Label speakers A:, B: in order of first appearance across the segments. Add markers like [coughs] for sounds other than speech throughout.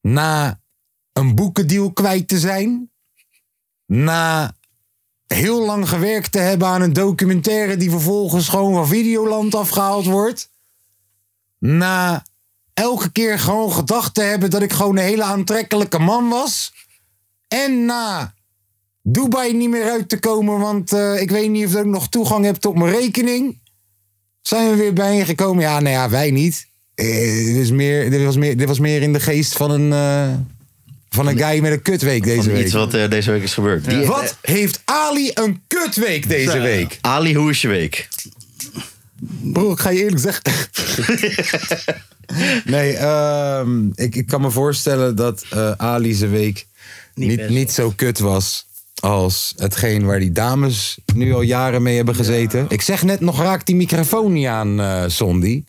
A: Na een boekendeal kwijt te zijn. Na heel lang gewerkt te hebben aan een documentaire die vervolgens gewoon van Videoland afgehaald wordt. Na elke keer gewoon gedacht te hebben dat ik gewoon een hele aantrekkelijke man was. En na Dubai niet meer uit te komen, want eh, ik weet niet of ik nog toegang heb tot mijn rekening. Zijn we weer bijeengekomen? Ja, nou ja, wij niet. Eh, dit, is meer, dit, was meer, dit was meer in de geest van een, eh, van een guy met een kutweek deze
B: Van
A: week.
B: iets wat eh, deze week is gebeurd. Die-
A: Wat heeft Ali een kutweek deze week?
B: Ali, hoe is je week?
A: Bro, ik ga je eerlijk [laughs] zeggen. nee, ehm, ik, ik kan me voorstellen dat eh, Ali zijn week niet, niet, zo kut was. Als hetgeen waar die dames nu al jaren mee hebben gezeten. Ik zeg net nog raak die microfoon niet aan, eh Sondi.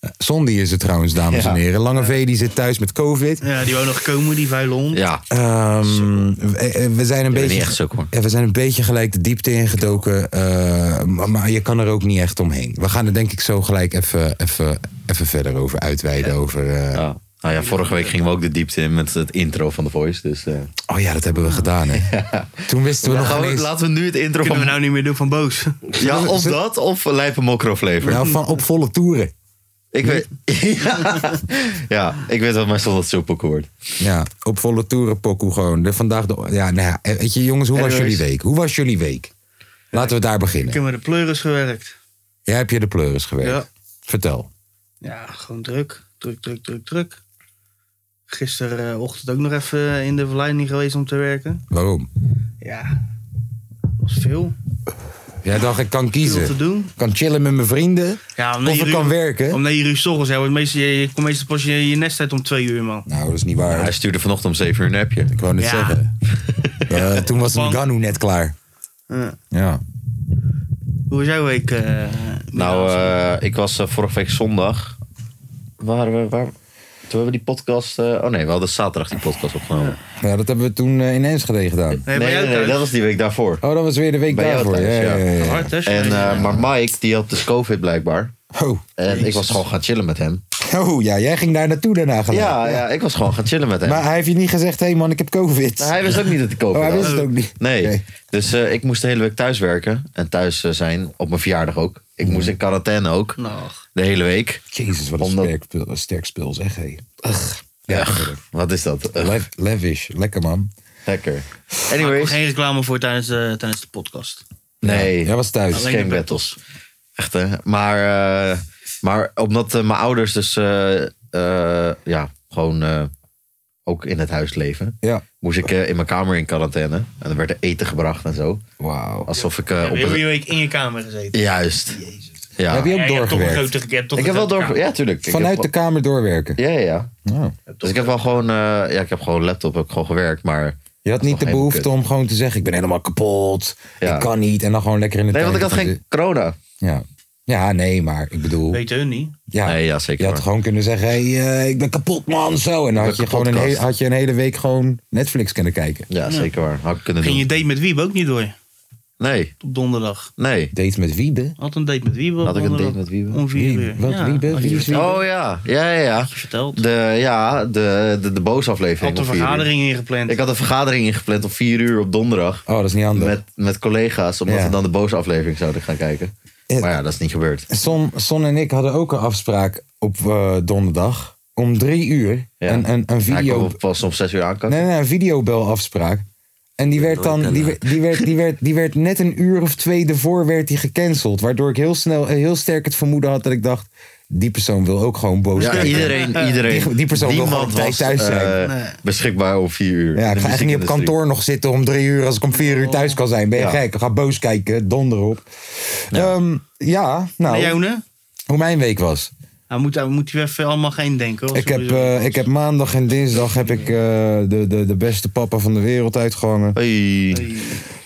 A: Eh, Sondi is het trouwens, dames en heren. Lange V die zit thuis met COVID.
C: Ja, die wou nog komen, die vuile hond.
B: Ja,
A: Ehm, eh, eh, we zijn een
B: bent
A: beetje.
B: niet echt sukkel.
A: Ja, we zijn een beetje gelijk de diepte ingedoken. eh, maar, maar je kan er ook niet echt omheen. We gaan er denk ik zo gelijk even, even, even verder over uitweiden. Over, eh,
B: Ja. Nou ja, vorige week gingen we ook de diepte in met het intro van The Voice. Dus, eh.
A: Oh ja, dat hebben we gedaan.
B: [laughs]
A: Hè. Toen wisten we
B: Dan
A: nog
B: gaan we-
A: ineens,
B: laten we nu het intro
C: Kunnen
B: van...
C: we nou niet meer doen van boos?
B: ja, of dat, of lijpe mokro flavor.
A: nou, van op volle toeren.
B: ik weet... [laughs] ja. ik weet wel meestal dat het zo wordt.
A: Ja, op volle toeren pokoe gewoon. De, vandaag de, ja, nou ja, eh, weet je, jongens, hoe was
B: Anyways.
A: jullie week? Hoe was jullie week? Laten we daar beginnen.
C: Ik heb met de pleuris gewerkt.
A: Jij hebt je de pleuris gewerkt.
C: Ja.
A: Vertel.
C: Ja, gewoon druk. Druk, druk, druk, druk. Gisterenochtend ook nog even in de verleiding geweest om te werken.
A: Waarom?
C: Ja, was veel.
A: Jij dacht, ik kan
C: Veel te
A: kiezen.
C: doen.
A: Ik kan chillen met mijn vrienden.
C: Ja,
A: Of ik kan werken.
C: Om negen uur s'ochtends. Ja, want meestal, je, je komt meestal pas je, je nest uit om twee uur, man.
A: Nou, dat is niet waar.
B: Hij stuurde vanochtend om 7 uur een appje.
A: Ik wou net
C: Ja.
B: [laughs]
A: zeggen. Eh, toen was
C: Bang.
A: Ngannou net klaar.
C: Ja.
A: Ja.
C: Hoe was jouw week? eh,
B: Nou,
C: Milan?
B: eh, ik was eh, vorige week zondag. Waren we, waar, toen hebben we die podcast. eh, oh nee, we hadden zaterdag die podcast opgenomen.
A: ja, dat hebben we toen eh, in Enschede gedaan.
C: nee,
B: nee,
C: bij jou
B: nee, nee,
C: thuis?
B: dat was die week daarvoor.
A: Oh, dat was weer de week
B: Bij jou
A: daarvoor.
B: thuis,
A: Ja, ja,
B: ja.
A: ja, ja.
C: Hard, hè?
B: En, eh, maar Mike, die had dus COVID blijkbaar.
A: Oh.
B: En ik was gewoon gaan chillen met hem.
A: oh, ja, jij ging daar naartoe daarna gelijk.
B: eh, Ja, ja, ik was gewoon gaan chillen met hem.
A: Maar hij heeft je niet gezegd, hé hey man, ik heb COVID.
B: Nou, hij wist ook niet dat hij COVID
A: Oh, hij
B: had.
A: wist het ook niet.
B: Nee.
A: Oké.
B: Dus eh, ik moest de hele week thuis werken. En thuis eh, zijn. Op mijn verjaardag ook. Ik moest in quarantaine ook.
C: Nog.
B: De hele week.
A: Jezus, wat een
B: Omdat-
A: sterk, spul- een sterk spul zeg, hé.
B: Ja, wat is dat? Ugh,
A: Le- lavish, lekker man.
B: lekker.
C: Maar
B: Anyways.
C: Geen reclame voor tijdens, eh, tijdens de podcast.
B: Nee.
A: Jij was thuis.
C: Alleen-
B: Geen
C: de
B: battles. Echt hè. Maar, eh, maar omdat eh, mijn ouders dus eh, eh, ja, gewoon eh, ook in het huis leven.
A: Ja.
B: Moest ik eh, in mijn kamer in quarantaine. En er werd er eten gebracht en zo.
A: Wauw.
B: Alsof ik eh,
C: Heb
B: op
C: je heel
B: een...
C: je week in je kamer gezeten?
B: Juist. Ja.
A: Heb je
C: Ja,
A: ook
C: je hebt toch een
A: doorgewerkt?
C: grote- je hebt toch
B: Ik
C: een grote
B: heb wel door...
C: kamer.
B: Ja, tuurlijk. Ik
A: Vanuit de
B: heb-
A: kamer doorwerken.
B: Ja, ja, ja.
A: Oh.
B: Dus ik heb wel gewoon... eh, ja, ik heb gewoon laptop. Heb ik gewoon gewerkt, maar...
A: Je had niet
B: nog
A: de
B: helemaal
A: behoefte
B: kut.
A: om gewoon te zeggen, ik ben helemaal kapot.
B: Ja.
A: Ik kan niet. En dan gewoon lekker in de
B: Nee, want ik had
A: tuin
B: geen corona.
A: Ja. ja, nee, maar ik bedoel...
C: Weet hun niet.
A: Ja,
B: Nee, ja, zeker
A: Je had
B: waar.
A: gewoon kunnen zeggen, hey, eh, ik ben kapot man, zo. En dan had
B: ben
A: je, gewoon een
B: kapotkast.
A: hele, had je een hele week gewoon Netflix kunnen kijken.
B: Ja, zeker waar. Had ik kunnen
C: Ging je
B: doen.
C: date met Wiebe ook niet door?
B: Nee,
C: Op donderdag.
B: nee.
A: Date met Wiebe?
C: Had een date met Wiebe. op
B: Had ik een
C: donderdag.
B: date met Wiebe?
C: Om vier
A: Wie-
C: uur.
A: wat, Wiebe?
C: had je
A: Wie is
C: verteld.
B: Oh ja, ja, ja. ja.
C: Verteld.
B: De, ja, de, de, de boosaflevering.
C: Had een
B: om vier uur.
C: vergadering ingepland.
B: Ik had een vergadering ingepland om vier uur op donderdag.
A: Oh, dat is niet handig.
B: Met, met collega's, omdat
A: Ja.
B: we dan de boosaflevering zouden gaan kijken.
A: Ja.
B: Maar ja, dat is niet gebeurd.
A: Son, Son en ik hadden ook een afspraak op eh, donderdag. Om drie uur.
B: Ja.
A: Een, een, een
B: Ja, ik
A: video...
B: kon pas om zes uur aankomen.
A: Nee, nee, een videobelafspraak. En die werd dan, die, werd- die, werd, die, werd, die werd net een uur of twee ervoor werd die gecanceld. Waardoor ik heel snel, eh, heel sterk het vermoeden had dat ik dacht, die persoon wil ook gewoon boos
B: Ja,
A: kijken.
C: [laughs]
B: iedereen, iedereen.
A: Die- die persoon wil
B: niemand
A: gewoon op tijd
B: was,
A: thuis zijn.
B: eh, beschikbaar om vier uur.
A: Ja, ik
B: De
A: ga echt niet op
B: muziekindustrie.
A: kantoor nog zitten om drie uur als ik om vier uur thuis kan zijn. Ben je
B: Ja.
A: gek? Ga boos kijken, donder op. Ehm, Ja, nou,
C: En jou, hè?
A: hoe mijn week was.
C: Hij moet, hij moet hier even allemaal geen denken. hoor.
A: Ik heb,
C: Sowieso.
A: eh, ik heb maandag en dinsdag heb ik, eh, de, de, de beste papa van de wereld uitgehangen.
B: Hey.
C: Hey.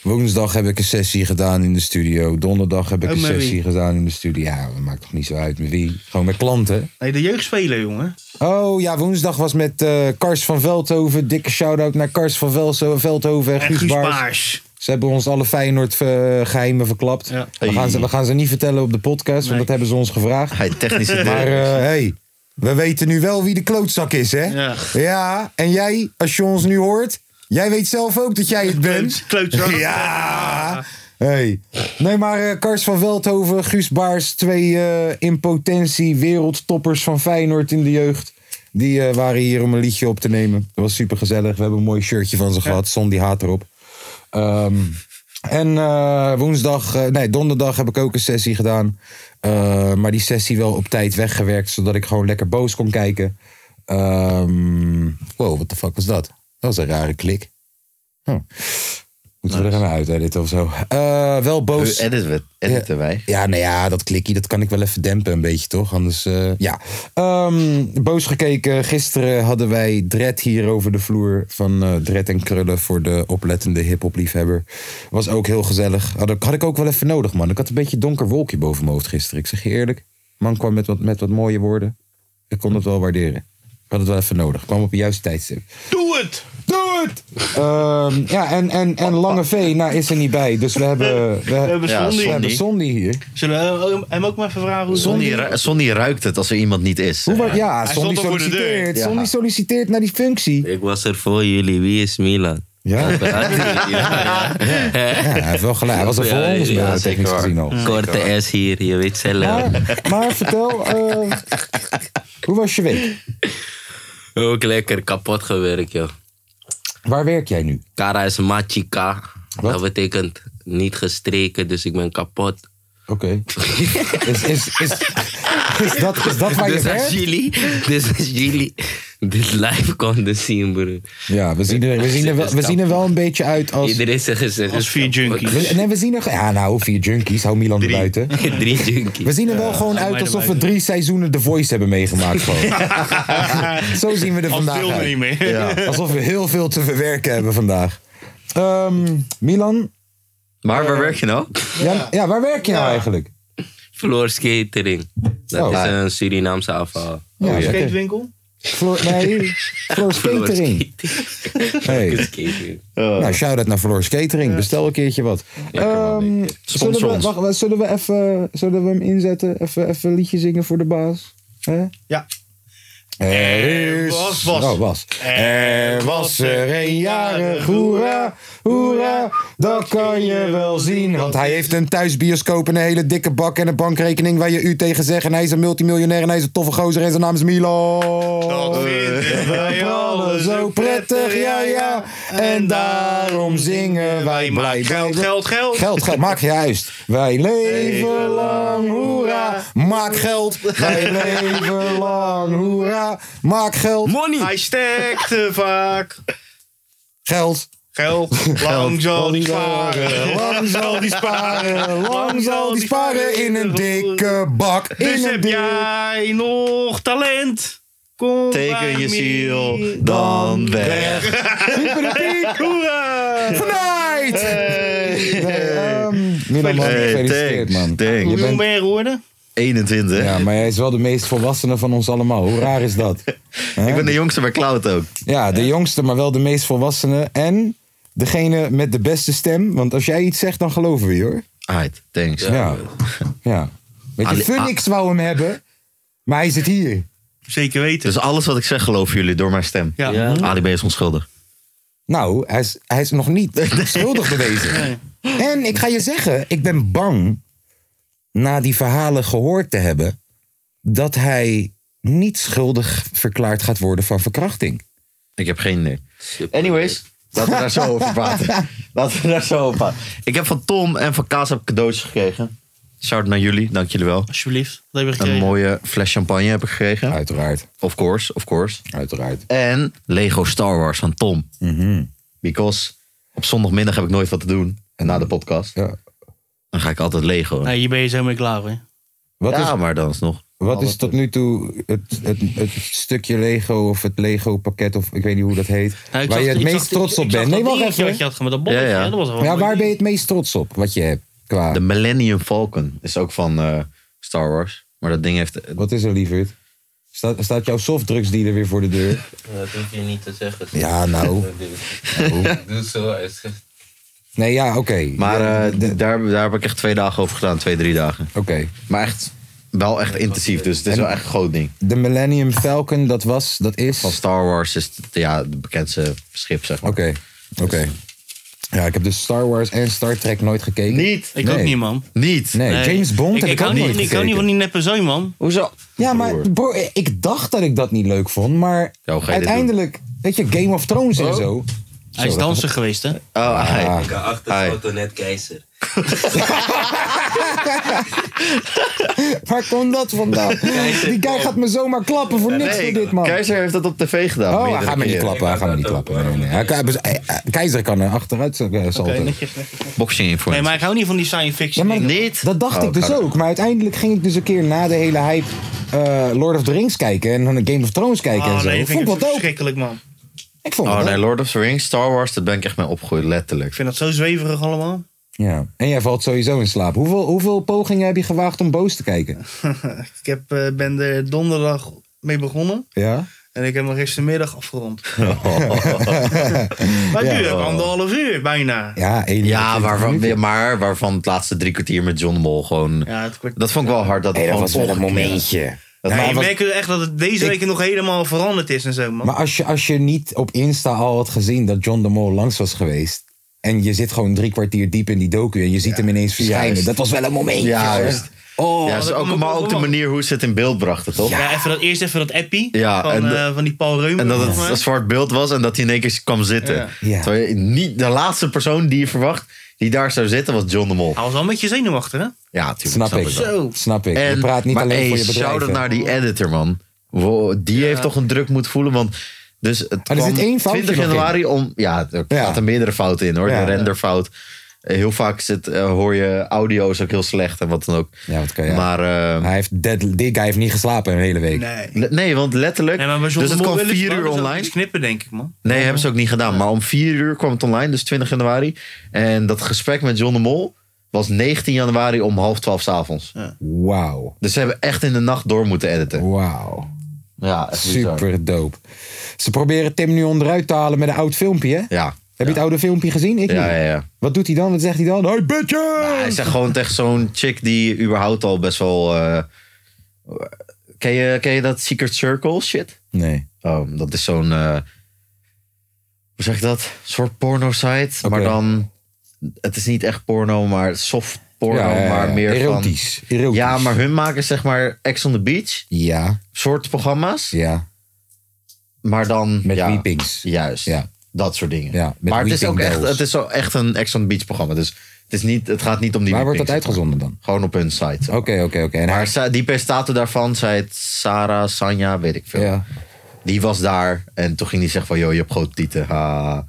A: Woensdag heb ik een sessie gedaan in de studio. Donderdag heb ik
C: Ook
A: een
C: met wie?
A: sessie gedaan in de studio. Ja, dat maakt toch niet zo uit met wie. Gewoon met klanten.
C: Nee, de jeugd spelen, jongen.
A: Oh ja, woensdag was met eh Kars van Veldhoven. Dikke shout-out naar Kars van Velso- Veldhoven en
C: En
A: Guus
C: Guus
A: Baars.
C: Baars.
A: Ze hebben ons alle Feyenoord eh, geheimen verklapt.
C: Ja.
A: We, gaan ze, we gaan ze niet vertellen op de podcast, want
C: Nee.
A: dat hebben ze ons gevraagd.
B: Hij
A: [laughs]
B: technische
A: Maar
B: deur.
A: eh, hey, we weten nu wel wie de klootzak is, hè?
C: Ja.
A: Ja, en jij, als je ons nu hoort, jij weet zelf ook dat jij het bent.
C: Kleutzak.
A: Ja. Hey. Nee, maar eh, Kars van Veldhoven, Guus Baars, twee eh, in potentie wereldtoppers van Feyenoord in de jeugd. Die eh, waren hier om een liedje op te nemen. Dat was super gezellig. We hebben een mooi shirtje van ze gehad. Son die haat erop. Ehm, en eh, woensdag, eh, nee, donderdag heb ik ook een sessie gedaan. Eh, maar die sessie wel op tijd weggewerkt, zodat ik gewoon lekker boos kon kijken. Ehm, wow, wat de fuck was dat? Dat was een rare klik. Oh. Moeten we er gaan uit, editen of zo? Eh, wel boos.
B: We editen, we, editen wij.
A: Ja, nou ja, dat klikje, dat kan ik wel even dempen een beetje, toch? Anders, eh, ja. Ehm, boos gekeken. Gisteren hadden wij Dred hier over de vloer van eh Dred en Krullen voor de oplettende hip-hop liefhebber. Was ook heel gezellig. Had ik, had ik ook wel even nodig, man. Ik had een beetje donker wolkje boven mijn hoofd gisteren. Ik zeg je eerlijk, man kwam met wat, met wat mooie woorden. Ik kon het wel waarderen. Ik had het wel even nodig. Ik kwam op het juiste tijdstip.
C: Doe het!
A: Doe het! Ehm, ja, en, en, en Lange V nou, is er niet bij. Dus we hebben, we,
C: We hebben
B: Ja,
C: Sondi.
A: we
B: Sondi.
A: hebben Sondi hier.
C: Zullen we hem ook maar even vragen hoe
B: Sonny, ru- Sonny ruikt het als er iemand niet is.
A: Hoe wa- ja,
C: Hij
A: Sonny
C: stond al voor de deur.
A: solliciteert.
B: Ja.
A: Sonny solliciteert naar die functie.
D: Ik was er voor jullie. Wie is Milan?
A: Ja,
D: Ja,
A: hij heeft wel gelijk. Hij was er voor
D: Ja,
A: ons
D: ja,
A: ja,
D: zeker
A: technisch
B: waar.
A: gezien al.
D: Korte S hier, je weet zelf.
A: Maar, maar vertel, eh, hoe was je week?
D: Ook lekker kapot gewerkt, joh.
A: Waar werk jij nu?
D: Kara is machika.
A: Wat?
D: Dat betekent niet gestreken, dus ik ben kapot.
A: Oké. [laughs] Is, is, is, is, dat, is dat waar je
D: dus als
A: werkt?
D: jullie,
A: [laughs]
D: dus als jullie dit live konden zien, broer.
A: Ja, we zien, er, we, zien er wel, we zien er wel een beetje uit als...
D: Iedereen zegt het is
C: Als vier
D: kapot.
C: junkies.
A: we- nee, we zien er... Ja, nou, vier junkies. Hou Milan buiten.
D: Drie
A: We
D: junkies.
A: zien er wel gewoon
C: hou
A: uit
C: mij
A: alsof we
C: erbuiten.
A: drie seizoenen The Voice hebben meegemaakt. Gewoon. [laughs] Zo zien we er
C: Als
A: vandaag
C: film
A: uit.
C: er niet meer.
A: Alsof we heel veel te verwerken hebben vandaag. Ehm, Milan,
B: Maar waar werk je nou?
A: ja, ja, waar werk je nou eigenlijk?
D: Floor Skatering. Dat
A: Oh.
D: is een Surinaamse afhaal.
A: Ja,
C: Een
A: lekker.
C: skatewinkel?
A: Floor, [laughs] nee, Floor
D: Floor
A: Skatering. Hey.
D: Skatering.
A: Nou, shout-out naar Floor Skatering. Bestel een keertje wat. Ehm, zullen,
B: Sponsor
A: we,
B: ons.
A: wacht, wacht, zullen, we even, zullen we hem inzetten? Even, even een liedje zingen voor de baas? Hè?
C: Ja.
A: Er
C: was- was.
A: Oh, was. Er was er een jarig, hoera, hoera, dat kan
C: eh,
A: je wel zien. Want hij heeft een thuisbioscoop en een hele dikke bak en een bankrekening waar je u tegen zegt. En hij is een multimiljonair en hij is een toffe gozer en zijn naam is Milo. We ballen zo prettig, ja ja. En daarom zingen wij blij.
C: Geld, geld, geld.
A: Geld, geld, maak juist. Wij leven lang, hoera. Maak geld. Wij leven lang, hoera. Maak geld.
C: Hij sterkt te vaak.
A: [laughs] Geld.
C: Geld, lang zal die
A: Sparen,
C: sparen.
A: lang zal die
B: [laughs]
A: sparen. Lang zal die sparen in een dikke bak.
C: Dus
A: In een
C: heb
A: dikke [laughs]
C: jij nog talent? Kom bij
B: Teken je
C: me.
B: ziel dan weg. [laughs]
C: Hoera!
A: Tonight! Nee, ehm, Milan, man,
B: Hey,
A: gefeliciteerd,
B: thanks,
A: man.
B: thanks.
A: Je
C: Hoe jong
A: bent,
C: ben je geworden?
B: 21.
A: ja, maar jij is wel de meest volwassene van ons allemaal. Hoe raar is
B: [laughs]
A: dat?
B: Ik ben de jongste bij Cloud ook.
A: Ja, de jongste, maar wel de meest volwassene. En degene met de beste stem. Want als jij iets zegt, dan geloven we je, hoor.
B: Alright, thanks.
A: Ja. ja. Weet je,
B: Ali-
A: Phoenix wou hem hebben, maar hij zit hier.
C: Zeker weten.
B: Dus alles wat ik zeg geloven jullie door mijn stem. Ah,
C: Ja.
D: Ja.
B: Ali B is onschuldig.
A: Nou, hij is, hij is nog
C: [laughs]
A: niet [laughs] schuldig bewezen. En ik ga je zeggen, ik ben bang, na die verhalen gehoord te hebben, dat hij niet schuldig verklaard gaat worden van verkrachting.
B: Ik heb geen idee. Anyways, laten we daar zo
A: [laughs]
B: over praten. laten we daar zo over praten. Ik heb van Tom en van Kaas heb ik cadeautjes gekregen. Shout naar jullie, dank jullie wel.
C: Alsjeblieft. Dat heb ik
B: Een
C: gekregen.
B: mooie fles champagne heb ik gekregen.
A: Uiteraard,
B: Of course, of course.
A: uiteraard. Mhm.
B: En Lego Star Wars van Tom. Because op zondagmiddag heb ik nooit wat te doen. En na de podcast,
A: Ja.
B: dan ga ik altijd Lego.
C: Nou, hier ben je zo mee klaar hoor.
A: Wat
B: ja,
A: is,
B: maar dan is nog.
A: Wat is tot nu toe het, het, het stukje Lego of het Lego pakket of ik weet niet hoe dat heet.
C: Nou, ik
A: waar
C: zag-
A: je het
C: ik
A: meest
C: zag-
A: trots op
C: ik zag
A: bent. Nee,
C: dat
A: wacht
C: dingetje Wat je
A: even.
C: had gemaakt, dat bolletje,
B: Ja, ja.
C: hè, dat was wel
A: Ja,
C: mooi.
A: waar ben je het meest trots op wat je hebt qua...
B: De Millennium Falcon is ook van eh, Star Wars. Maar dat ding heeft...
A: Wat is er, lieverd? Staat, staat jouw softdrugsdealer weer voor de deur?
D: Dat hoef je niet te zeggen.
E: Ja, nou.
D: [laughs] Doe zo, hij zegt.
A: Nee, ja, oké.
B: Maar
A: Ja,
B: eh,
A: de- de-
B: daar, daar heb ik echt twee dagen over gedaan. Twee, drie dagen.
A: Oké.
B: Maar echt, wel echt intensief. Dus het is wel echt een groot ding.
A: De Millennium Falcon, dat was, dat is...
B: Van
A: Oké,
B: Star Wars is het, ja, de bekendste schip, zeg maar. Dus-
A: oké. Ja, ik heb dus Star Wars en Star Trek nooit gekeken.
B: Niet.
C: Ik
A: Nee.
C: ook niet, man.
B: Niet.
A: Nee,
C: Nee.
A: James Bond
C: ik,
A: heb ik,
C: hou
A: ook
C: niet-
A: nooit
C: Ik hou niet van
A: gekeken.
C: die neppe zoon, man.
B: Hoezo?
A: Ja, maar bro, ik dacht dat ik dat niet leuk vond, maar
B: Ja, hoe ga je dit
A: uiteindelijk, weet je, Game of Thrones en
B: [laughs]
A: zo. Ah.
C: Hij is danser geweest, hè?
B: Oh, hi.
D: Ik
B: Ai.
D: achter net keizer.
A: [laughs] Waar komt dat
B: [laughs]
A: vandaan? Die guy gaat me zomaar klappen voor niks
B: Nee,
A: voor dit man.
B: Keizer heeft dat op tv gedaan.
A: Oh, hij
B: meerdere
A: gaat me niet
B: keren.
A: klappen, hij gaat me niet klappen. Nee, nee. Hij kan- hij- hij- Keizer kan er achteruit eh, salten.
B: Boxing
C: Nee,
B: influencer.
C: maar ik hou niet van die science
A: Ja,
C: fiction.
A: maar
C: dingen.
B: Niet.
A: Dat dacht
B: Oh,
A: ik dus
B: ga-
A: ook. Maar uiteindelijk ging ik dus een keer na de hele hype eh, Lord of the Rings kijken en dan Game of Thrones kijken en
C: Ah,
A: zo.
C: nee,
A: ik
C: vind
A: vond
C: ik
A: dat ook.
C: verschrikkelijk, man. [laughs]
A: Ik vond
B: Oh
A: dat
B: nee,
A: ook.
B: Lord of the Rings, Star Wars, daar ben ik echt mee opgegroeid,
C: Ik
B: letterlijk.
C: vind dat zo zweverig allemaal.
A: Ja. En jij valt sowieso in slaap. Hoeveel, hoeveel pogingen heb je gewaagd om boos te kijken?
C: Ik heb, eh, ben er donderdag mee begonnen. [laughs]
A: Ja?
C: En ik heb hem gistermiddag
A: [laughs]
C: afgerond. maar duurde ook anderhalf uur bijna.
A: Ja, één
B: Ja,
A: uur,
B: waarvan,
A: twintig minuten.
B: maar waarvan het laatste drie kwartier met John de Mol gewoon...
C: Ja, het kwart...
B: Dat vond ik wel hard. Dat,
A: Hey, dat
B: gewoon
A: was wel een
B: volgekneld.
A: momentje.
B: Dat
C: Nee,
B: maar
C: je
B: was-
C: merkt echt dat het deze week nog helemaal veranderd is en zo, man.
A: Maar als je, als je niet op Insta al had gezien dat John de Mol langs was geweest. En je zit gewoon drie kwartier diep in die docu en je ziet hem ineens verschijnen.
B: Juist.
A: Dat was wel een momentje.
B: Juist.
A: Oh,
B: ja, ze
C: dat
B: ook,
C: komt
B: maar
C: ook
B: ook de
C: wel.
B: manier hoe ze het in beeld brachten, toch?
C: ja, even dat, eerst even dat appie
B: Ja,
C: van,
B: en de-
C: eh, van die Paul Reumer.
B: En dat
C: volgens
B: het
C: mij.
B: een zwart beeld was en dat hij in één keer kwam zitten.
C: Ja.
A: Ja.
B: Terwijl je niet, de laatste persoon die je verwacht die daar zou zitten was John de Mol.
C: Hij was wel een beetje zenuwachtig, hè?
B: Ja, tuurlijk.
A: snap, ik.
B: dat.
C: Zo.
A: Snap ik.
B: En,
A: je praat niet
B: maar
A: alleen
B: hey,
A: voor je bedrijf.
B: shout-out
A: hè.
B: naar die editor, man. Wow, die heeft toch een druk moeten voelen, want... Dus het
A: er
B: kwam
A: zit één foutje
B: 20
A: nog in.
B: januari om... Ja, er
A: Ja.
B: zaten meerdere fouten in, hoor.
A: Ja.
B: de renderfout. Eh, Heel vaak zit, eh, hoor je audio is ook heel slecht en wat dan ook.
A: Ja, wat kan je-
B: Maar... eh,
A: Hij heeft dead, die guy heeft niet geslapen een hele week.
C: Nee.
B: le- nee, want letterlijk...
C: Nee, maar bij John
B: dus
C: de
B: het
C: Mol
B: kwam
C: willen ze
B: 4
C: wel
B: uur
C: eens
B: online.
C: iets knippen, denk ik, man.
B: Nee, hebben ze ook niet gedaan. Maar om 4 uur kwam het online, dus 20 januari. En dat gesprek met John de Mol was 19 januari om half 12 s'avonds.
A: Wauw.
B: Dus ze hebben echt in de nacht door moeten editen.
A: Wauw.
B: Ja, echt bizar.
A: Super dope. Ze proberen Tim nu onderuit te halen met een oud filmpje. hè?
B: Ja.
A: Heb je het oude filmpje gezien? Ik
B: Ja,
A: niet.
B: ja, ja.
A: Wat doet hij dan? Wat zegt hij dan? Hey, bitches!
B: Nou, Hij zegt gewoon tegen zo'n chick die überhaupt al best wel... eh, ken, je, ken je dat Secret Circle shit?
A: Nee.
B: Oh, dat is zo'n... eh, hoe zeg ik dat? Een soort porno site. Maar
A: Oké.
B: dan... Het is niet echt porno, maar soft porno.
A: Ja, ja, ja.
B: Maar meer
A: Erotisch.
B: van...
A: Erotisch.
B: Ja, maar hun maken zeg maar Ex on the Beach
A: Ja,
B: soort programma's.
A: ja.
B: Maar dan...
A: Met
B: ja,
A: weepings.
B: Juist.
A: Ja.
B: Dat soort dingen.
A: Ja, met
B: maar het is ook
A: weeping
B: echt,
A: bells.
B: het is zo echt een Ex on the Beach programma. Dus het, is niet, het gaat niet om die
A: Waar wordt dat
B: weepings.
A: uitgezonden dan?
B: Gewoon op hun site.
A: Oké, oké, oké. En
B: Maar
A: hij...
B: sa- die presentator daarvan zei het Sarah, Sanja, weet ik veel.
A: Ja.
B: Die was daar en toen ging hij zeggen van... joh, je hebt grote tieten, ha.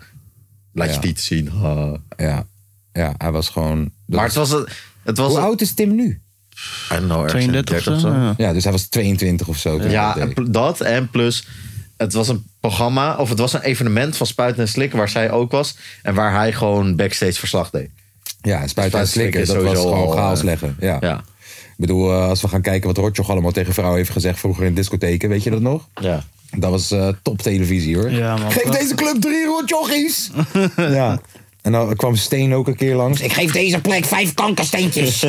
B: Laat je
A: Ja.
B: tieten zien, ha.
A: Ja. Ja, hij was gewoon...
B: Maar het was... een- Het was
A: Hoe
B: een-
A: oud is Tim nu?
B: I don't know, ergens in de
C: 32 of
B: 30
C: zo. ja.
A: Ja, dus hij was 22 of zo. toen
B: Ja,
A: hij dat
B: en
A: deed.
B: pl- dat en plus... Het was een programma, of het was een evenement van Spuiten en Slikken... waar zij ook was en waar hij gewoon backstage verslag deed.
A: ja en spuiten en
B: Spuiten
A: slikken.
B: is
A: Dat was
B: sowieso
A: gewoon
B: al,
A: chaos
B: eh,
A: leggen. Ja.
B: Ja,
A: Ik bedoel, eh, als we gaan kijken wat Rotjoch allemaal tegen vrouwen heeft gezegd... vroeger in discotheken, weet je dat nog?
B: ja.
A: Dat was eh, top televisie hoor.
C: Ja, man.
A: geef deze club drie
B: [laughs]
A: rotjochies! ja. En dan kwam Steen ook een keer
E: [laughs]
A: langs. Ik geef deze plek vijf
B: [laughs]
A: kankersteentjes.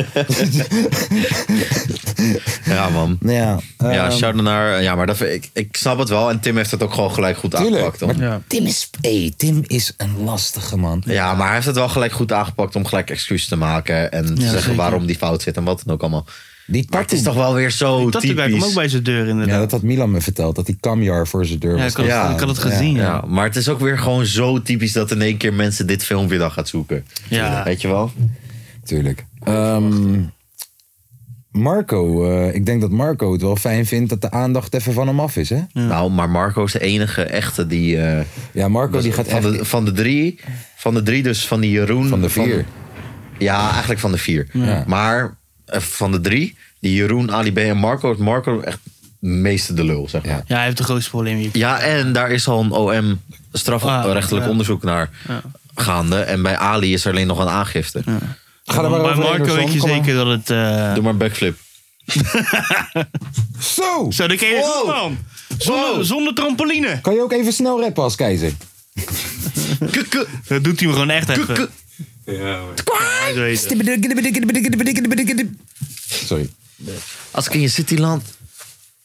B: Ja, man.
A: ja.
B: Ja, shout naar... Ja, maar dat, ik, ik snap het wel. En Tim heeft het ook gewoon gelijk goed aangepakt.
A: Tuurlijk.
B: hoor.
A: Maar Tim, is, hey, Tim is een lastige man.
B: Ja, maar hij heeft het wel gelijk goed aangepakt om gelijk excuses te maken. En te zeggen
C: zeker.
B: waarom die fout zit en wat dan ook allemaal.
A: Die
B: Maar het is
A: tattoo-
B: toch wel weer zo
C: Dat ik
B: typisch.
C: hem ook bij zijn deur,
A: Ja,
C: inderdaad.
A: dat had Milan me verteld. Dat die kamjar voor zijn deur
C: Ja,
A: was.
C: ik had,
B: Ja.
C: ik had het gezien, ja.
B: ja, maar het is ook weer gewoon zo typisch dat in één keer mensen dit filmpje dan gaat zoeken.
C: Ja.
B: Weet je wel?
A: Tuurlijk. Ehm, Marco, eh, ik denk dat Marco het wel fijn vindt dat de aandacht even van hem af is, hè?
B: Nou, maar Marco is de enige echte die... eh,
A: Ja, Marco die gaat
B: van,
A: echt...
B: de, van de drie, van de drie dus, van die Jeroen.
A: Van de vier.
B: ja, eigenlijk van de vier. Maar eh, van de drie, Die Jeroen, Ali B en Marco. is Marco echt meeste de lul, zeg maar.
C: Ja, hij heeft de grootste probleem hier.
B: Ja, en daar is al een OM strafrechtelijk
C: Ah, ja.
B: onderzoek naar gaande. En bij Ali is er alleen nog een aangifte.
A: Ga er maar
C: Bij
A: overheen,
C: Marco
A: Orson,
C: weet je
A: kom maar.
C: zeker dat het... eh,
B: Doe maar een
A: [laughs]
B: backflip.
A: Zo!
C: Zo, dat ken je
B: Wow.
C: goed, man. Zonder,
B: Wow.
C: zonder trampoline.
A: Kan je ook even snel rappen als keizer?
B: Kukke,
C: Dat doet hij me gewoon echt
B: kukke.
C: even. Ja, zo heet het.
A: Sorry.
B: Als ik in je city land.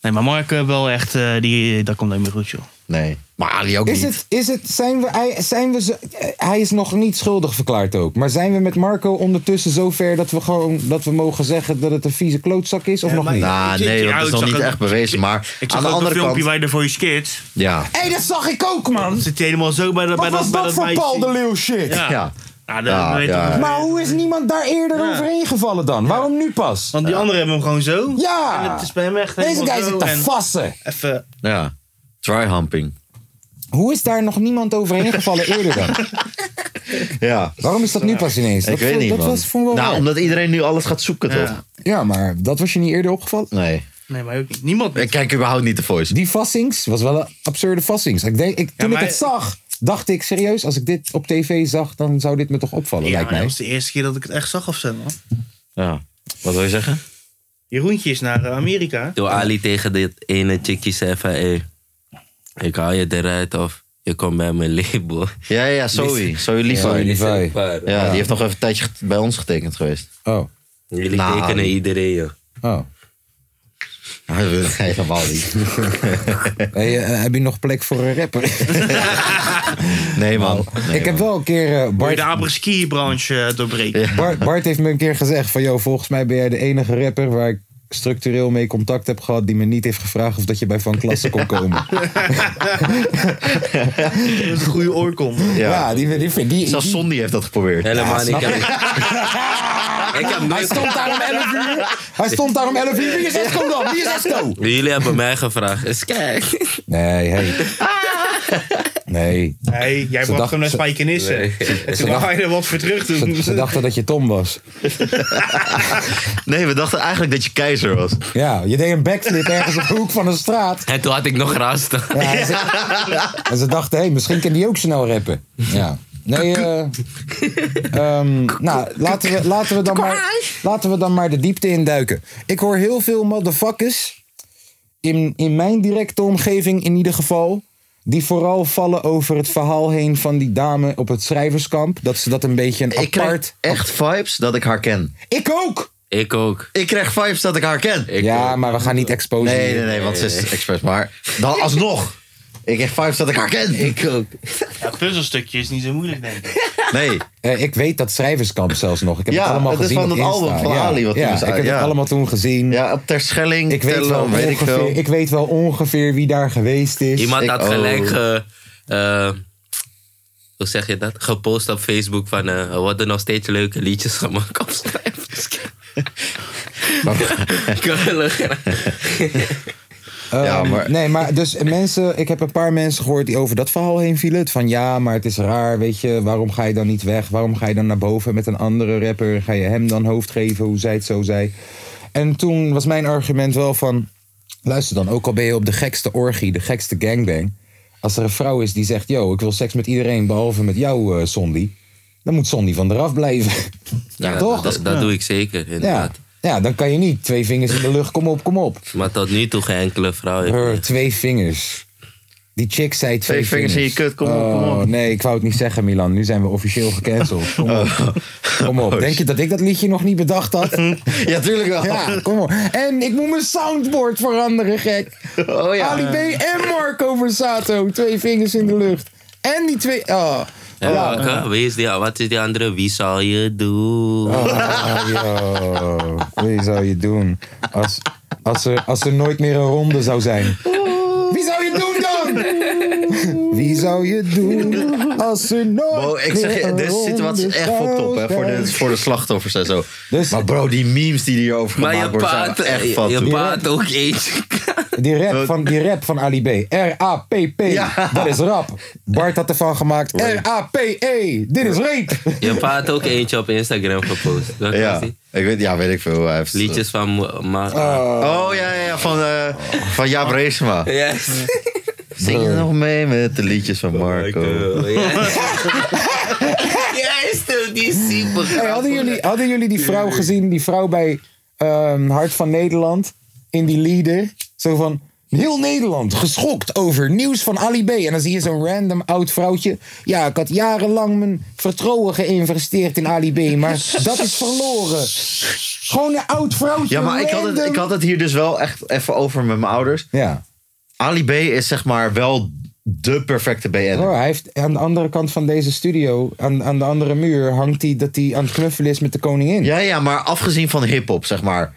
C: Nee, maar Mark eh, wel echt... eh, die, dat komt helemaal goed, joh.
B: Nee, maar Ali ook
A: Is
B: niet.
A: het, is het, zijn we, hij- zijn we, zo- hij is nog niet schuldig verklaard ook. Maar zijn we met Marco ondertussen zover dat we gewoon, dat we mogen zeggen dat het een vieze klootzak is? Of nog niet?
B: Nou, nee,
C: Ja,
B: dat is
C: ik
B: nog
C: zag
B: niet
C: ook-
B: echt bewezen. Maar
C: Ik zag
B: aan de
C: ook een
B: andere
C: filmpje
B: kant.
C: bij de Voice Kids.
B: Ja.
E: Hé, dat zag ik ook, man!
C: Zit hij helemaal zo bij dat bij
E: Wat
C: dat,
E: was
C: bij
E: dat voor
C: meisje?
E: Paul de Leeuw shit?
C: Ja.
B: Ja.
C: ja. dat
B: Ja,
C: weet
B: ja.
C: ik.
A: Maar hoe is niemand daar eerder
C: Ja.
A: overheen gevallen dan? Waarom nu pas?
C: Want die anderen hebben hem gewoon zo.
A: Ja.
C: En het is bij hem echt
A: Deze
C: helemaal
A: guy
C: zo
A: zit te
C: en
A: vassen.
C: Even...
B: Ja. Tryhumping.
A: Hoe is daar nog niemand overheen
B: [laughs]
A: gevallen eerder dan?
B: Ja.
A: Waarom is dat nu pas ineens?
B: Ik
A: dat
B: weet
A: vond-
B: niet,
A: dat
B: man.
A: was voor wel
B: nou,
A: raar.
B: omdat iedereen nu alles gaat zoeken,
C: Ja.
B: toch?
A: Ja, maar dat was je niet eerder opgevallen?
B: Nee.
C: Nee, maar ook niet. Niemand
B: Ik kijk überhaupt niet de voice.
A: Die vassings was wel een absurde vassings. Ik denk, ik, toen
C: maar-
A: ik het zag, dacht ik serieus, als ik dit op tv zag, dan zou dit me toch opvallen,
C: Ja,
A: lijkt
C: maar dat
A: mij.
C: was de eerste keer dat ik het echt zag of zo, man.
B: Ja. Wat wil je zeggen?
C: Jeroentje is naar eh, Amerika.
D: Door Ali tegen dit ene chickie zei van... Hey, ik haal je eruit of je komt bij mijn label.
B: Ja, ja, Zoe. Zoe
A: Zoe
B: Levi.
A: Levi. Levi.
B: Ja, die heeft nog even een tijdje get- bij ons getekend geweest.
A: Oh,
D: Jullie
B: Nou,
D: tekenen iedereen, joh.
A: oh. [laughs]
B: Helemaal niet.
A: Hey, eh, heb je nog plek voor een
B: [laughs]
A: rapper?
B: Nee, man. Nee,
A: ik heb
B: man.
A: wel een keer... eh,
C: Moet je de
A: Bart,
C: apres-ski-branche eh, doorbreken.
A: Bart, Bart heeft me een keer gezegd van... Yo, volgens mij ben jij de enige rapper waar ik structureel mee contact heb gehad... die me niet heeft gevraagd of dat je bij Van Klassen kon
C: [laughs]
A: komen.
C: [laughs] Dat is een goede oorkonde.
A: Ja,
B: Ja.
A: die, die, die, die,
B: Zelfs Sondi heeft dat geprobeerd.
D: Helemaal niet. Ik heb- Ik heb
A: hij
D: nooit...
A: stond daar om 11 uur. Hij stond daar om 11 uur. Wie is Esco dan? Wie is Esco?
D: Jullie hebben mij gevraagd. Eens kijk.
A: Nee, hey. Nee,
C: Nee, jij bracht
A: dacht-
C: hem naar
A: ze-
C: Spijkenissen. En toen wou je er wat voor terug doen.
A: ze, ze dachten dat je
C: [laughs]
A: Tom was.
B: [laughs] Nee, we dachten eigenlijk dat je keizer was.
A: Ja, je deed een backflip ergens op de hoek van een straat.
D: En toen had ik nog rasta.
A: Ja, en, ze, en ze dachten, hé, misschien kan die ook snel rappen. Ja. Nee, eh, ehm, nou, laten we, laten, we dan maar, laten we dan maar de diepte induiken. Ik hoor heel veel motherfuckers, in, in mijn directe omgeving in ieder geval... die vooral vallen over het verhaal heen van die dame op het schrijverskamp. Dat ze dat een beetje een
B: Ik
A: apart...
B: krijg [laughs] echt vibes dat ik haar ken.
A: Ik ook!
D: Ik ook.
B: Ik krijg vibes dat ik haar ken.
D: Ik
A: Ja, maar we gaan niet exposen.
B: Nee, nee, nee, want ze is expres. Maar dan alsnog. Ik krijg vibes dat ik haar ken. Ik ook.
C: Ja, het puzzelstukje is niet zo moeilijk, denk ik. [coughs]
B: Nee.
A: Eh, ik weet dat schrijverskamp zelfs nog. Ik heb
B: Ja,
A: het allemaal
B: het is
A: gezien.
B: van
A: op
B: het
A: Insta.
B: album van
A: ja,
B: Ali wat toen
A: ja,
B: is
A: ik heb
B: uit, ja.
A: het allemaal toen gezien.
B: Ja, op Terschelling,
A: ik, weet wel
B: Tellum, weet ik
A: ongeveer,
B: veel.
A: ik, weet wel ongeveer wie daar geweest is.
D: Iemand
B: Ik Oh.
D: had
B: ook.
D: gelijk ge, eh, hoe zeg je dat? Gepost op Facebook van eh, er worden nog steeds leuke liedjes gemaakt op schrijvers. Ik wil er graag-
A: Ehm,
B: ja, maar-
A: Nee, maar dus mensen, ik heb een paar mensen gehoord die over dat verhaal heen vielen. Van ja, maar het is raar, weet je, waarom ga je dan niet weg? Waarom ga je dan naar boven met een andere rapper? Ga je hem dan hoofd geven, hoe zij het zo zei? En toen was mijn argument wel van, luister dan, ook al ben je op de gekste orgie, de gekste gangbang. Als er een vrouw is die zegt, yo, ik wil seks met iedereen behalve met jou, eh Sondi. Dan moet Sondi van eraf blijven.
D: Ja,
A: Toch?
D: Dat, dat doe ik zeker,
A: Ja,
D: inderdaad.
A: ja, dan kan je niet twee vingers in de lucht, kom op, kom op.
D: Maar tot nu toe geen enkele vrouw. heeft-
A: Brr, twee vingers. Die chick zei twee,
B: Twee vingers in je kut, kom op,
A: Oh,
B: kom op.
A: Nee, ik wou het niet zeggen, Milan. Nu zijn we officieel
B: [laughs]
A: gecanceld. Kom op.
B: Oh.
A: Kom op. Denk je dat ik dat liedje nog niet bedacht had?
B: [laughs] Ja, tuurlijk wel.
A: Ja, kom op. En ik moet mijn soundboard veranderen, gek.
B: Oh ja.
A: Ali B en Marco Versato. Twee vingers in de lucht. En die twee... Oh.
D: Ja, welke? Wie is die, wat is die andere? Wie zal je doen?
A: Oh, yo. Wie zou je doen als, als, er, als er nooit meer een ronde zou zijn? Wie zou je doen dan? [laughs] Wie zou je doen als er nooit
B: Bro, Oh, ik zeg
A: meer
B: je,
A: een
B: deze situatie is
A: ronde
B: echt fucked
A: zou
B: up hè, voor, de,
A: zijn?
B: voor de slachtoffers en zo.
A: Dus-
B: maar bro, die memes die hierover
D: maar je
B: gemaakt worden zijn
D: paard,
B: echt
D: je,
B: fucked
D: je
B: up.
D: paard ook eentje.
A: die rap van, die rap van Ali B. R-A-P-P.
B: Oh. Ja.
A: Dat is rap. Bart had ervan gemaakt. R-A-P-E. E. Dit is
B: [laughs]
A: rape.
D: Je pa had ook eentje op Instagram gepost. Welke
B: Ja,
D: was die?
B: ik weet, ja, weet ik veel. Hij heeft-
D: Liedjes van Mo- Ma.
B: Oh ja, ja, ja, van, eh, van Jaap Reesma.
D: Yes.
B: Zing je nog mee met de liedjes van Marco? [laughs]
D: Jij stelt die super
A: Hey, hadden, jullie, hadden jullie die vrouw gezien, die vrouw bij ehm, Hart van Nederland, in die leader? Zo van, heel Nederland geschokt over nieuws van Ali B. En dan zie je zo'n random oud vrouwtje. Ja, ik had jarenlang mijn vertrouwen geïnvesteerd in Ali B,
B: [laughs]
A: maar dat is verloren. Gewoon een oud vrouwtje.
B: Ja, maar ik had, het,
A: random.
B: ik had het hier dus wel echt even over met mijn ouders.
A: Ja,
B: Ali B is zeg maar wel de perfecte BN.
A: Bro, Oh, hij heeft aan de andere kant van deze studio, aan, aan de andere muur, hangt hij dat hij aan het knuffelen is met de koningin.
B: Ja, ja, maar afgezien van hip-hop, zeg maar.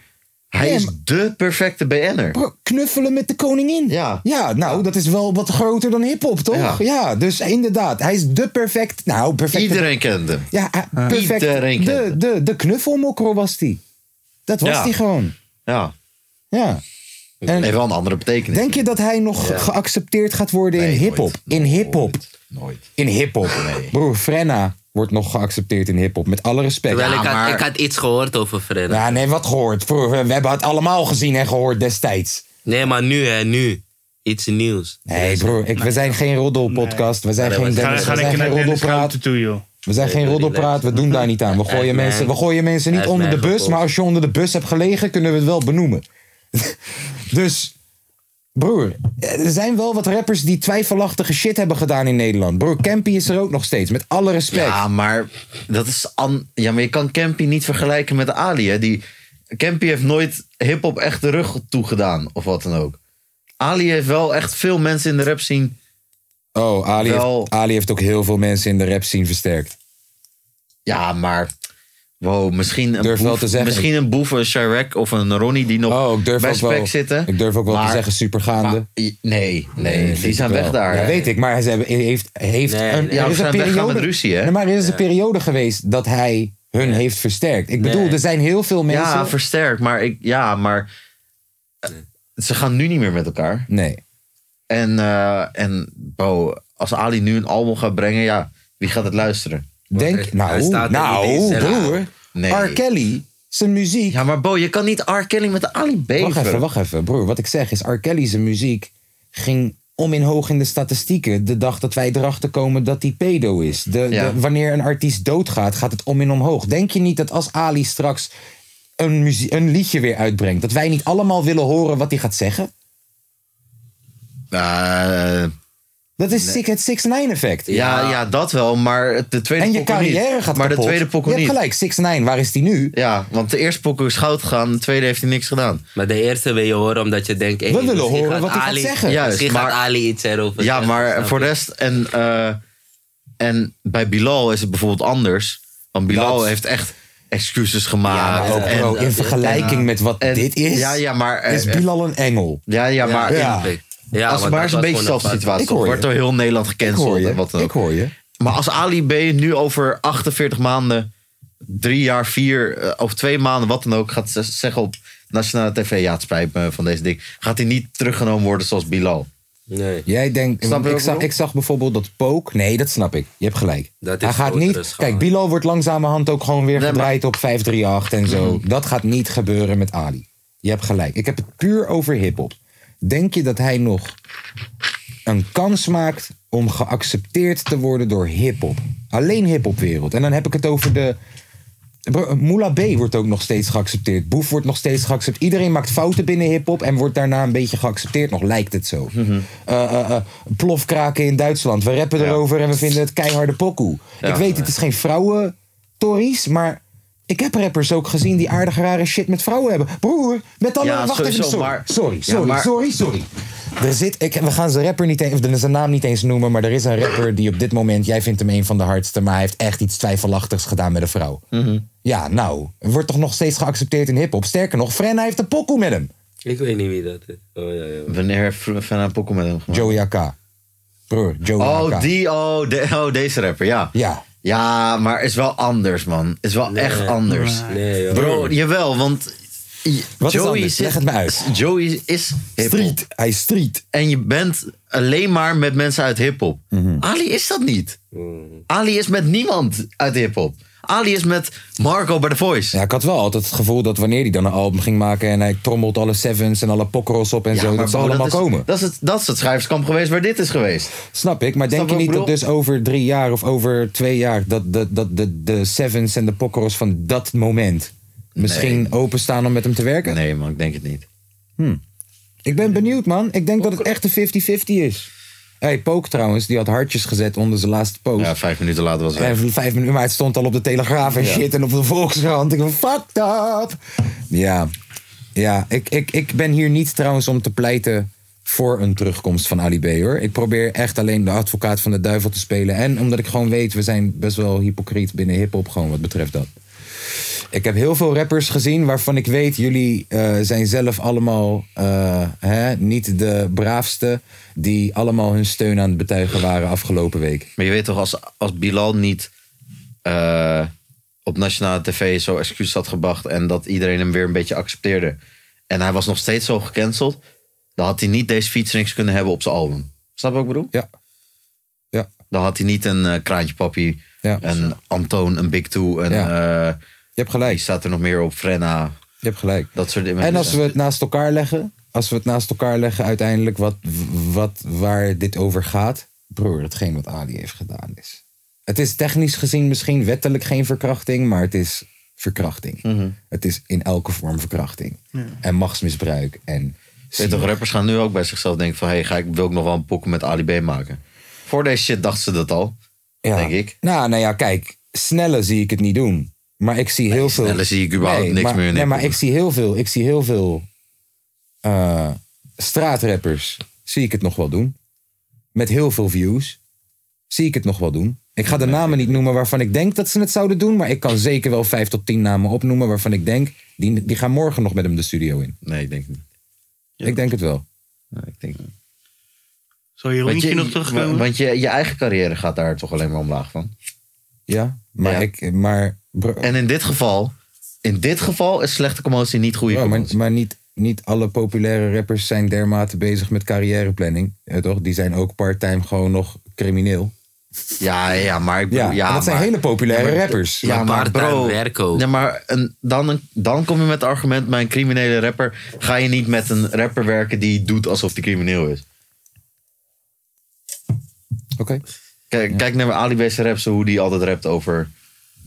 B: Hij
A: Ja,
B: is
A: maar-
B: de perfecte BN'er.
A: Bro, knuffelen met de koningin.
B: Ja.
A: Ja, nou, dat is wel wat groter dan hip-hop, toch? Ja.
B: Ja.
A: dus inderdaad. Hij is de perfect. Nou, perfect.
B: Iedereen kent hem.
A: Ja, hij- perfect.
B: Iedereen
A: de,
B: kent
A: de, de knuffelmokro was hij. Dat was
B: Ja.
A: hij gewoon.
B: Ja,
A: Ja. En
B: heeft wel een andere betekenis.
A: denk je dat hij nog geaccepteerd gaat worden in
B: Nee,
A: hip-hop?
B: nooit.
A: In hip-hop.
B: Nooit.
A: In hip-hop. Broer, Frenna wordt nog geaccepteerd in hip-hop. Met alle respect.
D: Terwijl ik, had,
B: maar-
D: ik had iets gehoord over Frenna.
A: Ja, nee, wat gehoord. Broer, we we hebben het allemaal gezien en gehoord destijds.
D: Nee, maar nu hè, nu. Iets nieuws.
A: Nee, broer, ik, we zijn geen roddelpodcast. We zijn
D: Nee,
A: geen
D: maar-
C: Ga,
A: Dennis,
C: ga
A: we
C: lekker naar
A: zijn geen
C: Dennis
A: roddelpraat.
C: Schouten toe, joh.
A: We zijn geen
D: Nee,
A: roddelpraat, we doen daar niet aan. We gooien,
D: mij-
A: mensen, we gooien mensen niet
D: hij heeft
A: onder de
D: mij
A: bus,
D: gekocht.
A: maar als je onder de bus hebt gelegen, kunnen we het wel benoemen. [laughs] dus, broer, er zijn wel wat rappers die twijfelachtige shit hebben gedaan in Nederland. Broer, Campy is er ook nog steeds, met alle respect.
B: Ja, maar dat is an ja, maar je kan Campy niet vergelijken met Ali. Hè? Die, Campy heeft nooit hip-hop echt de rug toegedaan of wat dan ook. Ali heeft wel echt veel mensen in de rap zien.
A: oh, Ali
B: Wel-
A: heeft, Ali heeft ook heel veel mensen in de rap scene versterkt.
B: Ja, maar wow, misschien een
A: Durf wel
B: boef,
A: te zeggen.
B: misschien een boef, een Chirac of een Ronnie die nog
A: Oh, ik durf
B: bij
A: ook wel,
B: spec zitten.
A: ik durf ook wel te
B: Maar-
A: zeggen supergaande.
B: maar- nee, nee,
A: vind
B: die
A: ik
B: zijn
A: wel.
B: weg daar.
A: Ja,
B: hè?
A: weet ik. Maar ze hebben, heeft, heeft
D: Nee,
A: een,
D: nee.
B: Ja,
A: er
B: we
A: is een
B: zijn weggaan
A: periode,
B: met ruzie, hè?
A: Nee, maar er is een periode geest dat hij hun heeft versterkt. Ik bedoel,
D: Nee.
A: er zijn heel veel mensen...
B: Ja, versterkt. Maar, ik, ja, maar eh, ze gaan nu niet meer met elkaar.
A: nee.
B: En, eh, en bro, als Ali nu een album gaat brengen, ja, wie gaat het luisteren?
A: Denk, nou,
D: Hij staat er niet eens
A: nou,
D: in.
A: broer.
B: Nee.
A: R. Kelly, zijn muziek...
B: Ja, maar Bo, je kan niet R. Kelly met Ali B.
A: wacht even, wacht even, broer. Wat ik zeg is, R. Kelly zijn muziek ging om in hoog in de statistieken... de dag dat wij erachter komen dat hij pedo is. De,
B: Ja.
A: de- wanneer een artiest doodgaat, gaat het om in omhoog. Denk je niet dat als Ali straks een, muzie- een liedje weer uitbrengt... dat wij niet allemaal willen horen wat hij gaat zeggen?
B: Eh,
A: Dat is sick het 6 9 effect.
B: ja, ja, dat wel, maar het- de tweede
A: En je
B: pokoe
A: carrière
B: niet.
A: gaat
B: Maar
A: kapot.
B: de tweede pokoe
A: Je hebt
B: niet.
A: gelijk, 6 9 waar is die nu?
B: Ja, want de eerste pokoe is goud gegaan, de tweede heeft hij niks gedaan.
D: Maar de eerste wil je horen omdat je denkt... hey,
A: We willen
D: misschien
A: horen
D: gaat
A: wat hij gaat
D: Ali-
A: zeggen.
B: Juist,
D: Misschien
B: maar-
D: gaat Ali iets erover
B: Ja,
D: zeggen, snap
B: maar voor
D: je?
B: de rest... En, eh, en bij Bilal is het bijvoorbeeld anders. Want Bilal
A: Dat-
B: heeft echt excuses gemaakt.
A: Maar ook
B: en-
A: bro, in vergelijking met wat
B: en-
A: dit is,
B: Ja, ja, maar... eh,
A: is Bilal een engel.
B: ja, ja, maar...
A: Ja.
D: Ja,
B: Als
D: want
B: maar
D: dat
B: is een
D: was
B: beetje
D: gewoon
B: dezelfde
A: Ik
B: situatie.
A: hoor je.
B: Wordt door heel Nederland
A: Ik hoor
B: gecanceld en wat
A: je,
B: dan
A: ik
B: ook.
A: hoor je.
B: Maar als Ali B nu over 48 maanden, drie jaar, vier eh, of twee maanden, wat dan ook, gaat z- zeggen op nationale tv: ja, het spijt me van deze ding. Gaat hij niet teruggenomen worden zoals Bilal?
D: Nee.
A: Jij denkt,
B: Snap je
A: ik,
B: wat ik
A: zag,
B: bedoel?
A: ik zag bijvoorbeeld dat Pook. Nee, dat snap ik. Je hebt gelijk.
D: Dat is
A: Hij gaat
D: grotere
A: niet.
D: schaal.
A: Kijk, Bilal wordt langzamerhand ook gewoon weer
B: maar- Mhm.
A: gedraaid op 538 en zo. Dat gaat niet gebeuren met Ali. Je hebt gelijk. Ik heb het puur over hip-hop. Denk je dat hij nog een kans maakt om geaccepteerd te worden door hip-hop? Alleen hip-hopwereld. En dan heb ik het over de. Bro, Moula B wordt ook nog steeds geaccepteerd. Boef wordt nog steeds geaccepteerd. Iedereen maakt fouten binnen hip-hop en wordt daarna een beetje geaccepteerd. Nog lijkt het zo. Eh, eh, eh, plofkraken in Duitsland. We rappen erover en we vinden het keiharde pokoe. ik weet, het is geen vrouwen Tories, maar ik heb rappers ook gezien die aardig rare shit met vrouwen hebben. Broer, met alle.
B: Ja,
A: wacht
B: sowieso,
A: even, sorry.
B: maar-
A: Sorry,
B: Ja,
A: sorry,
B: maar-
A: sorry, sorry. Er zit, ik, we gaan zijn rapper niet eens, of zijn naam niet eens noemen, maar er is een rapper die op dit moment, jij vindt hem een van de hardste, maar hij heeft echt iets twijfelachtigs gedaan met een vrouw.
B: Mhm.
A: Ja, nou, wordt toch nog steeds geaccepteerd in hip-hop. Sterker nog, Frenna heeft een pokoe met hem.
D: Ik weet niet wie dat is. Oh, ja, ja.
B: Wanneer heeft Fr- Frenna Poco met hem gemaakt?
A: Joey AK. Broer, Joey AK.
B: Oh, die, oh, de- oh, deze rapper, ja.
A: Ja.
B: Ja, maar is wel anders, man. Is wel echt anders.
D: Nee, joh.
B: Bro, jawel, want
A: Wat is
B: Joey
A: anders?
B: zit-
A: Leg het me uit.
B: Joey is hiphop.
A: Street. Hij is street.
B: En je bent alleen maar met mensen uit hiphop.
A: Mhm.
B: Ali is dat niet.
D: Mm.
B: Ali is met niemand uit hiphop. Ali is met Marco bij The Voice.
A: Ja, ik had wel altijd het gevoel dat wanneer hij dan een album ging maken... en hij trommelt alle sevens en alle pokkeros op en
B: Ja,
A: zo...
B: maar
A: dat ze
B: bro,
A: allemaal
B: is-
A: komen.
B: Dat is, het, dat is het schrijverskamp geweest waar dit is geweest.
A: Snap ik, maar denk je
B: wat ik
A: niet dat
B: bedoel?
A: dus over drie jaar of over twee jaar... dat, dat, dat de, de sevens en de pokkeros van dat moment... misschien openstaan om met hem te werken?
B: Nee man, ik denk het niet. Hm.
A: Ik ben benieuwd, man. Ik denk dat het echt een 50-50 is. hey, Pook trouwens, die had hartjes gezet onder zijn laatste post.
B: Ja, vijf minuten later was het weg.
A: En vijf minuten, maar het stond al op de Telegraaf en shit en Ah, op de Volkskrant. Ik dacht, fucked up. Ja, ja ik, ik, ik ben hier niet trouwens om te pleiten voor een terugkomst van Ali B. hoor. Ik probeer echt alleen de advocaat van de duivel te spelen. En omdat ik gewoon weet, we zijn best wel hypocriet binnen hiphop gewoon wat betreft dat. Ik heb heel veel rappers gezien waarvan ik weet, jullie eh, zijn zelf allemaal eh, hè, niet de braafste. Die allemaal hun steun aan het betuigen waren afgelopen week.
B: Maar je weet toch, als, als Bilal niet eh, op nationale tv zo excuus had gebracht... en dat iedereen hem weer een beetje accepteerde... en hij was nog steeds zo gecanceld... dan had hij niet deze featurings kunnen hebben op zijn album. Snap je wat ik bedoel?
A: Ja. Ja.
B: Dan had hij niet een eh, kraantje papi,
A: Ja.
B: een Antoon, een Big Two... en eh,
A: Je hebt
B: die
A: gelijk.
B: staat er nog meer op, Frenna,
A: Je hebt gelijk.
B: dat soort dingen.
A: En als we het naast elkaar leggen, als we het naast elkaar leggen uiteindelijk wat, wat, waar dit over gaat. Broer, hetgeen wat Ali heeft gedaan is. Het is technisch gezien misschien wettelijk geen verkrachting, maar het is verkrachting. Het is in elke vorm verkrachting. En machtsmisbruik en...
B: Weet toch, rappers gaan nu ook bij zichzelf denken van... hey, ga ik, wil ik nog wel een pokken met Ali B maken? Voor deze shit dachten ze dat al,
A: Ja.
B: denk ik.
A: Nou, nou ja, kijk, sneller zie ik het niet doen. Maar ik zie heel veel.
B: sneller zie ik überhaupt niks
A: maar,
B: meer in
A: Nee, maar ik
B: Nederland.
A: zie heel veel. Ik zie heel veel eh, straatrappers. Zie ik het nog wel doen. Met heel veel views. Zie ik het nog wel doen. Ik ga de namen niet noemen waarvan ik denk dat ze het zouden doen. Maar ik kan zeker wel vijf tot tien namen opnoemen waarvan ik denk. Die, die gaan morgen nog met hem de studio in.
B: Nee, ik denk niet.
A: Ik denk het wel.
B: Nee, ik denk niet.
C: Zou je rondje nog
B: wa-
C: terugkomen?
B: want je, je eigen carrière gaat daar toch alleen maar omlaag van.
A: Ja, maar
B: Ja.
A: ik. Maar, bro-
B: En in dit geval, in dit geval is slechte commotie niet goede
A: Ja, maar,
B: commotie.
A: maar niet, niet alle populaire rappers zijn dermate bezig met carrièreplanning. eh, toch? Die zijn ook part-time gewoon nog crimineel.
B: ja, ja, maar ik bedoel,
A: Ja,
B: ja,
A: en dat zijn
B: maar-
A: hele populaire
B: Ja, maar-
A: rappers.
B: Ja, maar,
D: part-time
B: bro,
D: werken ook.
B: Ja, maar een, dan, een- dan kom je met het argument, mijn criminele rapper, ga je niet met een rapper werken die doet alsof die crimineel is.
A: Oké.
B: Kijk, kijk naar Ali B's raps, hoe die altijd rapt over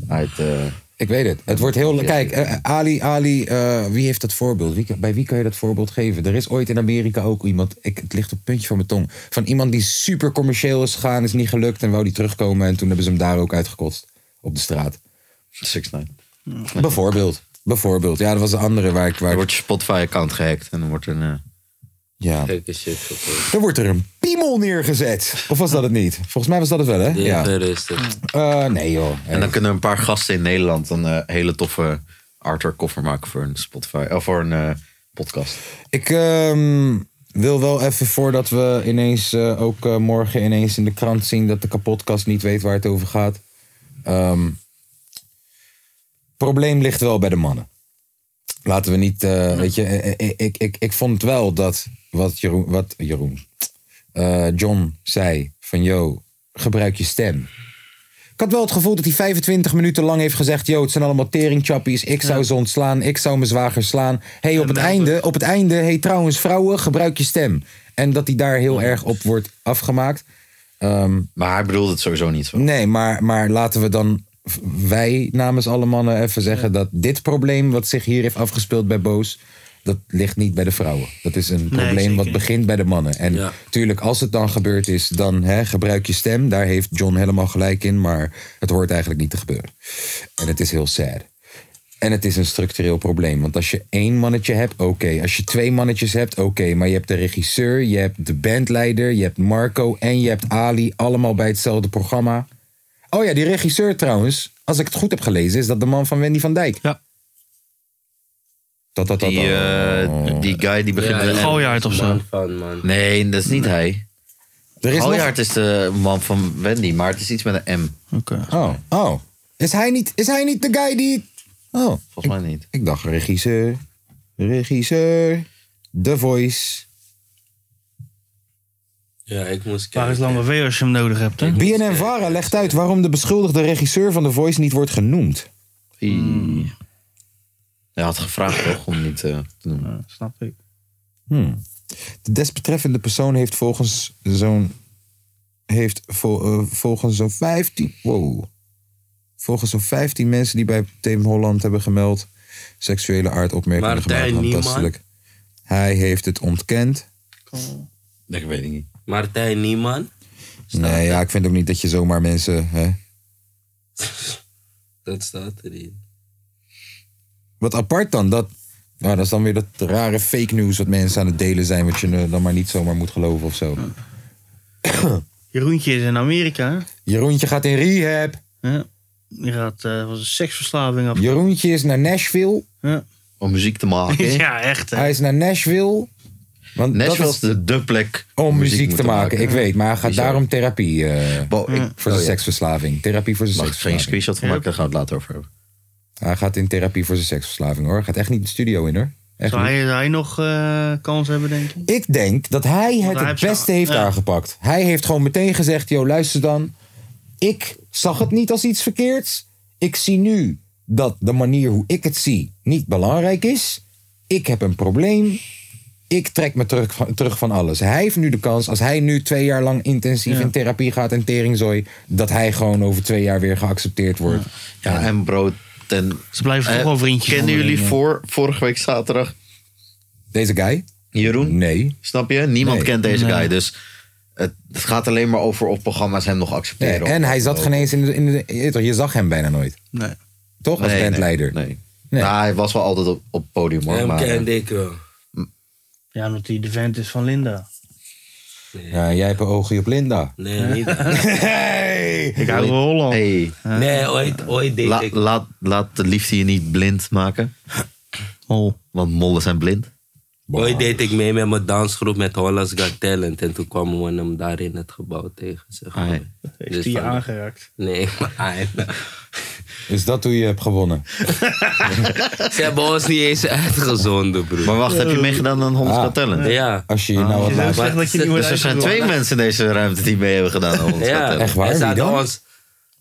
B: uit... eh,
A: Ik weet het. Het wordt heel. Kijk, eh, Ali, Ali, eh, wie heeft dat voorbeeld? Wie, kan- bij wie kan je dat voorbeeld geven? Er is ooit in Amerika ook iemand. Ik, het ligt op het puntje van mijn tong. Van iemand die super commercieel is gegaan, is niet gelukt en wou die terugkomen. En toen hebben ze hem daar ook uitgekotst. Op de straat.
B: 6 9
F: 嗯
A: [laughs] Bijvoorbeeld. Bijvoorbeeld. Ja, dat was de andere waar ik. Waar
B: Dan
A: ik-
B: wordt je Spotify-account gehackt en dan wordt er een... eh,
A: ja.
D: Gekke shit. gebeurd.
A: Dan wordt er een piemel neergezet. Of was dat het niet? Volgens mij was dat het wel, hè? Ja.
D: Even rustig.
A: Eh, nee, joh.
B: En dan kunnen een paar gasten in Nederland een eh, hele toffe Arthur koffer maken voor een Spotify of voor een eh, podcast.
A: Ik ehm, wil wel even voordat we ineens eh, ook eh, morgen ineens in de krant zien dat de kapotkast niet weet waar het over gaat. Ehm, probleem ligt wel bij de mannen. Laten we niet, eh, weet je, eh, eh, ik, ik, ik, ik vond wel dat wat Jeroen, wat Jeroen eh, John zei van yo, gebruik je stem. Ik had wel het gevoel dat hij 25 minuten lang heeft gezegd... yo, het zijn allemaal teringchappies, ik zou ze ontslaan, ik zou mijn zwager slaan. hey, op het einde, op het einde, hey, trouwens vrouwen, gebruik je stem. En dat hij daar heel erg op wordt afgemaakt. Ehm,
B: Maar hij bedoelde het sowieso niet zo.
A: Nee, maar, maar laten we dan v- wij namens alle mannen even zeggen dat dit probleem wat zich hier heeft afgespeeld bij Boos, dat ligt niet bij de vrouwen. Dat is een probleem
C: zeker
A: wat
C: niet.
A: begint bij de mannen. En
D: Ja.
A: tuurlijk, als het dan gebeurd is, dan hè, gebruik je stem. Daar heeft John helemaal gelijk in, maar het hoort eigenlijk niet te gebeuren. En het is heel sad. En het is een structureel probleem. Want als je één mannetje hebt, oké. Als je twee mannetjes hebt, oké. Maar je hebt de regisseur, je hebt de bandleider, je hebt Marco en je hebt Ali. Allemaal bij hetzelfde programma. Oh ja, die regisseur trouwens. Als ik het goed heb gelezen, is dat de man van Wendy van Dijk.
C: Ja.
A: Dat, dat, dat.
B: Die,
A: dat.
B: eh, die guy die begint
D: Ja,
B: met...
D: ja.
C: Galjaard of zo.
D: Man van, man.
B: Nee, dat is niet hij.
A: er is nog-
B: Galjaard is de man van Wendy, maar het is iets met een M.
C: Oké.
A: Oh, oh. Is hij, niet, is hij niet de guy die... Oh,
B: Volgens mij niet.
A: ik dacht regisseur. regisseur, The Voice,
D: Ja, ik moest
C: Waar is Lange V als je hem nodig hebt, hè?
A: BNN Vara legt uit waarom de beschuldigde regisseur van The Voice niet wordt genoemd. Hmm.
B: Hij had gevraagd toch om niet eh, te noemen.
C: Snap ik.
A: Hmm. De desbetreffende persoon heeft volgens zo'n heeft vol- eh, volgens zo'n 15 wow, volgens zo'n 15 mensen die bij Team Holland hebben gemeld seksuele aardopmerkingen
D: Martijn
A: gemaakt
D: Niemann.
A: handtastelijk. Hij heeft het ontkend.
B: Ik weet het niet.
D: Martijn Nieman.
A: Nee, ja, ik vind ook niet dat je zomaar mensen. Hè?
D: Dat staat erin.
A: Wat apart dan dat. Nou, dat is dan weer dat rare fake news wat mensen aan het delen zijn, wat je eh, dan maar niet zomaar moet geloven of zo.
C: Jeroentje is in Amerika, hè?
A: Jeroentje gaat in rehab.
C: Ja. Die gaat eh, van zijn seksverslaving af.
A: Jeroentje is naar Nashville.
C: Ja,
B: Om muziek te maken.
C: [laughs] ja echt, hè?
A: Hij is naar Nashville. Want dat
B: Nashville
A: is-
B: is de, de plek
A: Om muziek,
B: moet
A: te maken, ik weet. Maar hij gaat
B: Bizar.
A: daarom therapie eh,
B: Bo, ik oh,
A: voor zijn seksverslaving. Therapie voor zijn
B: mag er geen
A: seksverslaving.
B: screenshot van maken, daar gaan we het later over hebben.
A: Hij gaat in therapie voor zijn seksverslaving hoor. Hij gaat echt niet de studio in hoor. Echt
C: Zou
A: niet.
C: hij, zou hij nog eh, kans hebben, denk je?
A: Ik denk dat hij het
C: hij
A: het
C: heeft
A: beste
C: zo-
A: heeft
C: ja.
A: aangepakt. Hij heeft gewoon meteen gezegd, yo luister dan. Ik zag het niet als iets verkeerds. Ik zie nu dat de manier hoe ik het zie niet belangrijk is. Ik heb een probleem. Ik trek me terug van, terug van alles. Hij heeft nu de kans, als hij nu twee jaar lang intensief in therapie gaat en teringzooi, dat hij gewoon over twee jaar weer geaccepteerd wordt.
B: Ja, en bro, ten,
C: Ze blijven toch
B: Eh,
C: wel vriendjes.
B: kennen
C: onderling,
B: jullie
C: hè?
B: voor, vorige week zaterdag
A: Deze guy?
B: Jeroen?
A: Nee.
B: Snap je? Niemand
A: Nee.
B: kent deze guy, dus het, het gaat alleen maar over op programma's hem nog
A: Nee,
B: accepteren.
A: En hij zat geen eens in de, in de- je weet toch, Je zag hem bijna nooit.
C: Nee.
A: Toch? Als bandleider.
B: Nee. nee.
A: Nee.
B: Nou, hij was wel altijd op, op het podium hoor.
D: Hem
B: maar, eh,
D: kende ik wel.
C: Ja, omdat hij de vent is van Linda.
A: Ja, jij hebt een oogje op Linda.
D: Nee,
A: [laughs]
D: niet.
C: Ik hou van Holland.
B: Hey,
D: Nee, ooit, ooit deed
B: la-
D: ik.
B: laat, laat de liefde je niet blind maken,
C: Hol.
B: want mollen zijn blind.
D: Ooit deed ik mee met mijn dansgroep met Hollands Got Talent. En toen kwam we hem daar in het gebouw tegen. Zeg maar.
B: Ai.
D: Dus
C: Is die
D: van-
C: aangeraakt?
B: [laughs]
D: Nee, maar ai.
A: Is dat hoe je hebt gewonnen?
D: Ze hebben ons niet eens uitgezonden, broer.
B: Maar wacht, heb je meegedaan aan Hollands Got Talent? Ah.
D: Ja.
A: Ah. Als je hier nou wat
C: Zo
A: laat.
C: slecht dat je niet wordt
B: Dus er zijn twee mensen in deze ruimte die mee hebben gedaan aan Hollands Got
D: Ja,
B: Talent.
A: Echt waar?
D: en ze
A: Wie
D: hadden
A: dan?
D: ons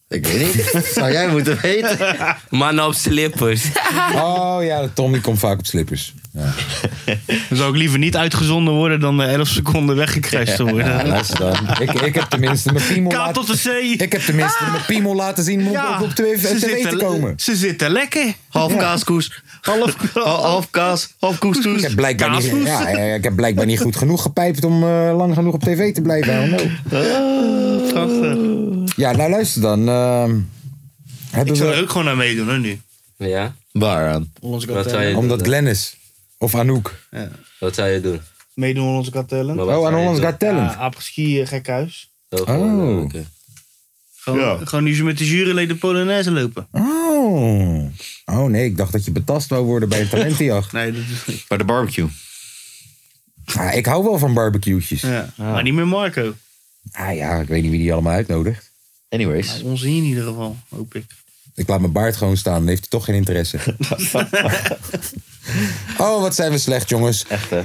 B: Ik weet niet. [laughs] Zou jij moeten weten?
D: mannen op slippers.
A: [laughs] Oh ja, de Tom die komt vaak op slippers. Ja,
C: [laughs] Dan zou ik liever niet uitgezonden worden dan eh, 11 seconden weggecrashed te
D: [laughs]
C: worden.
A: luister dan. Ik, ik heb tenminste mijn piemel
C: K tot
A: laten...
C: de C. Ah!
A: Ik heb tenminste mijn piemel laten zien om
C: Ja,
A: op- op tv
C: ze
A: tv te
C: zitten-
A: komen.
C: Ze zitten lekker.
B: Half kaaskoes,
C: Half
B: [laughs] ha- half kaas, half
A: Ik
B: koestoes.
A: heb, blijkbaar niet,
C: Kaashoes.
A: ja, eh, ik heb blijkbaar niet goed genoeg gepijpt om eh, lang genoeg op tv te blijven. I don't know.
C: Ah, prachtig.
A: Ja, nou luister dan. ehm, hebben
C: Ik zou er
A: we,
C: ook gewoon aan meedoen, hoor, nu.
D: Ja?
B: Waaraan?
C: Hollandse
D: eh? Wat zou je doen?
A: omdat Glennis of Anouk.
D: Wat zou je doen?
C: [laughs] Meedoen Hollandse Got Talent.
D: Maar wat
A: Oh,
D: zou
A: aan
D: je
A: Hollands
D: doen?
A: Got Talent.
C: Ja, Apres-ski, eh, gekhuis.
D: Oh, gewoon,
A: Oh.
D: eh, oké.
C: Gewoon, gewoon nu ze met de juryleden Polonaise lopen.
A: Oh. oh nee, ik dacht dat je betast wou worden bij een
C: [laughs]
A: talentenjacht.
C: Nee, dat is niet.
B: Bij de barbecue.
A: Ah, ik hou wel van barbecue'tjes.
C: Ja. Maar niet meer Marco.
A: Ah ja, ik weet niet wie die allemaal uitnodigt.
B: Anyways.
C: Onze Nou, hier in ieder geval, hoop ik.
A: Ik laat mijn baard gewoon staan, dan heeft hij toch geen
B: [laughs]
A: interesse. oh, wat zijn we slecht, jongens.
B: Echt hè?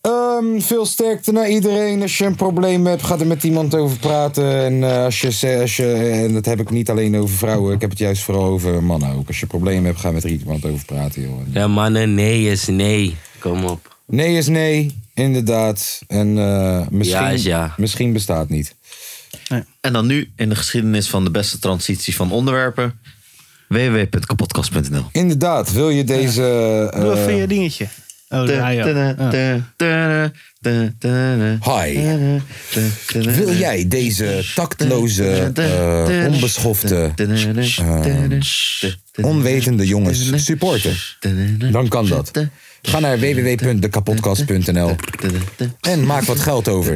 A: Ehm, veel sterkte naar iedereen. Als je een probleem hebt, ga er met iemand over praten. En, eh, als je, ze- als je, en dat heb ik niet alleen over vrouwen, ik heb het juist vooral over mannen ook. Als je problemen hebt, ga met er iemand over praten, joh.
D: Ja, mannen, nee is nee. Kom op.
A: Nee is nee, inderdaad. En eh, misschien,
D: Ja is ja.
A: misschien bestaat niet.
B: En dan nu in de geschiedenis van de beste transitie van onderwerpen. www.kapotkast.nl
A: Inderdaad, wil je deze... eh,
C: Doe even je dingetje. Oh, daar ja. Ah.
A: hi. Wil jij deze tactloze, eh, onbeschofte, eh, onwetende jongens supporten? Dan kan dat. Ga naar www.dekapodcast.nl en maak wat geld over.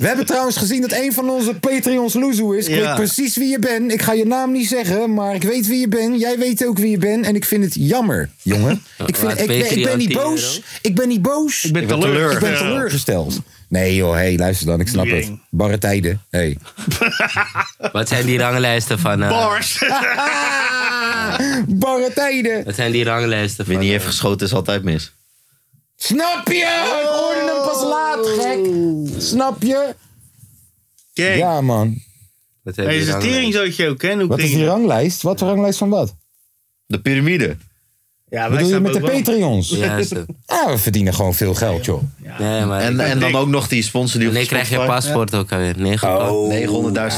A: We hebben trouwens gezien dat een van onze [laughs] Patreons Loezoe is. Ik
C: Ja.
A: weet precies wie je bent. Ik ga je naam niet zeggen, maar ik weet wie je bent. Jij weet ook wie je bent. En ik vind het jammer, jongen. Ik, vind,
D: Waard
A: ik, ben, ik ben
D: Patreon
A: niet
D: 10
A: boos.
D: euro?
A: Ik ben niet boos.
C: Ik ben teleur.
A: Ik ben
C: Ja.
A: teleurgesteld. Nee joh, hey, luister dan, ik snap
C: Doe je
A: het.
C: ding.
A: Barre tijden. Hey.
D: Wat zijn die ranglijsten van... eh,
C: Bars.
A: [laughs] Barre tijden!
D: wat zijn die ranglijsten van...
B: Wie niet
D: eh,
B: heeft geschoten is altijd mis.
A: Snap je? Ik hoorde hem pas laat, gek. Snap je?
C: Kijk,
A: Ja man.
D: wat zijn
C: hij
D: die
C: is een
D: ranglijsten?
C: teringzootje ook, hè?
A: Wat is die ranglijst? Wat voor ranglijst van wat?
B: De piramide.
C: Ja,
A: Wat
C: wij
A: doe je
C: staan
A: met de
C: bovenaan.
A: Patreons?
D: Ja, is het.
A: Ah, we verdienen gewoon veel geld, joh.
D: Nee, maar...
B: En,
D: En,
B: en dan
C: dik.
B: ook nog die sponsor die op
D: nee, krijg je
B: Spotify-
D: paspoort ook alweer. Negen oh.
B: 900.000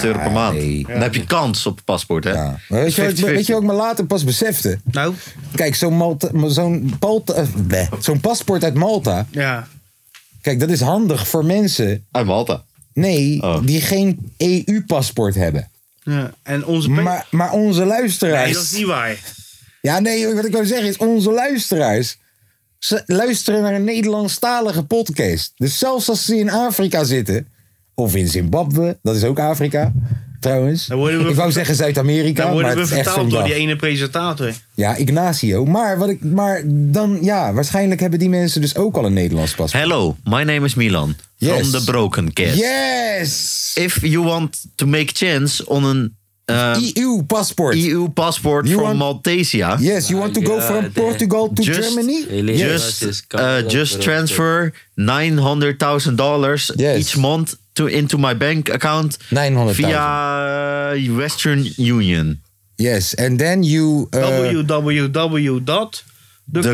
B: euro per maand.
A: nee.
B: Dan heb je kans op een paspoort, hè?
A: Ja. Maar weet, je, wat ik-
B: 50-50.
A: weet je wat ik me later pas besefte?
C: Nou,
A: Kijk, zo'n Malta- zo'n Palta- eh, bleh, zo'n paspoort uit Malta.
C: ja.
A: Kijk, dat is handig voor mensen.
B: Uit Malta.
A: Nee,
B: Oh.
A: die geen EU-paspoort hebben.
C: ja. En onze... pe-
A: Maar, maar onze luisteraars.
C: Nee, dat is niet waar.
A: Ja, nee, wat ik wil zeggen is, onze luisteraars. Ze luisteren naar een Nederlandstalige podcast. Dus zelfs als ze in Afrika zitten, of in Zimbabwe, dat is ook Afrika, trouwens.
C: Dan worden we
A: ik wou
C: verta-
A: zeggen Zuid-Amerika,
C: Dan
A: maar
C: worden we
A: het is echt zo'n
C: vertaald door
A: dag.
C: die ene presentator.
A: Ja, Ignacio. Maar, wat ik, maar dan, ja, waarschijnlijk hebben die mensen dus ook al een Nederlands paspoort.
B: Hello, my name is Milan.
A: Yes.
B: From the Broken Cat.
A: Yes!
B: If you want to make chance on an eh,
A: EU E paspoort.
B: EU passport
A: You
B: from
A: want-
B: Maltesia...
A: Yes, you want to go from
D: God,
A: Portugal to
B: Just-
A: Germany?
D: Really?
B: Just,
D: Yes.
B: uh, just transfer 900.000 dollars
A: Yes.
B: each month to into my bank account
A: 900.000.
B: via eh, Western Union.
A: Yes, and then you... uh,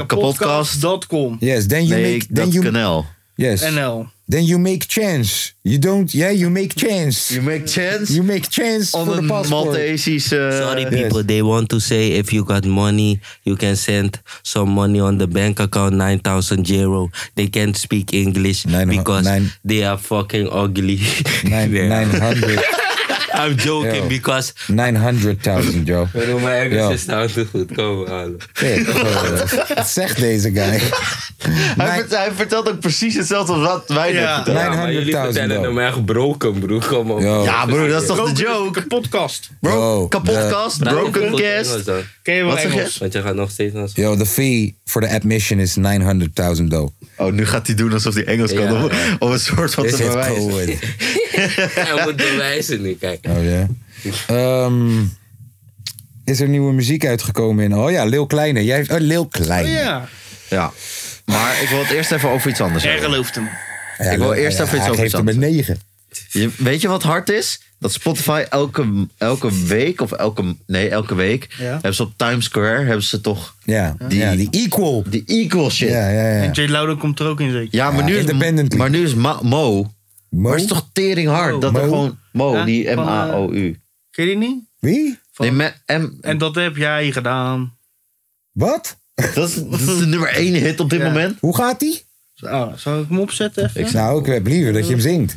C: www.dekapotkast.com
A: yes, then you
B: Nee,
A: make... Then
B: dat
A: you,
B: kanaal.
A: Yes.
C: NL.
A: Then you make chance. You don't... Yeah, you make chance.
B: You make chance
A: You make chance
B: on
A: for the
B: een
A: passport.
B: Maltesische...
D: Sorry
A: uh, yes.
D: people, they want to say if you got money, you can send some money on the bank account 9000 euro. They can't speak English
A: Nine-
D: because
A: nine-
D: they are fucking ugly.
A: [laughs] Nine-
D: Yeah.
A: 900
D: [laughs] I'm joking
A: Yo.
D: because
A: 900.000,
D: [laughs]
A: Joe.
D: Bro, mijn Engels
A: Yo.
D: is nou te goed. Kom aan. [laughs]
A: Shit, eh, Wat zegt deze guy?
B: [laughs] Hij, vert- hij vertelt ook precies hetzelfde als wat wij net
C: Ja.
B: vertelden.
D: Ja, maar jullie
A: 900.000
D: vertellen
A: euro.
D: hem echt broken, bro. Kom op.
A: Yo.
B: Ja, broer, dat is toch de joke?
C: Podcast.
B: Bro,
A: Wow,
B: kapotkast, Eh, broken cast.
D: cast.
C: Ken je wel
B: Wat zeg je?
C: Engels?
D: Want je gaat nog steeds naar
A: Yo, de fee voor de admission is 900.000 dough.
B: Oh, nu gaat hij doen alsof hij Engels kan.
D: Ja,
B: om,
D: ja.
B: om een soort van
A: This
B: te
A: is
B: bewijzen.
A: cool.
B: [laughs]
D: Hij moet bewijzen nu, kijk.
A: Oh ja. [laughs] Ehm, is er nieuwe muziek uitgekomen in? Oh ja, Lil Kleine. Jij, oh, Lil Kleine.
C: Ja.
B: Ja. Maar ik wil het eerst even over iets anders
C: Jij
B: hebben.
C: gelooft hem.
A: Ja,
B: Ik wil
A: Lil-
B: eerst
A: ja,
B: even iets
A: Hij
B: over
A: geeft hem
B: zand.
A: een 9.
B: Je, weet je wat hard is? Dat Spotify elke, elke week, of elke, nee, elke week, hebben ze op Times Square, hebben ze toch
A: Ja,
B: Die-
A: die, ja, die equal.
B: die equal shit. Ja,
A: Ja, ja, ja.
C: Jay Lauder komt er ook in zeker.
B: maar,
A: Ja,
B: nu is,
A: independently.
B: maar nu is Ma- Mo,
A: Mo?
B: maar het is toch tering hard dat
A: Mo?
B: er gewoon, Mo,
C: Ja,
B: die
C: van, eh,
B: M-A-O-U.
C: Ken je die niet?
A: Wie?
C: Van-
B: Nee, me- M,
C: En dat heb jij gedaan.
A: Wat?
B: dat, is, dat is de nummer één hit op dit
C: Ja.
B: moment.
A: Hoe gaat die?
C: Oh, zal ik hem opzetten even?
A: Nou, ik heb liever dat je hem zingt.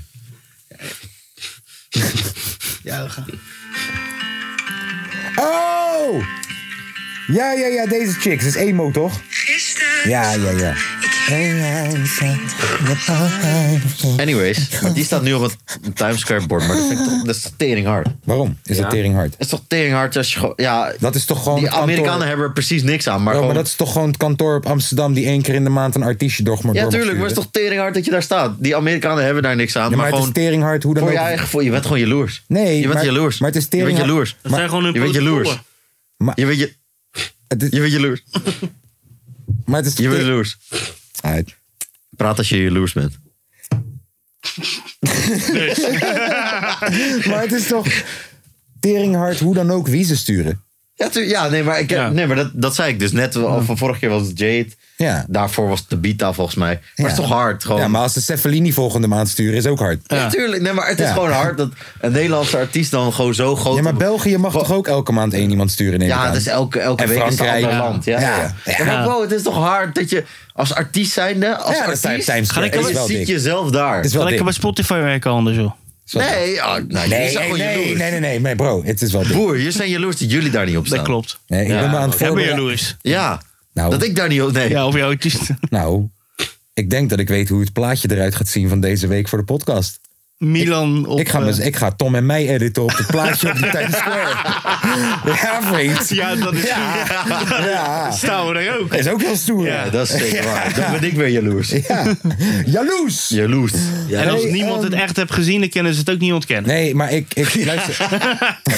C: Ja, we gaan.
A: Oh! Ja, ja, ja, deze chicks. Dat is emo, toch? Ja, ja,
B: [laughs]
A: ja. [laughs]
B: Anyways, maar die staat nu op het Times Square bord, maar dat, vind ik toch, dat is tering hard. Het
A: Waarom? Is dat tering hard?
B: is toch tering hard als je gewoon, ja,
A: Dat is toch gewoon
B: die
A: het kantoor-
B: Amerikanen hebben er precies niks aan, maar
A: Ja,
B: gewoon...
A: maar dat is toch gewoon het kantoor op Amsterdam die één keer in de maand een artiestje door door mag
B: Ja, tuurlijk, maar het is
A: sturen?
B: toch tering hard dat je daar staat. Die Amerikanen hebben daar niks aan,
A: Ja,
B: maar,
A: maar,
B: gewoon
A: het is tering hard hoe dan
B: voor
A: ook.
B: je eigen gevoel. Je bent gewoon jaloers.
A: Nee,
B: je bent
A: maar-
B: jaloers.
A: maar het is
B: Je
A: tering
B: bent
A: hard-
B: jaloers.
C: Dat zijn gewoon hun
B: je bent jaloers.
C: protocollen.
B: Je bent, je,
A: Het is-
B: je bent jaloers.
A: [laughs] maar het is
B: Je bent
A: te-
B: jaloers.
A: Uit.
B: Praat als je jaloers bent.
A: [laughs]
B: [laughs]
A: Maar het is toch tering hard hoe dan ook wie ze sturen.
B: Ja, tu- ja, nee, maar, ik,
C: Ja.
B: Nee, maar dat, dat zei ik dus net. Al van vorige keer was het Jade.
A: Ja.
B: Daarvoor was het de Bita volgens mij. Maar het is toch hard? Gewoon.
A: Ja, maar als ze Cefalini volgende maand sturen is ook hard.
B: Ja, tuurlijk. Nee, maar het is
A: Ja.
B: gewoon hard dat een Nederlandse artiest dan gewoon zo groot...
A: Ja, maar België mag toch ook elke maand één iemand sturen? neem ik
B: Ja,
A: aan.
B: dat is elke, elke
A: En
B: week is het een
A: Frankrijk.
B: ander
A: Ja.
B: land. Ja,
A: Ja.
B: ja. ja. maar wow, het is toch hard dat je als artiest zijnde... Als
A: Ja, dat
B: artiest,
A: zijn Times Square.
C: Ga ik
A: Is
B: je
A: wel
B: ziet
A: dik. Is
B: jezelf daar.
A: wel
C: Zal ik
A: dik.
C: bij Spotify werken anders, joh?
A: Is wel dik.
B: Nee, oh, nou, je
A: Nee, ah,
B: is
A: nee,
B: gewoon
A: nee,
B: jaloers.
A: nee, nee, nee, nee, bro, het is wel dik.
B: Boer, je zijn jaloers dat jullie daar niet op staan.
C: Dat klopt.
A: Nee, ik ben me aan het
C: Jij bent
A: voorbereiden.
C: jaloers.
B: Ja,
A: Nou.
B: Ah, dat ik daar niet op... Nee,
C: Ja, of jouw
A: [laughs]
C: artiest.
A: Nou, ik denk dat ik weet hoe het plaatje eruit gaat zien van deze week voor de podcast.
C: Milan op...
A: Ik ga,
C: eh,
A: me- ik ga Tom en mij editen op het plaatje
B: [laughs]
A: op de Times Square. ja, vriend.
C: ja, dat is...
A: Ja. Ja.
C: Staan we er ook.
A: Is ook heel stoer.
C: Ja.
B: Ja, dat is zeker waar. Dan ben ik weer jaloers.
A: Ja. Jaloers!
B: Jaloers.
C: en als
A: Hey,
C: niemand het
A: ehm,
C: echt heeft gezien, dan kunnen ze het ook niet ontkennen.
A: Nee, maar
C: [laughs]
A: ik, ik luister.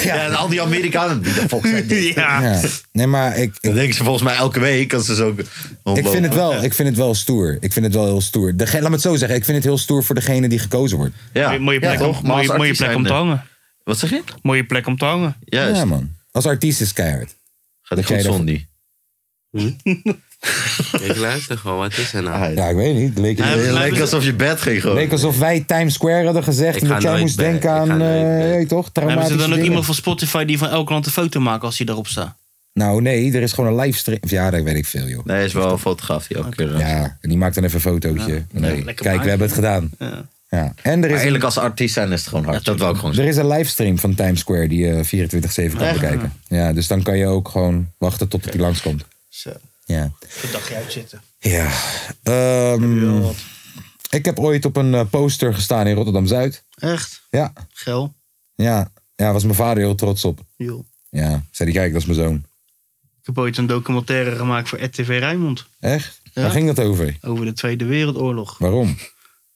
B: Ja, en al die Amerikanen die dat volgens mij niet.
C: Ja.
B: [laughs]
A: Ja. Nee, maar ik,
B: Dan denken ze volgens mij elke week als ze zo
A: Ik
B: rondlopen.
A: vind, het wel, ik vind het wel stoer. Ik vind het wel heel stoer. Dege- laat me het zo zeggen. Ik vind het heel stoer voor degene die gekozen wordt.
B: Ja.
C: Mooie plek,
B: Ja,
C: om,
B: toch? Maar
C: mooie,
B: als
C: mooie
B: artiest
C: plek om te
B: zijnde-
C: hangen.
B: Wat zeg je?
C: Mooie plek om te hangen.
B: Juist.
A: Ja, man. Als artiest is keihard.
B: Gaat het
A: jij
B: goed,
A: dat-
B: Sondi?
D: Ik luister gewoon, wat is er nou?
B: Ah,
A: Ja, ik weet niet. Het leek,
C: Ja,
B: Het
C: Laten
B: leek
C: we-
B: alsof je bed ging
A: het
B: gewoon.
A: leek alsof wij Times Square hadden gezegd.
D: Ik
A: En
D: ga
A: dat jij
D: nooit
A: moest
D: bij-
A: denken
D: ik ga
A: aan.
D: nooit
A: eh,
D: bij.
A: weet je
C: Hebben
A: toch?
C: ze
A: Traumatische
C: dan ook
A: dingen.
C: iemand van Spotify die van elk land een foto maakt als hij daarop staat?
A: Nou, nee. Er is gewoon een livestream. Of Ja, dat weet ik veel, joh.
B: Nee, is wel een fotograaf die ook keer. eh, Maar
A: Ja, en die maakt dan even een fotootje. Nee.
C: lekker
A: Kijk,
C: maken.
A: we hebben het gedaan.
C: Ja.
A: Ja. En er is,
B: eerlijk, als artiest zijn is het gewoon hard. Dat wou ik gewoon
A: er
B: zeggen.
A: is een livestream van Times Square die je 24-7 kan
B: Echt?
A: bekijken. Ja, dus dan kan je ook gewoon wachten tot het hier langskomt.
C: Zo,
A: Ja.
C: een dagje uitzitten.
A: Ja. ehm, ik heb ooit op een eh, poster gestaan in Rotterdam Zuid.
C: Echt?
A: Ja.
C: Gel?
A: Ja. Ja, was mijn vader heel trots op.
C: Joh.
A: Ja. Zei die kijk, dat is mijn zoon.
C: Ik heb ooit een documentaire gemaakt voor RTV Rijnmond.
A: Echt?
C: Ja.
A: Waar ging dat over?
C: Over de Tweede Wereldoorlog.
A: Waarom?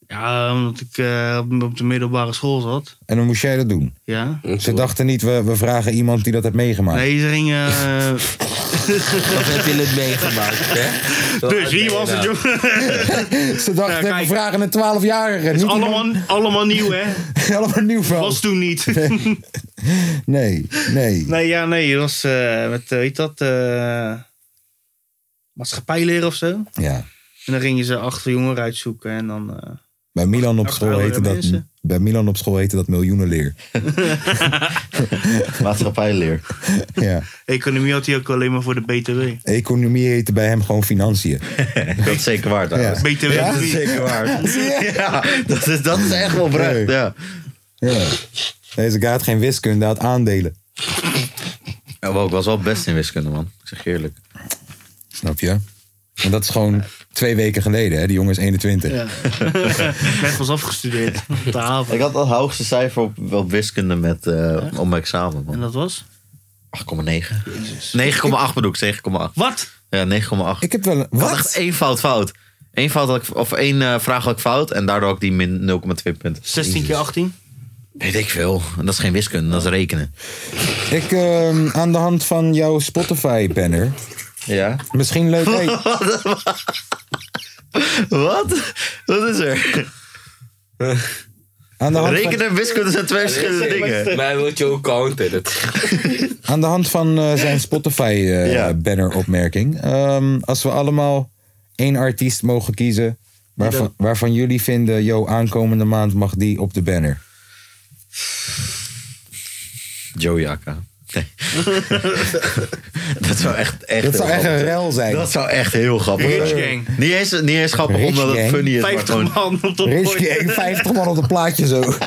C: Ja, omdat ik eh, op de middelbare school zat.
A: En dan moest jij dat doen.
C: Ja.
A: Ze dachten niet, we, we vragen iemand die dat heeft meegemaakt.
C: Nee, ze
D: [laughs]
C: gingen... eh,
D: Of Ah. heb je het meegemaakt,
C: [laughs]
D: hè?
C: dus wie was het, joh?
A: [laughs] Ze dachten,
C: Ja, kijk.
A: we vragen een 12-jarige.
C: Het is
A: niet iemand-
C: allemaal, allemaal nieuw, hè?
A: [laughs] allemaal nieuw verhaal.
C: Was toen
A: [laughs]
C: niet.
A: Nee, nee.
C: Nee, ja, nee. Dat was eh, met, eh, weet je dat, eh maatschappijleer of zo.
A: Ja.
C: En dan gingen ze achter jongeren uitzoeken en dan... eh,
A: Bij Milan op
C: Ach,
A: school
C: oudere
A: heette dat,
C: mensen.
A: bij Milan op school heette dat miljoenenleer.
B: [laughs] Maatschappijleer.
A: Ja.
C: economie had hij ook alleen maar voor de BTW.
A: Economie heette bij hem gewoon financiën.
B: [laughs] Dat is zeker waar, trouwens.
A: Ja.
C: BTW
A: Ja?
B: Dat is zeker
C: [laughs]
B: waar. Ja, dat is, dat is echt wel bruik.
A: Nee.
B: Ja.
A: Ja. Deze guy had geen wiskunde, hij had aandelen.
B: Ja, maar ik was wel best in wiskunde, man. Ik zeg je
C: [laughs]
B: eerlijk.
A: Snap je? En dat is gewoon twee weken geleden, hè? Die jongen is 21.
C: Ja. Net was afgestudeerd op de haven.
B: Ik had het hoogste cijfer op, op wiskunde met, eh, op mijn examen,
C: En
B: man. 8,9.
C: dat was?
B: 9,8 bedoel ik, 9,8.
C: Wat?
B: Ja, 9,8.
A: Ik heb wel een...
B: Ik had echt
A: Wat?
B: één fout fout. Eén, fout had ik, of één eh, vraag had ik fout en daardoor had ik die min 0,2 punten.
C: 16 keer 18?
B: Weet ik veel. Dat is geen wiskunde, dat is rekenen.
A: [laughs] Ik, ehm, aan de hand van jouw Spotify-banner...
B: Ja.
A: Misschien
B: [laughs]
A: leuk...
C: [laughs]
A: Hey,
B: Wat? Wat is er?
A: aan, de hand van,
B: Rekenen en wiskunde zijn twee verschillende dingen.
D: Mij wil je ook counteren.
A: aan de hand van eh, zijn
B: [laughs]
A: eh,
B: Ja.
A: Spotify-banner-opmerking... ehm, als we allemaal één artiest mogen kiezen... Waarvan, waarvan jullie vinden, yo, aankomende maand mag die op de
B: [laughs]
A: banner.
B: Joe Jaka. Nee. dat zou echt, echt
A: Dat zou
B: heel
A: echt een
B: grappig zijn.
A: rel zijn.
B: Dat zou echt heel grappig
C: Rich
B: zijn.
C: gang.
B: Niet eens, niet eens grappig
A: Rich
B: omdat
A: gang.
B: het funny is, maar
C: 50
B: gewoon...
C: man op de
A: Rich
C: boy.
A: Gang, 50 man op een plaatje zo. [laughs]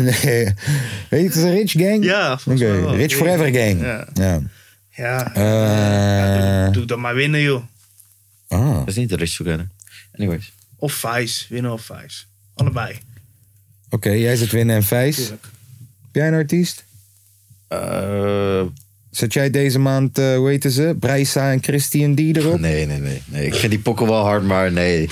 A: nee. Heet het een Rich Gang?
C: Ja,
A: Oké,
C: volgens mij wel.
A: Rich Forever Gang.
C: Ja.
A: Ja.
C: Ja.
A: Eh,
C: Doe dan maar winnen, joh.
A: ah.
B: Dat is niet de Rich Gang. Anyways.
C: Of Vice. Winnen of Vice. Allebei.
A: Oké, jij zit winnen en vijs. Heb
C: Tuurlijk.
A: jij een artiest?
B: Eh,
A: Zet jij deze maand, eh hoe heten ze? Breisa en Christian die erop?
B: nee, nee, nee, nee. Ik vind die pokken wel hard, maar nee.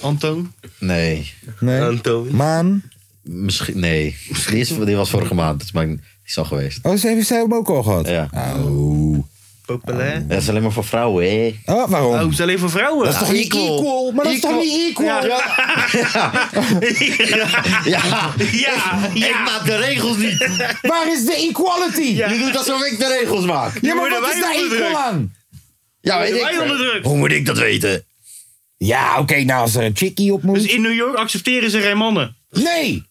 C: Anton?
B: Nee.
A: Nee.
D: Anton.
A: Maan?
B: Misschien, nee. Die, is, die was vorige maand, dus maar die is al geweest.
A: Oh, ze heeft zij hem ook al gehad?
B: Ja.
A: Oh.
C: Populair.
B: Dat is alleen maar voor vrouwen, hè?
A: Oh, waarom?
C: Oh, ze alleen voor vrouwen.
A: dat is toch niet equal?
B: equal. [laughs]
C: [laughs]
A: Maar dat is
B: Equal.
A: toch niet equal?
B: Ja,
C: Ja,
B: ik
C: ja.
B: maak de regels niet.
A: Waar is de equality? Ja,
B: Je doet alsof ik de regels maak.
A: maar
C: worden
A: wat
C: wij
A: is daar
C: onderdrukt.
A: equal aan?
B: Ja, weet
C: Wij onder
B: ik.
C: druk.
B: Hoe moet ik dat weten?
A: Ja, oké, nou als er een chickie op moet.
C: Dus in New York accepteren ze geen mannen.
A: Nee!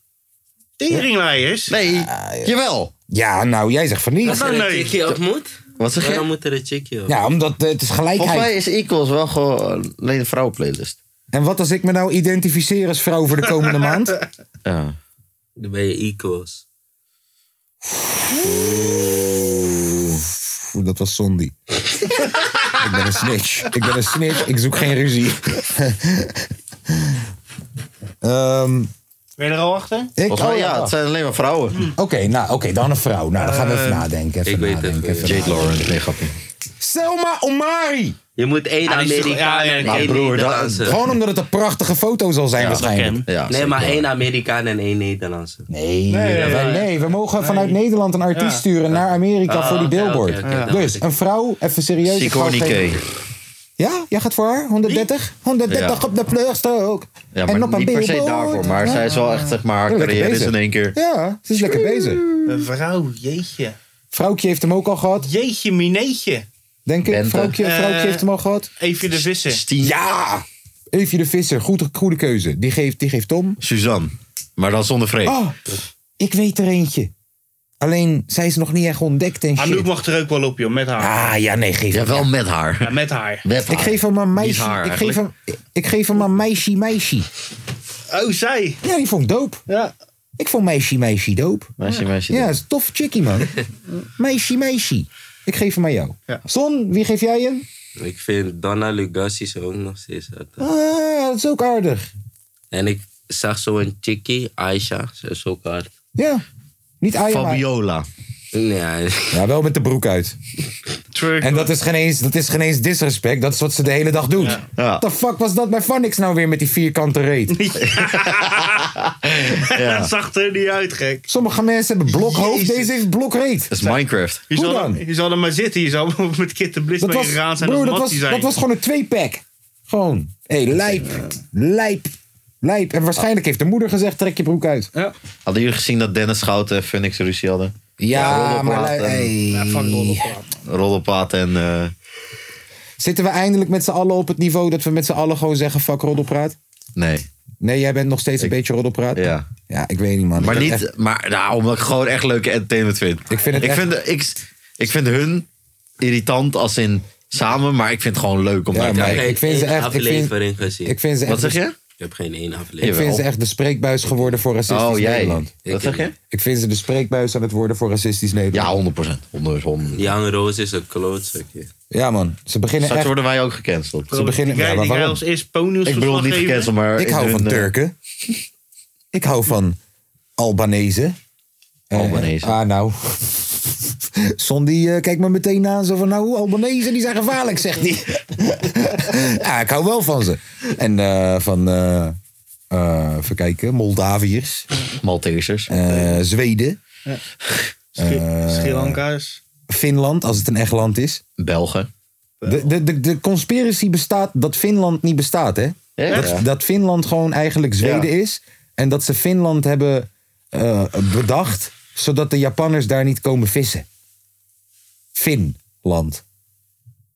C: Teringleiers.
B: Nee, jawel.
A: Ja, nou jij zegt van
C: Dat
A: niet.
C: is-
D: Als er een
C: nee.
D: chickie op moet,
B: Wat zeg
D: waarom
B: je?
D: moet er een chickie op?
A: Ja, omdat eh, het is
B: Volgens
A: gelijkheid.
B: mij is Equals wel gewoon alleen een vrouwenplaylist.
A: En wat als ik me nou identificeer als vrouw voor de
B: [laughs]
A: komende maand?
B: Ja.
D: Dan ben je equals.
A: Oeh, dat was Sondi. ik ben een snitch. Ik ben een [laughs] snitch. Ik zoek geen ruzie. Ehm,
C: Ben je er al achter?
A: Ik,
B: Volgens mij,
A: oh,
B: ja,
A: ja.
B: het zijn alleen maar vrouwen.
A: Oké, nou, oké, dan een vrouw. Nou, dan gaan we even
C: Eh,
A: nadenken. Even
D: ik weet het,
A: nadenken,
D: eh,
A: even
B: Jade
A: nadenken.
B: Lawrence, nee, grapje.
A: Selma
C: [laughs]
A: Omari.
D: Je moet één
C: Ah, die is toch-
D: Amerikaan
C: ja, ja,
D: en
C: ja.
D: één
B: Broer, dat-
D: Nederlandse.
A: Gewoon omdat het een prachtige foto zal zijn waarschijnlijk.
C: Ken.
B: Ja,
D: Nee, maar één Amerikaan en één Nederlandse.
A: Nee,
C: Nee,
A: nee,
C: nee,
A: we mogen vanuit Nederland een artiest
C: Ja.
A: sturen naar Amerika
D: Ah,
A: voor die
D: oké,
A: billboard.
D: oké, oké, dan
A: Dus
D: weet ik.
A: een vrouw, even serieus. ik ga
B: Sigourney
A: geen-
B: K.
A: Ja, jij gaat voor haar? 130? 130
B: Ja.
A: op de vluchtstrook.
B: Ja, maar niet per se daarvoor. Maar zij is wel echt, zeg maar, haar
A: Ja, lekker
B: carrière is
A: bezig.
B: in één keer.
A: Ja, ze is lekker bezig.
C: Een vrouw, jeetje.
A: Vrouwtje heeft hem ook al gehad,
C: Jeetje, mineetje.
A: denk ik.
B: Bente.
A: Vrouwtje, vrouwtje
C: Eh,
A: heeft hem al gehad.
C: Even de vissen.
B: Stien.
A: Ja! Eefje de Visser, goede, goede keuze. Die geeft, die geeft Tom.
B: Suzanne. Maar dan zonder vreemd.
A: Oh, ik weet er eentje. Alleen, zij is nog niet echt ontdekt en
C: Anouk
A: shit.
C: mag er ook wel op, joh, met haar.
A: Ah, ja, nee, geef
B: Ja,
A: hem.
B: wel met haar.
C: Ja, met haar.
B: Met haar.
A: Ik geef hem een meisje.
B: haar
A: ik, geef hem,
B: eigenlijk.
A: ik geef hem een meisje, meisje.
C: Oh, zij.
A: Ja, die vond ik doop.
C: Ja.
A: Ik vond meisje, meisje doop.
B: Meisje, meisje.
A: Ja, dat is een tof chickie, man.
B: [laughs]
A: meisje, meisje. Ik geef hem aan jou.
C: Ja.
A: Son, wie geef jij hem?
D: Ik vind Donna Lugassi zo ook nog steeds. uit.
A: Ah, dat is ook aardig.
D: En ik zag zo'n chickie, Aisha, ze is ook hard.
A: Ja. Niet aan
B: Fabiola.
D: Nee,
A: Ja, wel met de broek uit.
C: Twerk.
A: En dat is geen eens, dat is geen eens disrespect. Dat is wat ze de hele dag doet.
C: Ja.
B: Ja.
A: What the fuck was dat bij Vanix nou weer met die vierkante
C: [laughs]
A: reet?
C: Dat zag er niet uit, gek.
A: Sommige mensen hebben blokhoofd,
C: Jezus.
A: deze heeft blokreet.
B: Dat is Minecraft.
C: [laughs] Je
A: Hoe
C: zal,
A: dan?
C: er, je zal er maar zitten. Je zal [laughs] met Kit de Blitz
A: Dat
C: mee
A: was,
C: gegaan zijn. als
A: broer, dat was,
C: Mattie zijn.
A: dat was gewoon een twee-pack. Gewoon. Hé, hey, lijp, lijp, lijp. En waarschijnlijk heeft de moeder gezegd, trek je broek uit.
B: Hadden jullie gezien dat Dennis Schouten en Phoenix ruzie hadden?
A: Ja,
B: rollenplaat
A: maar...
B: en-
A: lu- hey.
C: Ja, fuck rollenplaat.
B: Roddelpaat en... eh,
A: Zitten we eindelijk met z'n allen op het niveau dat we met z'n allen gewoon zeggen, fuck roddelpraat?
B: nee.
A: Nee, jij bent nog steeds een beetje roddelpraat?
B: Ja.
A: Ja, ik weet niet, man.
B: Maar
A: Ik ben
B: niet...
A: echt-
B: Maar nou, omdat ik gewoon echt leuke entertainment vind.
A: Ik vind het
B: ik
A: echt-
B: vind, ik, ik vind hun irritant als in samen, maar ik vind het gewoon leuk om
A: Ja,
B: naar te
A: maar-
B: kijken.
A: ik vind ze echt- ik vind-
D: aflevering gezien.
A: Ik vind ze echt...
B: Wat zeg je?
D: Ik heb geen één
A: Ik
D: aflevering.
A: vind ze echt de spreekbuis geworden voor racistisch
B: Oh, jij.
A: Nederland.
B: Wat zeg je?
A: Ik vind ze de spreekbuis aan het worden voor racistisch Nederland.
B: Ja, 100%. 100, 100.
D: Young Rose is een klootzak. joh.
A: Ja, man. Ze beginnen
B: Straks
A: echt...
B: worden wij ook gecanceld.
C: Bro,
A: beginnen-
C: die
A: ja,
C: guy-
A: maar
C: die guy
A: waarom?
C: als eerst pony's
B: Ik bedoel niet gecanceld, maar...
A: Ik
B: in
A: hou
B: hun,
A: van
B: eh, [laughs]
A: Turken. Ik hou van Albanese.
B: Albanese.
A: ah, nou. [laughs] Son die eh, kijkt me meteen aan zo van... Nou, Albanese, die zijn gevaarlijk, zegt
B: [laughs]
A: hij. [laughs] ja, ik hou wel van ze. En eh, van... eh, eh, even kijken. Moldaviërs.
B: Maltesers.
A: eh, Zweden. Eh,
C: Sri Lanka's.
A: Finland, als het een echt land is.
B: Belgen.
A: De, de, de, de conspiracy bestaat dat Finland niet bestaat, hè?
B: Ja.
A: Dat, dat Finland gewoon eigenlijk Zweden is. En dat ze Finland hebben eh, bedacht, zodat de Japanners daar niet komen vissen. Finland.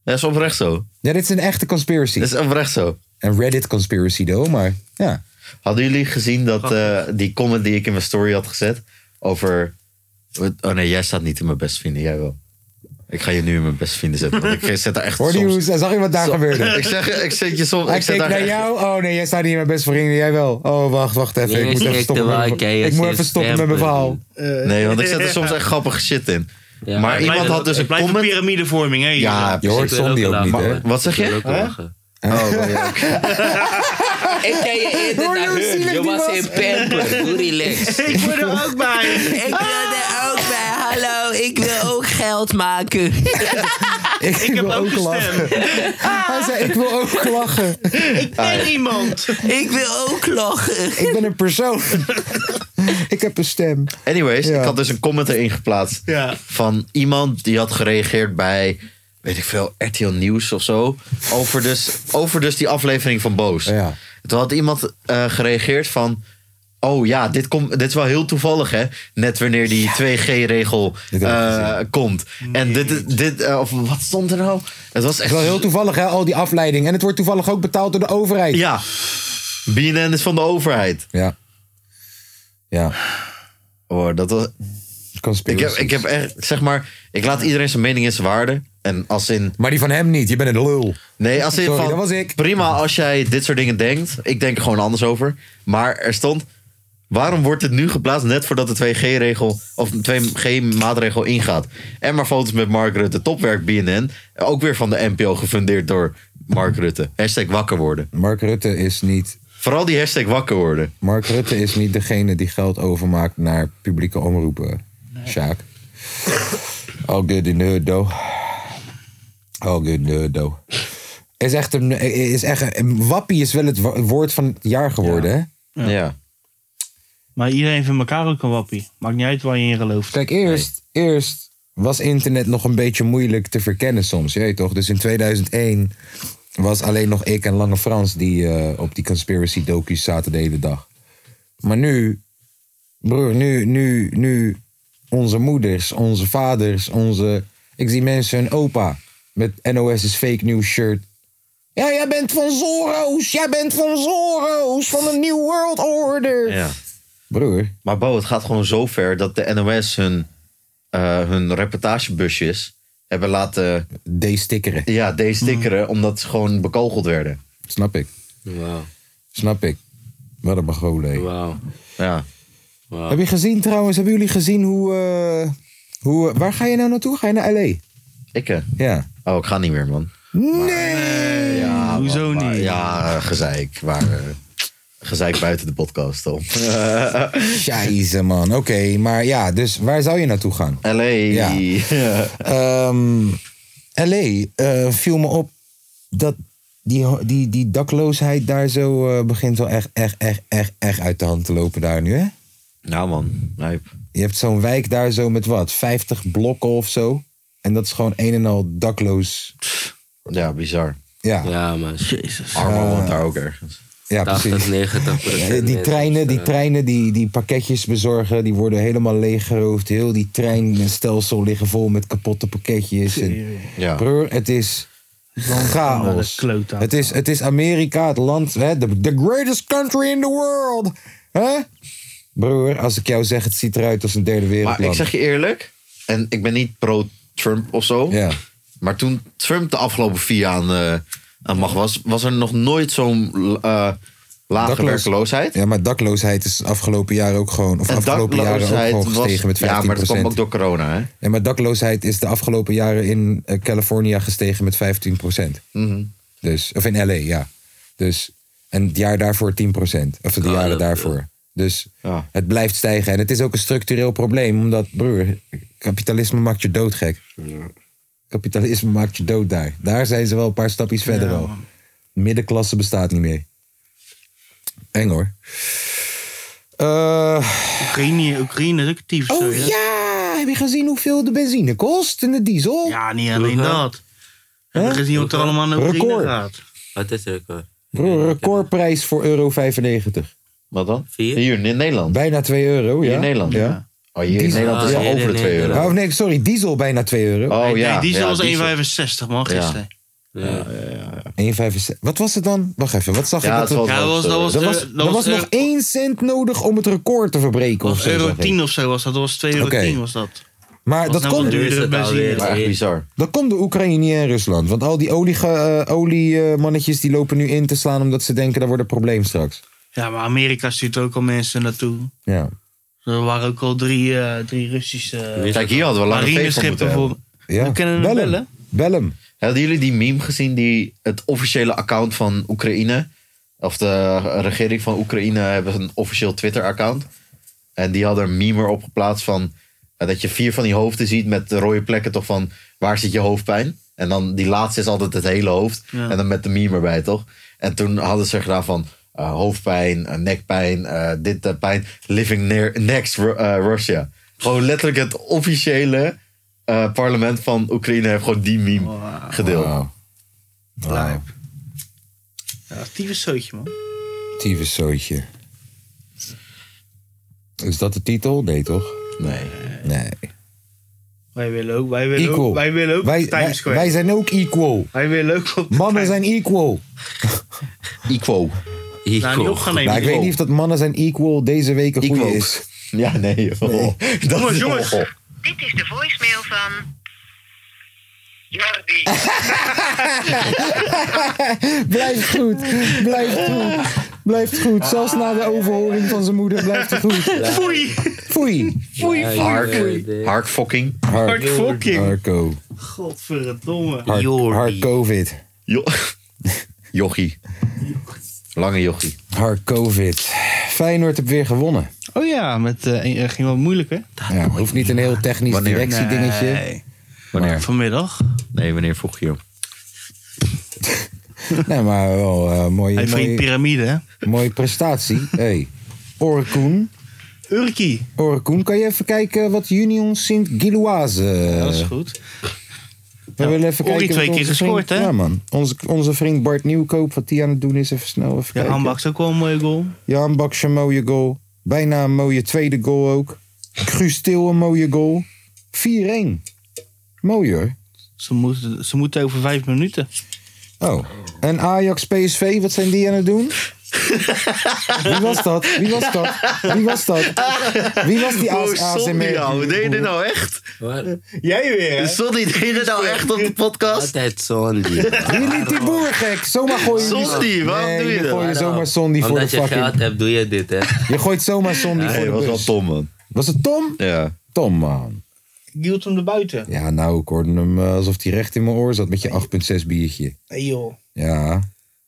B: Dat is oprecht zo.
A: Ja, dit is een echte conspiracy.
B: Dat is oprecht zo.
A: Een Reddit conspiracy, though, maar ja.
B: Hadden jullie gezien dat eh, die comment die ik in mijn story had gezet over... Oh nee, jij staat niet in mijn best vinden, jij wel. Ik ga je nu in mijn best vinden zetten. want
A: [laughs]
B: ik zet daar echt
A: Hoorde je hoe,
B: soms...
A: zag je wat daar
B: Zo-
A: gebeurde?
B: [laughs] Ik zeg, ik zet je soms...
A: Hij
B: Ik zet
A: keek
B: daar
A: naar
B: echt-
A: jou. Oh nee, jij staat niet in mijn best vrienden. Jij wel. Oh, wacht, wacht even. Ik moet even stoppen met mijn, ik moet even stoppen met mijn verhaal.
B: Nee, want ik zet
C: [laughs]
B: er soms echt grappige shit in.
D: Ja.
B: maar
D: Het
B: iemand had dus een
C: blijft
B: comment...
C: piramidevorming, hè?
B: Ja,
A: Je hoort
D: Ik wil
A: Sondi ook niet,
D: lachen.
A: hè?
B: Wat zeg je?
D: Ik wil ook lachen.
B: Oh,
C: [laughs]
D: [laughs]
B: ja.
D: Ik ken je eerder
A: Hoor je
D: naar
A: hoe
D: hun.
A: zielig
D: Je
A: die
D: was
A: was?
D: in Pamper. Doe relax.
C: [laughs] Ik ben er ook bij.
D: [laughs] Ik wil er ook bij. Hallo, ik wil ook geld maken.
A: Ik,
C: heb
A: wil
C: ook
A: ook
C: een
A: lachen. Hij zei, ik wil ook lachen.
C: En iemand.
D: Ah, Ik wil ook lachen.
A: Ik ben een persoon. [laughs] ik heb een stem.
B: Anyways,
A: Ja.
B: ik had dus een comment erin geplaatst.
C: Ja.
B: Van iemand die had gereageerd bij, weet ik veel, RTL Nieuws of zo. Over dus, over dus die aflevering van Boos.
A: Ja.
B: Toen had iemand eh, gereageerd van... Oh ja, dit, komt dit is wel heel toevallig hè. Net wanneer die 2G-regel
A: Dit heb ik gezien.
B: eh, komt. En dit, is- dit eh, of wat stond er nou? Het was echt...
A: Het is wel heel toevallig, hè, al die afleiding. En het wordt toevallig ook betaald door de overheid.
B: Ja, BNN is van de overheid.
A: Ja. Ja.
B: Oh, dat was, ik,
A: Conspiracy.
B: heb, ik heb echt, zeg maar, ik laat iedereen zijn mening in zijn waarde. En als in,
A: Maar die van hem niet. Je bent een lul.
B: Nee, als in
A: Sorry,
B: van,
A: dat was ik.
B: Prima als jij dit soort dingen denkt. Ik denk er gewoon anders over. Maar er stond. Waarom wordt dit nu geplaatst net voordat de 2G-regel of 2G-maatregel ingaat? En maar foto's met Mark Rutte, topwerk BNN. Ook weer van de NPO, gefundeerd door Mark Rutte. Hashtag wakker worden.
A: Mark Rutte is niet...
B: Vooral die hashtag wakker worden.
A: Mark Rutte is niet degene die geld overmaakt naar publieke omroepen. Sjaak. All good in the hood, though. All good in the hood, though. Is echt een, is echt een, wappie is wel het wo- woord van het jaar geworden, hè?
B: Ja.
C: Maar iedereen vindt elkaar ook een wappie. Maakt niet uit waar je in gelooft.
A: Kijk, eerst, eerst was internet nog een beetje moeilijk te verkennen soms, je weet toch? Dus in 2001 was alleen nog ik en Lange Frans die eh, op die conspiracy docu's zaten de hele dag. Maar nu, broer, nu, nu, nu onze moeders, onze vaders, onze... Ik zie mensen hun opa met NOS is fake news shirt. Ja, jij bent van Zoro's, jij bent van Zoro's, van een New World Order.
B: ja.
A: Broer,
B: Maar Bo, het gaat gewoon zo ver dat de NOS hun, eh, hun reportagebusjes hebben laten
A: D-stickeren,
B: ja, destickeren.
A: Hmm.
B: Omdat ze gewoon bekogeld werden.
A: snap ik.
D: Wauw.
A: Snap ik. Wat een begolen. hé.
D: Wauw.
B: Ja. Ah.
A: Heb je gezien trouwens, hebben jullie gezien hoe, eh, hoe... Waar ga je nou naartoe? Ga je naar L.A.?
B: Ik eh.
A: Ja.
B: Oh, ik ga niet meer, man. Nee! Ja,
C: Hoezo
B: maar-
C: niet?
B: Ja, eh, gezeik. Maar, eh, gezeik buiten de podcast, Tom.
A: [laughs] Scheisse, man. Oké, maar ja, dus waar zou je naartoe gaan?
B: L.A.
A: Ja.
B: [laughs] Ja.
A: Ehm, L.A. eh, viel me op dat die, die, die dakloosheid daar zo eh, begint wel echt, echt, echt, echt, echt uit de hand te lopen daar nu, hè?
B: Nou, man. Nee.
A: Je hebt zo'n wijk daar zo met wat, 50 blokken of zo. En dat is gewoon een en al dakloos.
B: Ja, bizar.
A: Ja, ja,
D: [laughs] Ja, man. Jezus.
B: Armo woont daar ook ergens.
A: precies.
D: 80, 90
A: Ja, die treinen,
D: eh,
A: die, treinen die, die pakketjes bezorgen, die worden helemaal leeggeroofd. Heel die treinstelsel liggen vol met kapotte pakketjes. En,
B: Ja.
A: Broer, het is chaos.
C: de klote aan
A: Het is, het is Amerika, het land, hè, the, the greatest country in the world. Hè? Broer, als ik jou zeg, het ziet eruit als een derde
B: Maar ik
A: wereldland.
B: zeg je eerlijk, en ik ben niet pro-Trump of zo.
A: Ja.
B: Maar toen Trump de afgelopen vier jaar aan, eh, aan macht was, was er nog nooit zo'n eh, lage
A: Dakloos-
B: werkloosheid.
A: Ja, maar dakloosheid is afgelopen jaar ook gewoon, of afgelopen jaren ook gewoon gestegen met 15%.
B: Ja, maar dat kwam ook door corona, hè?
A: Ja, maar dakloosheid is de afgelopen jaren in eh, Californië gestegen met 15
B: Mhm.
A: Dus, of in LA, ja. Dus, en het jaar daarvoor 10 Of de
D: Ah,
A: jaren
D: dat-
A: daarvoor. Dus
B: Ja.
A: het blijft stijgen. En het is ook een structureel probleem, omdat, broer, kapitalisme maakt je doodgek. Kapitalisme maakt je dood daar. Daar zijn ze wel een paar stapjes verder al. Middenklasse bestaat niet meer. Eng hoor. Eh.
C: Oekraïne, Oekraïne is ook actief. zo,
A: Oh
C: hè?
A: ja, heb je gezien hoeveel de benzine kost en de diesel?
C: Ja, niet alleen
D: Hoeveel?
C: dat. Heb je gezien wat er allemaal naar Oekraïne
A: Record.
C: gaat?
D: Wat is er, hoor?
A: Bro, recordprijs voor euro 95.
B: Wat dan?
D: Vier?
B: Hier in Nederland.
A: Bijna 2 euro, ja.
B: Hier in Nederland.
A: Ja.
B: Oh, hier in
A: Diesel.
B: Nederland
D: Ah,
B: is al
D: hier in
B: over de 2
D: Nederland.
B: euro.
A: Oh, of nee, sorry, diesel bijna 2 euro.
B: Oh ja.
C: Nee,
B: ja,
C: diesel
B: diesel.
C: was 1,65 man gisteren.
A: 1,75. Wat was het dan? Wacht even, wat zag
B: Ja,
A: ik?
B: het
A: Dat
B: was
C: Ja,
B: wel
C: dat was,
B: zo,
C: dat was,
A: er
C: eh,
A: was,
C: dat
A: er was
C: was
A: nog 1 cent nodig om het record te verbreken of
C: was
A: zo.
C: euro
A: zag ik.
C: 10 of zo was dat. Dat was 2,10 euro
A: Oké.
C: 10 was dat.
A: Maar dat dus-
C: nou
A: komt,
C: wat duurder benzine.
B: Maar echt bizar.
A: dat komt door Oekraïne en Rusland. Want al die oliemannetjes olie, eh, mannetjes die lopen nu in te slaan omdat ze denken dat wordt een probleem straks.
C: Ja, maar Amerika stuurt ook al mensen naartoe.
A: Ja.
C: Er waren ook al drie, eh, drie Russische
B: Kijk, hier hadden we lange feest van
C: marineschepen
B: moeten hebben.
C: voor.
A: ja.
C: We kunnen hem
A: Bel
C: bellen.
A: Bel hem.
B: Hadden jullie die meme gezien die het officiële account van Oekraïne, of de regering van Oekraïne hebben een officieel Twitter-account. En die hadden een meme erop geplaatst van eh, dat je vier van die hoofden ziet met de rode plekken toch van waar zit je hoofdpijn? En dan die laatste is altijd het hele hoofd
C: Ja.
B: en dan met de meme erbij toch? En toen hadden ze gedaan van eh, hoofdpijn, eh, nekpijn, eh, dit eh, pijn, living near, next Ru- eh, Russia. Gewoon letterlijk het officiële eh, parlement van Oekraïne heeft gewoon die meme gedeeld.
A: Wauw. Wauw.
C: Ja, Actieve zootje, man.
A: Tieve zooitje. Is dat de titel? Nee, toch?
B: Nee.
A: Nee.
C: Wij willen ook, wij willen
A: Equal.
C: ook, wij willen ook
A: wij,
C: Times
A: wij,
C: Square.
A: wij zijn ook equal.
C: wij willen ook op
A: Mannen zijn equal.
B: Equo.
C: Nou, niet op gaan nemen.
A: Nou, ik weet niet of dat mannen zijn equal deze week een goede
B: Equo.
A: is.
B: Ja, nee. joh. Dat
C: Jongens,
B: is-
C: jongens.
B: oh, oh.
G: Dit is de voicemail van. Jordi.
A: [laughs] Blijft goed. Blijft goed. Blijft goed. Zelfs na de overhoring van zijn moeder blijft het
B: [laughs]
A: goed.
C: Foei!
A: Foei.
B: Hark. Hark fucking.
A: Hard,
C: fucking.
A: Harko.
C: Godverdomme.
B: [laughs]
A: Hard, hard COVID.
B: Jo- Jochie. Lange jochie.
A: Hard COVID. Feyenoord heeft weer gewonnen.
C: Oh ja, met, eh, een- eh, ging wel moeilijk, hè?
A: Ja, hoeft niet een heel technisch
B: Wanneer?
A: directiedingetje.
C: Nee.
B: Wanneer?
C: Vanmiddag.
B: Nee, wanneer vroeg je op?
A: [laughs] Nee, maar wel eh mooie,
C: Hij vriend
A: mooie,
C: piramide, hè?
A: mooie
C: [laughs]
A: prestatie. Hey. Orkoen.
C: Urki.
A: Orkoen, kan je even kijken wat Union Sint-Gilloise...
C: Dat
B: Eh.
C: is goed.
A: We
C: Ja,
A: willen even
C: Ori
A: kijken.
C: twee
A: wat
C: keer
A: onze vriend-
C: gescoord, hè?
A: Ja, man. Onze, onze vriend Bart Nieuwkoop, wat die aan het doen is, even snel even
C: Ja,
A: kijken.
C: Ambach is ook wel een mooie goal.
A: Jan Baks een mooie goal. Bijna een mooie tweede goal ook. Guus Til een mooie goal. 4-1. Mooi hoor.
C: Ze moeten, ze moeten over vijf minuten.
A: Oh. En Ajax PSV, wat zijn die aan het doen? Wie was dat? Wie was dat? Wie was dat? Wie was die AS
B: Sonny, Oh, ouwe. Deed je dit nou echt?
C: Jij weer,
B: Sonny, deed je dit nou echt op de podcast?
D: Altijd
A: [laughs]
D: zo'n
A: Wie liet die boer gek? Zomaar gooi je
B: Sondi, waarom
A: Nee,
B: doe je dat?
A: gooi je zomaar Sondi voor de
D: Omdat je
A: fucking...
D: geld hebt, doe je dit, hè?
A: Je gooit zomaar Sondi voor
B: Nee,
A: de
B: dat was wel
A: bus.
B: Tom, man.
A: Was het Tom?
B: Ja.
A: Tom, man.
C: Gielt hem erbuiten.
A: Ja, nou, ik hoorde hem eh, alsof hij recht in mijn oor zat met je 8,6 biertje.
C: Nee joh.
A: Ja.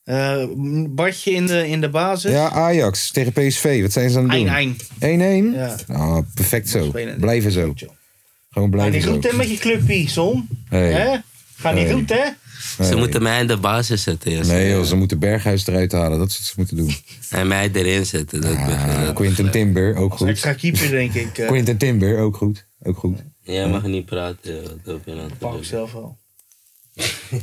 C: Eh, Bartje in de, in de basis.
A: Ja, Ajax tegen PSV. Wat zijn ze aan het
C: Ein,
A: doen?
C: ein.
A: 1-1?
C: Ja.
A: Ah, perfect zo.
C: Spelen.
A: Blijven zo.
C: Goed, joh.
A: Gewoon
C: Maar
A: blijven
C: niet
A: zo.
C: goed hè met je clubpie, Som.
A: Hey.
C: Hè? Ga niet
A: Hey.
C: goed, hè?
D: Ze moeten mij in de basis zetten. ja.
A: Nee joh, ze moeten Berghuis eruit halen. Dat is wat ze moeten doen.
D: [laughs] En mij erin zetten. Dat begin-
A: Ah,
D: dat-
A: Quinten Timber, ook
C: Als extra
A: goed.
C: keeper, denk ik. eh,
A: Quinten Timber, ook goed. Ook goed.
D: Jij mag niet praten. joh. Dat ben ik aan
C: pak
D: het doen.
C: zelf wel.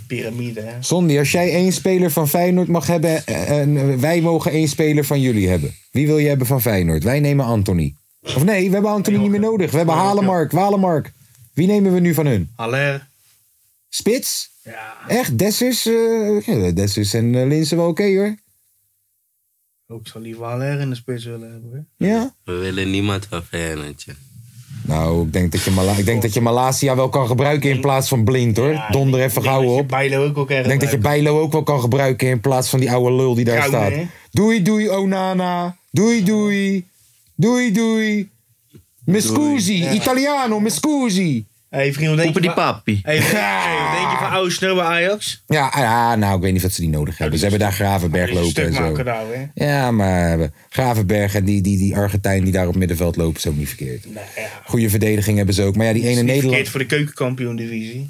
C: Pyramide, hè?
A: Sondi, als jij één speler van Feyenoord mag hebben... eh, en wij mogen één speler van jullie hebben. Wie wil je hebben van Feyenoord? Wij nemen Anthony. Of nee, we hebben Anthony niet meer nodig. We hebben Halemark, Walemark. Wie nemen we nu van hun?
C: Haller.
A: Spits? Echt, Dessers? eh, ja, Dessers en eh, Linsen wel oké hoor.
C: Ook zou liever Haller in de spits willen hebben, hè?
A: Ja?
D: We willen niemand van Feyenoord. joh.
A: Nou, ik denk dat je, Mala- ik denk dat je Malasia wel kan gebruiken in plaats van blind hoor.
C: Ja,
A: Donder even gauw op.
C: Bijlo ook ook erg
A: Ik denk dat je
C: leuk.
A: Bijlo ook wel kan gebruiken in plaats van die oude lul die daar
C: Koude,
A: staat.
C: hè?
A: Doei doei Onana. Doei doei. Doei doei. Mescusi. Italiano, Mescusi.
C: Hey, vriend, wat denk
B: Poepen
C: je
B: die
C: van...
B: papi.
C: Hey, vriend, hey, wat denk je van oude sneeuw bij Ajax?
A: Ja, ah, ja, nou ik weet niet wat ze die nodig hebben. Ze hebben daar Gravenberg
C: Een
A: lopen
C: stuk
A: en zo.
C: maken nou, hè?
A: Ja, maar eh, Gravenberg en die, die, die Argentijn die daar op middenveld lopen is ook niet verkeerd.
C: Nou ja.
A: Goede verdediging hebben ze ook. Maar ja, die ene
C: Niet
A: Nederland.
C: verkeerd voor de keukenkampioen-divisie.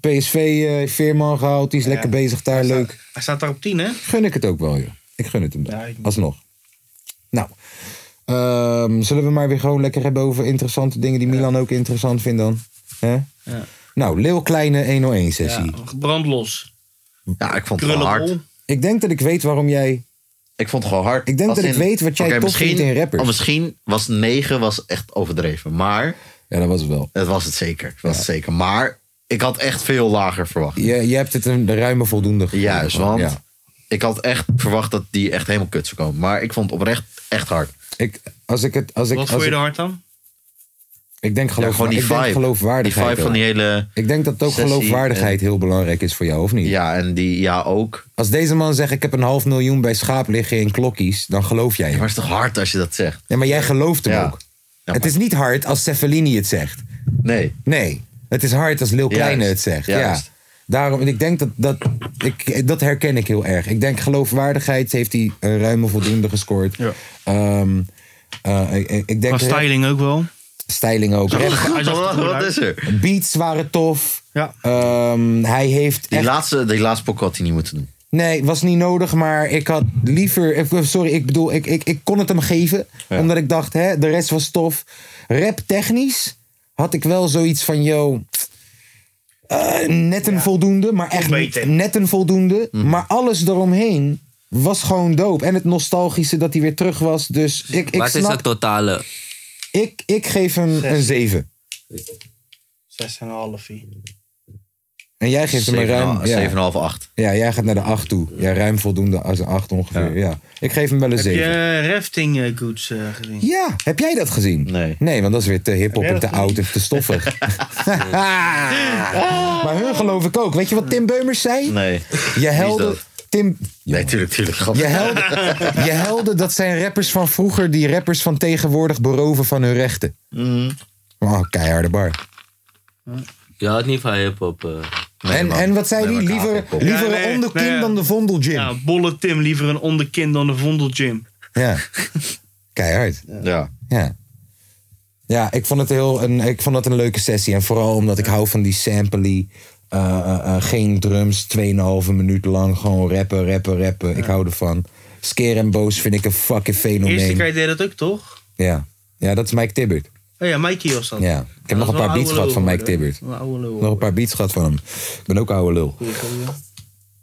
A: PSV eh, Veerman gehaald. Die is lekker bezig daar. Leuk.
C: Hij staat daar op 10, hè?
A: Gun ik het ook wel, joh. Ik gun het hem dan.
C: Ja, ik-
A: Alsnog. Nou. ehm, zullen we maar weer gewoon lekker hebben over interessante dingen die Milan ook interessant vindt dan? Hè?
C: Ja.
A: Nou, Leeuw Kleine 101 sessie.
C: Ja, brandlos.
B: Ja, ik vond het wel hard.
C: Krullenbol.
A: Ik denk dat ik weet waarom jij...
B: Ik vond het gewoon hard.
A: Ik denk
B: Als
A: dat ik weet wat jij
B: Oké,
A: tof vindt in rappers.
B: oh, misschien was 9 was echt overdreven. Maar
A: Ja, dat was het wel.
B: het was het zeker. Het was het zeker. Maar ik had echt veel lager verwacht.
A: Je, je hebt het een de ruime voldoende gegeven.
B: Juist, want
A: Ja.
B: ik had echt verwacht dat die echt helemaal kut zou komen. Maar ik vond het oprecht echt hard.
A: Ik, als ik het... Als ik,
C: Wat
A: als
C: vond je
A: ik,
C: er hard aan?
A: ik denk,
B: Ja,
A: geloof,
B: gewoon die
A: ik denk
B: vibe. Die
A: geloofwaardigheid.
B: vibe van
A: ook.
B: die hele...
A: Ik denk dat ook
B: sessie,
A: geloofwaardigheid heel belangrijk is voor jou, of niet?
B: Ja, en die... Ja, ook.
A: Als deze man zegt, ik heb een half miljoen bij schaap liggen in klokkies, dan geloof jij hem.
B: Maar het is toch hard als je dat zegt?
A: Nee, maar jij gelooft hem
B: Ja.
A: ook.
B: Ja,
A: het
B: maar-
A: is niet hard als Cefalini het zegt.
B: Nee.
A: Nee, het is hard als Lil Kleine het zegt. Ja.
B: juist.
A: Daarom, ik denk dat dat, ik, dat herken ik heel erg. Ik denk geloofwaardigheid heeft hij eh, ruime voldoende gescoord.
C: Ja.
A: Ehm, eh, ik, ik- ik denk
C: Qua styling ook wel.
A: styling ook. Rap-
C: Hij zag er
B: Wat,
C: goed
B: wat
C: uit.
B: is er?
A: Beats waren tof.
C: Ja.
A: Ehm, hij heeft
B: Die
A: echt
B: laatste, die laatste pok had hij niet moeten doen.
A: Nee, was niet nodig, maar ik had liever. eh, Sorry, ik bedoel, ik, ik, ik kon het hem geven. Omdat ik dacht, hè, de rest was tof. Rap technisch had ik wel zoiets van, yo. eh, net een voldoende, maar echt
C: beter.
A: net een voldoende. Maar alles eromheen was gewoon dope. En het nostalgische dat hij weer terug was. Dus ik, ik
D: Wat is
A: snap,
D: het totale?
A: ik, ik geef hem een 7.
C: Zes en een halfie.
A: En jij geeft hem een
B: 7,5,
A: ruim. Ja,
B: 7,5, 8.
A: ja, jij gaat naar de 8 toe. Ja, ruim voldoende als een 8 ongeveer. Ja. Ik geef hem wel een
C: Heb
A: 7.
C: je rafting eh, goods eh, gezien?
A: Ja, heb jij dat gezien?
B: Nee.
A: Nee, want dat is weer te hip-hop
C: Heb
A: en
C: jij
A: te
C: dat
A: oud en te
C: [laughs]
A: stoffig. [laughs] maar hun geloof ik ook. Weet je wat Tim Beumers zei?
B: Nee.
A: Je helden.
B: dat?
A: Tim,
B: Nee, tuurlijk, tuurlijk. Gast.
A: je,
B: [laughs]
A: helden, je helden, dat zijn rappers van vroeger die rappers van
B: Mhm.
A: tegenwoordig beroven van hun rechten. Oh, keiharde bar.
D: Je houdt niet van hip-hop. eh.
B: Nee,
E: en,
B: man.
E: en wat zei
B: Nee,
E: hij?
B: maar ik haat
E: Liever,
B: hip-hop.
E: liever
C: Ja, nee,
E: een onderkind
C: nou ja.
E: dan de vondelgym.
C: Ja,
E: Ja.
C: bolle Tim, liever een onderkind dan een vondelgym.
E: Keihard.
B: Ja.
E: Ja.
A: Ja, ik vond, het heel een, ik vond dat een leuke sessie. En vooral omdat ik hou van die sampley. eh, eh, eh, geen drums, 2,5 minuut lang. Gewoon rappen, rappen, rappen. Ik hou ervan. Scare en Boos vind ik een fucking
C: Eerste
A: fenomeen.
C: keer deed dat ook, toch?
A: Ja. ja, dat is Mike Tibbert.
C: Oh ja, Mikey was dat.
A: Ja. Ik heb nog een paar beats gehad van Mike Tibbert.
C: Een oude lul.
A: Nog een paar beats gehad van hem. Ik ben ook een oude lul.
C: Goeie gozer.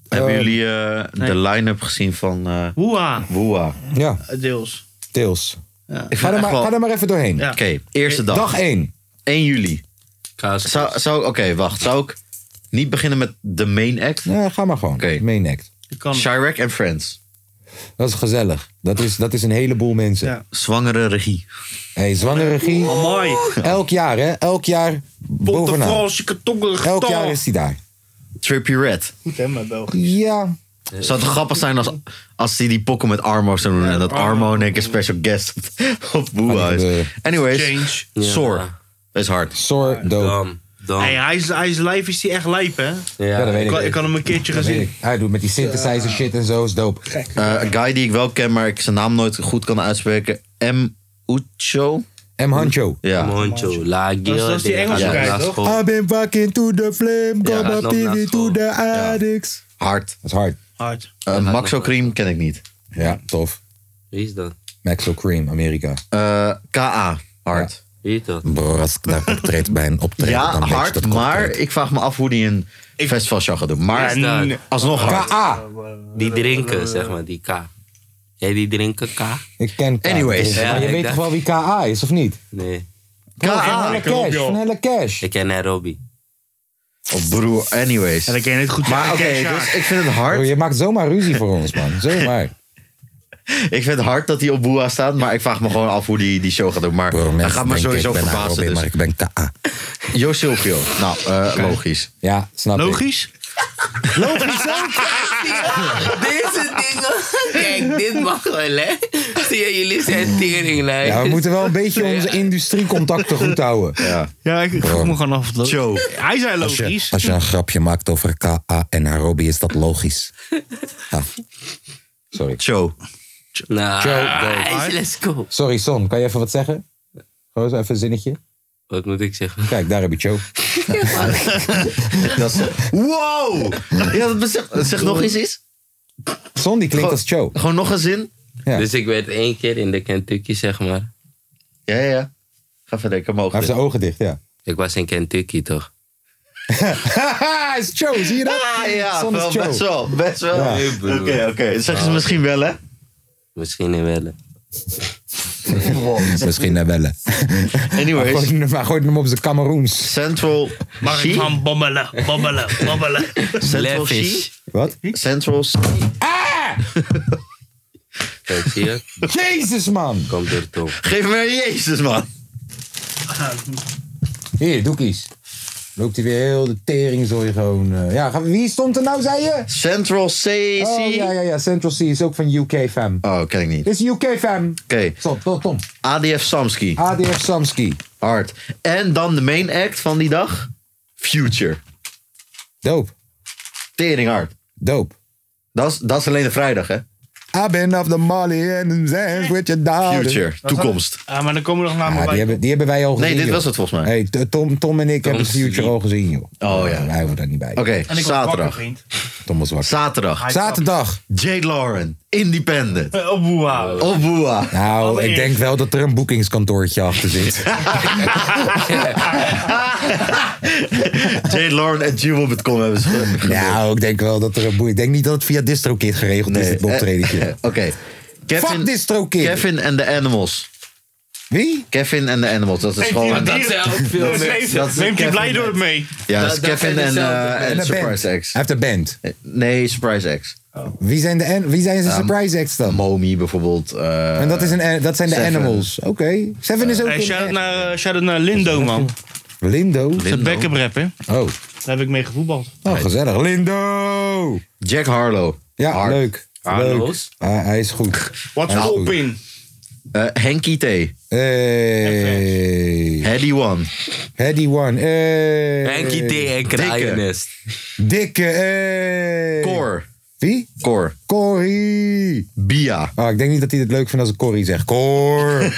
B: Hebben jullie eh, de line-up gezien van eh
C: Ehm, Woeha,
B: Woeha?
A: Ja,
C: Eh, deels.
A: Tails.
C: Ja.
B: Ik
A: Ga
B: vind
A: er
B: echt
A: maar,
B: wel-
A: ga er maar even doorheen.
C: Ja.
B: Oké, eerste dag.
A: Dag 1.
B: 1 juli.
D: Kaas.
B: Zou, zou Oké, wacht. Zou ik niet beginnen met de main act?
A: Ja, ga maar gewoon.
B: Oké.
A: Main act.
C: Ik kan.
B: Shirek and Friends.
A: Dat is gezellig. Dat is, dat is een heleboel mensen.
C: Ja. Oh,
B: Zwangere regie.
A: Hey, zwangere regie.
C: Mooi.
A: Elk jaar, hè? Elk jaar
C: Botte
A: bovenaan.
C: Franse katongen
A: Elk jaar is hij daar.
B: Trippy Red.
C: Goed hè, mijn Belgen.
A: Ja.
B: Zou het grappig zijn als, als die die pokken met Armo zou doen. En dat Armo in één keer special guest op, op Woeha is. Anyways,
C: Change.
B: Sor. Is hard.
A: Sor, dope.
D: Dam. Dam.
C: Hey, hij is, hij is live, is die echt lijp hè?
A: Ja, dat weet
C: Ik
A: ik.
C: had, ik had hem een keertje
A: Dat weet
C: gezien.
A: ik. Hij doet met die synthesizer shit en zo is dope.
B: Eh, een guy die ik wel ken, maar ik zijn naam nooit goed kan uitspreken. M. Ucho?
A: M. Hancho.
B: Ja.
D: Moncho. La Gil.
C: dat is die Engelse
D: Ja,
C: guy,
D: dat is
C: toch?
D: gewoon-
A: been fucking to the flame.
B: Ja,
D: dat is nog naast school.
A: addicts.
B: Hard.
A: Dat is hard.
C: Hard.
B: Eh Maxo Cream ken ik niet.
A: Ja, tof.
D: Wie is dat?
A: Maxwell Cream, Amerika.
B: Eh, K.A. Hard.
D: Wie is dat?
A: Bro, als ik daar optreed bij een
B: Ja,
A: optreden, dan weet je dat
B: hard,
A: komt
B: maar
A: uit.
B: ik vraag me af hoe die een festivalshow gaat doen. Maar
D: Ja, nee.
B: alsnog hard.
A: K.A.
D: Die drinken, zeg maar, die K. Jij die drinken K?
A: Ik ken K.A.
B: Anyways.
A: Maar
D: Ja,
A: je
D: ik
A: weet
D: dacht-
A: toch wel wie K.A. is, of niet?
D: Nee.
A: Van
B: K.A.
A: Hella Cash, van Hella Cash.
D: Ik ken Nairobi.
B: Oh, broer, anyways.
C: En dan ken je het goed.
B: Maar oké,
C: Cash
B: dus
C: Jack.
B: ik vind het
A: Bro,
B: hard.
A: Oh, je maakt zomaar ruzie voor ons, man. Zomaar.
B: [laughs] Ik vind het hard dat hij op Boeha staat, maar ik vraag me gewoon af hoe die, die show gaat doen. Maar
A: Bro,
B: hij
A: mensen
B: gaat me
A: denken,
B: sowieso
A: ik ben
B: verbazen.
A: Arobi,
B: Dus.
A: Maar ik ben K.A.
B: Jo Silvio. Nou, eh, logisch.
A: Ja, snap ik.
C: Logisch?
D: [laughs] Deze dingen. Kijk, dit mag wel, hè? Zie je, jullie zijn teringlijn.
A: Ja, we moeten
B: [laughs]
A: wel een beetje onze industriecontacten goed houden.
C: Ja, ik ik vroeg me gewoon af. of dat-
B: Joe.
C: Hij zei
A: Als je,
C: logisch.
A: als je
B: [laughs]
A: een grapje maakt over K.A. en Nairobi, is dat logisch. Ja. Sorry.
B: Joe.
D: Nou,
B: Ah,
C: dope.
D: let's go.
A: Sorry, Son, kan je even wat zeggen? Gewoon zo even een zinnetje.
D: Wat moet ik zeggen?
A: Kijk, daar heb je
C: [laughs]
A: Joe.
B: Dat is- wow! [laughs] Ja, dat besef, zeg nog eens iets.
A: Son, die klinkt als Joe.
B: Gewoon nog een zin.
A: Ja.
D: Dus ik werd één keer in de Kentucky, zeg maar.
B: Ja, ja, ja. Ga verder, ik heb
A: Hij heeft
B: mogen.
A: zijn ogen dicht, ja.
D: Ik was in Kentucky, toch?
A: Haha, is Joe, zie je dat?
B: Ah, ja,
A: Son
B: wel,
A: is
B: best
A: Joe.
B: wel. Best wel.
A: Ja.
B: Oké, oké. Zeg
D: Ah.
B: ze misschien wel, hè?
D: Misschien wel.
A: [laughs] Misschien naar bellen.
B: Anyways.
A: Gooi hem- Hij gooit hem op zijn Cameroens.
B: Central
C: Mag ik
B: She?
C: gaan babbelen, babbelen, [laughs] babbelen.
B: Central She?
D: Levis.
A: Wat? Ah!
B: Central She? [laughs]
D: Kijk, zie je?
A: Jezus, man!
D: Kom door Tom.
B: Geef me een Jezus, man.
A: Hier, doekies. Loopt hij weer heel de teringzooi gewoon. eh, ja, gaan we- wie stond er nou, zei je?
B: Central C.
A: Oh, ja, ja, ja. Central C is ook van UK fam.
B: Oh, ken ik niet. Oké.
A: Dit is UK fam. Stop, Tom, Tom.
B: ADF Samsky.
A: ADF Samski.
B: Hard. En dan de main act van die dag. Future.
A: Doop,
B: Tering hard.
A: doop.
B: Dat is, dat is alleen de vrijdag, hè?
A: I been off the molly and dance with your daughter.
B: Future. Toekomst.
C: Ah, maar dan komen we nog naar
A: Ja,
C: mijn
A: die, hebben, die hebben wij al gezien.
B: Nee, dit
A: joh.
B: was het volgens mij.
A: Hey, t- Tom, Tom en ik hebben Future
D: Sleep.
A: al gezien, joh.
B: Oh, ja.
A: Wij hoeven daar niet bij.
B: Oké,
C: En ik was wakker,
B: zaterdag. [laughs]
C: vriend.
A: Tom was wakker.
B: Zaterdag.
A: Zaterdag.
B: Jade Lauren. Independent.
C: Eh, Oh, boeha.
B: Op Boeha.
A: Nou, ik
C: Allereerst.
A: denk wel dat er een boekingskantoortje achter zit.
B: [laughs] Jade Lauren en Jewel.com hebben ze ge-
A: nou, ik denk wel dat er een boek... Ik denk niet dat het via DistroKid geregeld is, dit optredentje.
B: [laughs] Oké. Kevin,
A: Fuck DistroKid.
B: Kevin en de Animals.
A: Wie?
B: Kevin en de Animals. Dat is
C: Die-
B: gewoon...
C: die-
D: dat zijn ook veel
C: [laughs] dat
D: mensen.
C: neemt-
B: Dat is
C: Neemt je
B: Kevin
C: blij door het mee.
B: Ja, dat is
D: dat- dat
B: Kevin
D: zijn
B: en,
D: dezelfde
B: eh, en
A: Een band. Oh.
B: Surprise X. Eh,
A: Hij heeft een band.
B: Nee, Surprise X.
A: Wie zijn, de, an- wie zijn zijn surprise acts dan?
B: Momi Ehm, bijvoorbeeld. eh,
A: En dat, is een, dat zijn de
B: Seven. Eh,
A: Animals. Oké. Seven is ook
C: Hey,
A: een-
C: shout-out naar, eh, shout-out naar Lindo, man.
A: Lindo.
C: De backup rapper.
A: Oh,
C: Daar heb ik mee gevoetbald.
A: oh gezellig. Lindo!
B: Jack Harlow.
A: Ja,
B: Hard.
A: leuk. leuk.
D: Harlo's.
A: Ah, hij is goed.
C: What's
A: Hij is
C: up
A: goed.
C: in?
B: Eh, Henkie T.
A: Hey.
B: Heady One.
A: Heady one. Hey.
B: Eh,
D: Henkie T en Kraaienest.
A: Dikke. Hey.
B: Cor.
A: Wie?
B: Cor.
A: Corrie.
B: Bia.
A: Ah, ik denk niet dat hij het leuk vindt als ik Corrie zeg. Cor.
B: [laughs]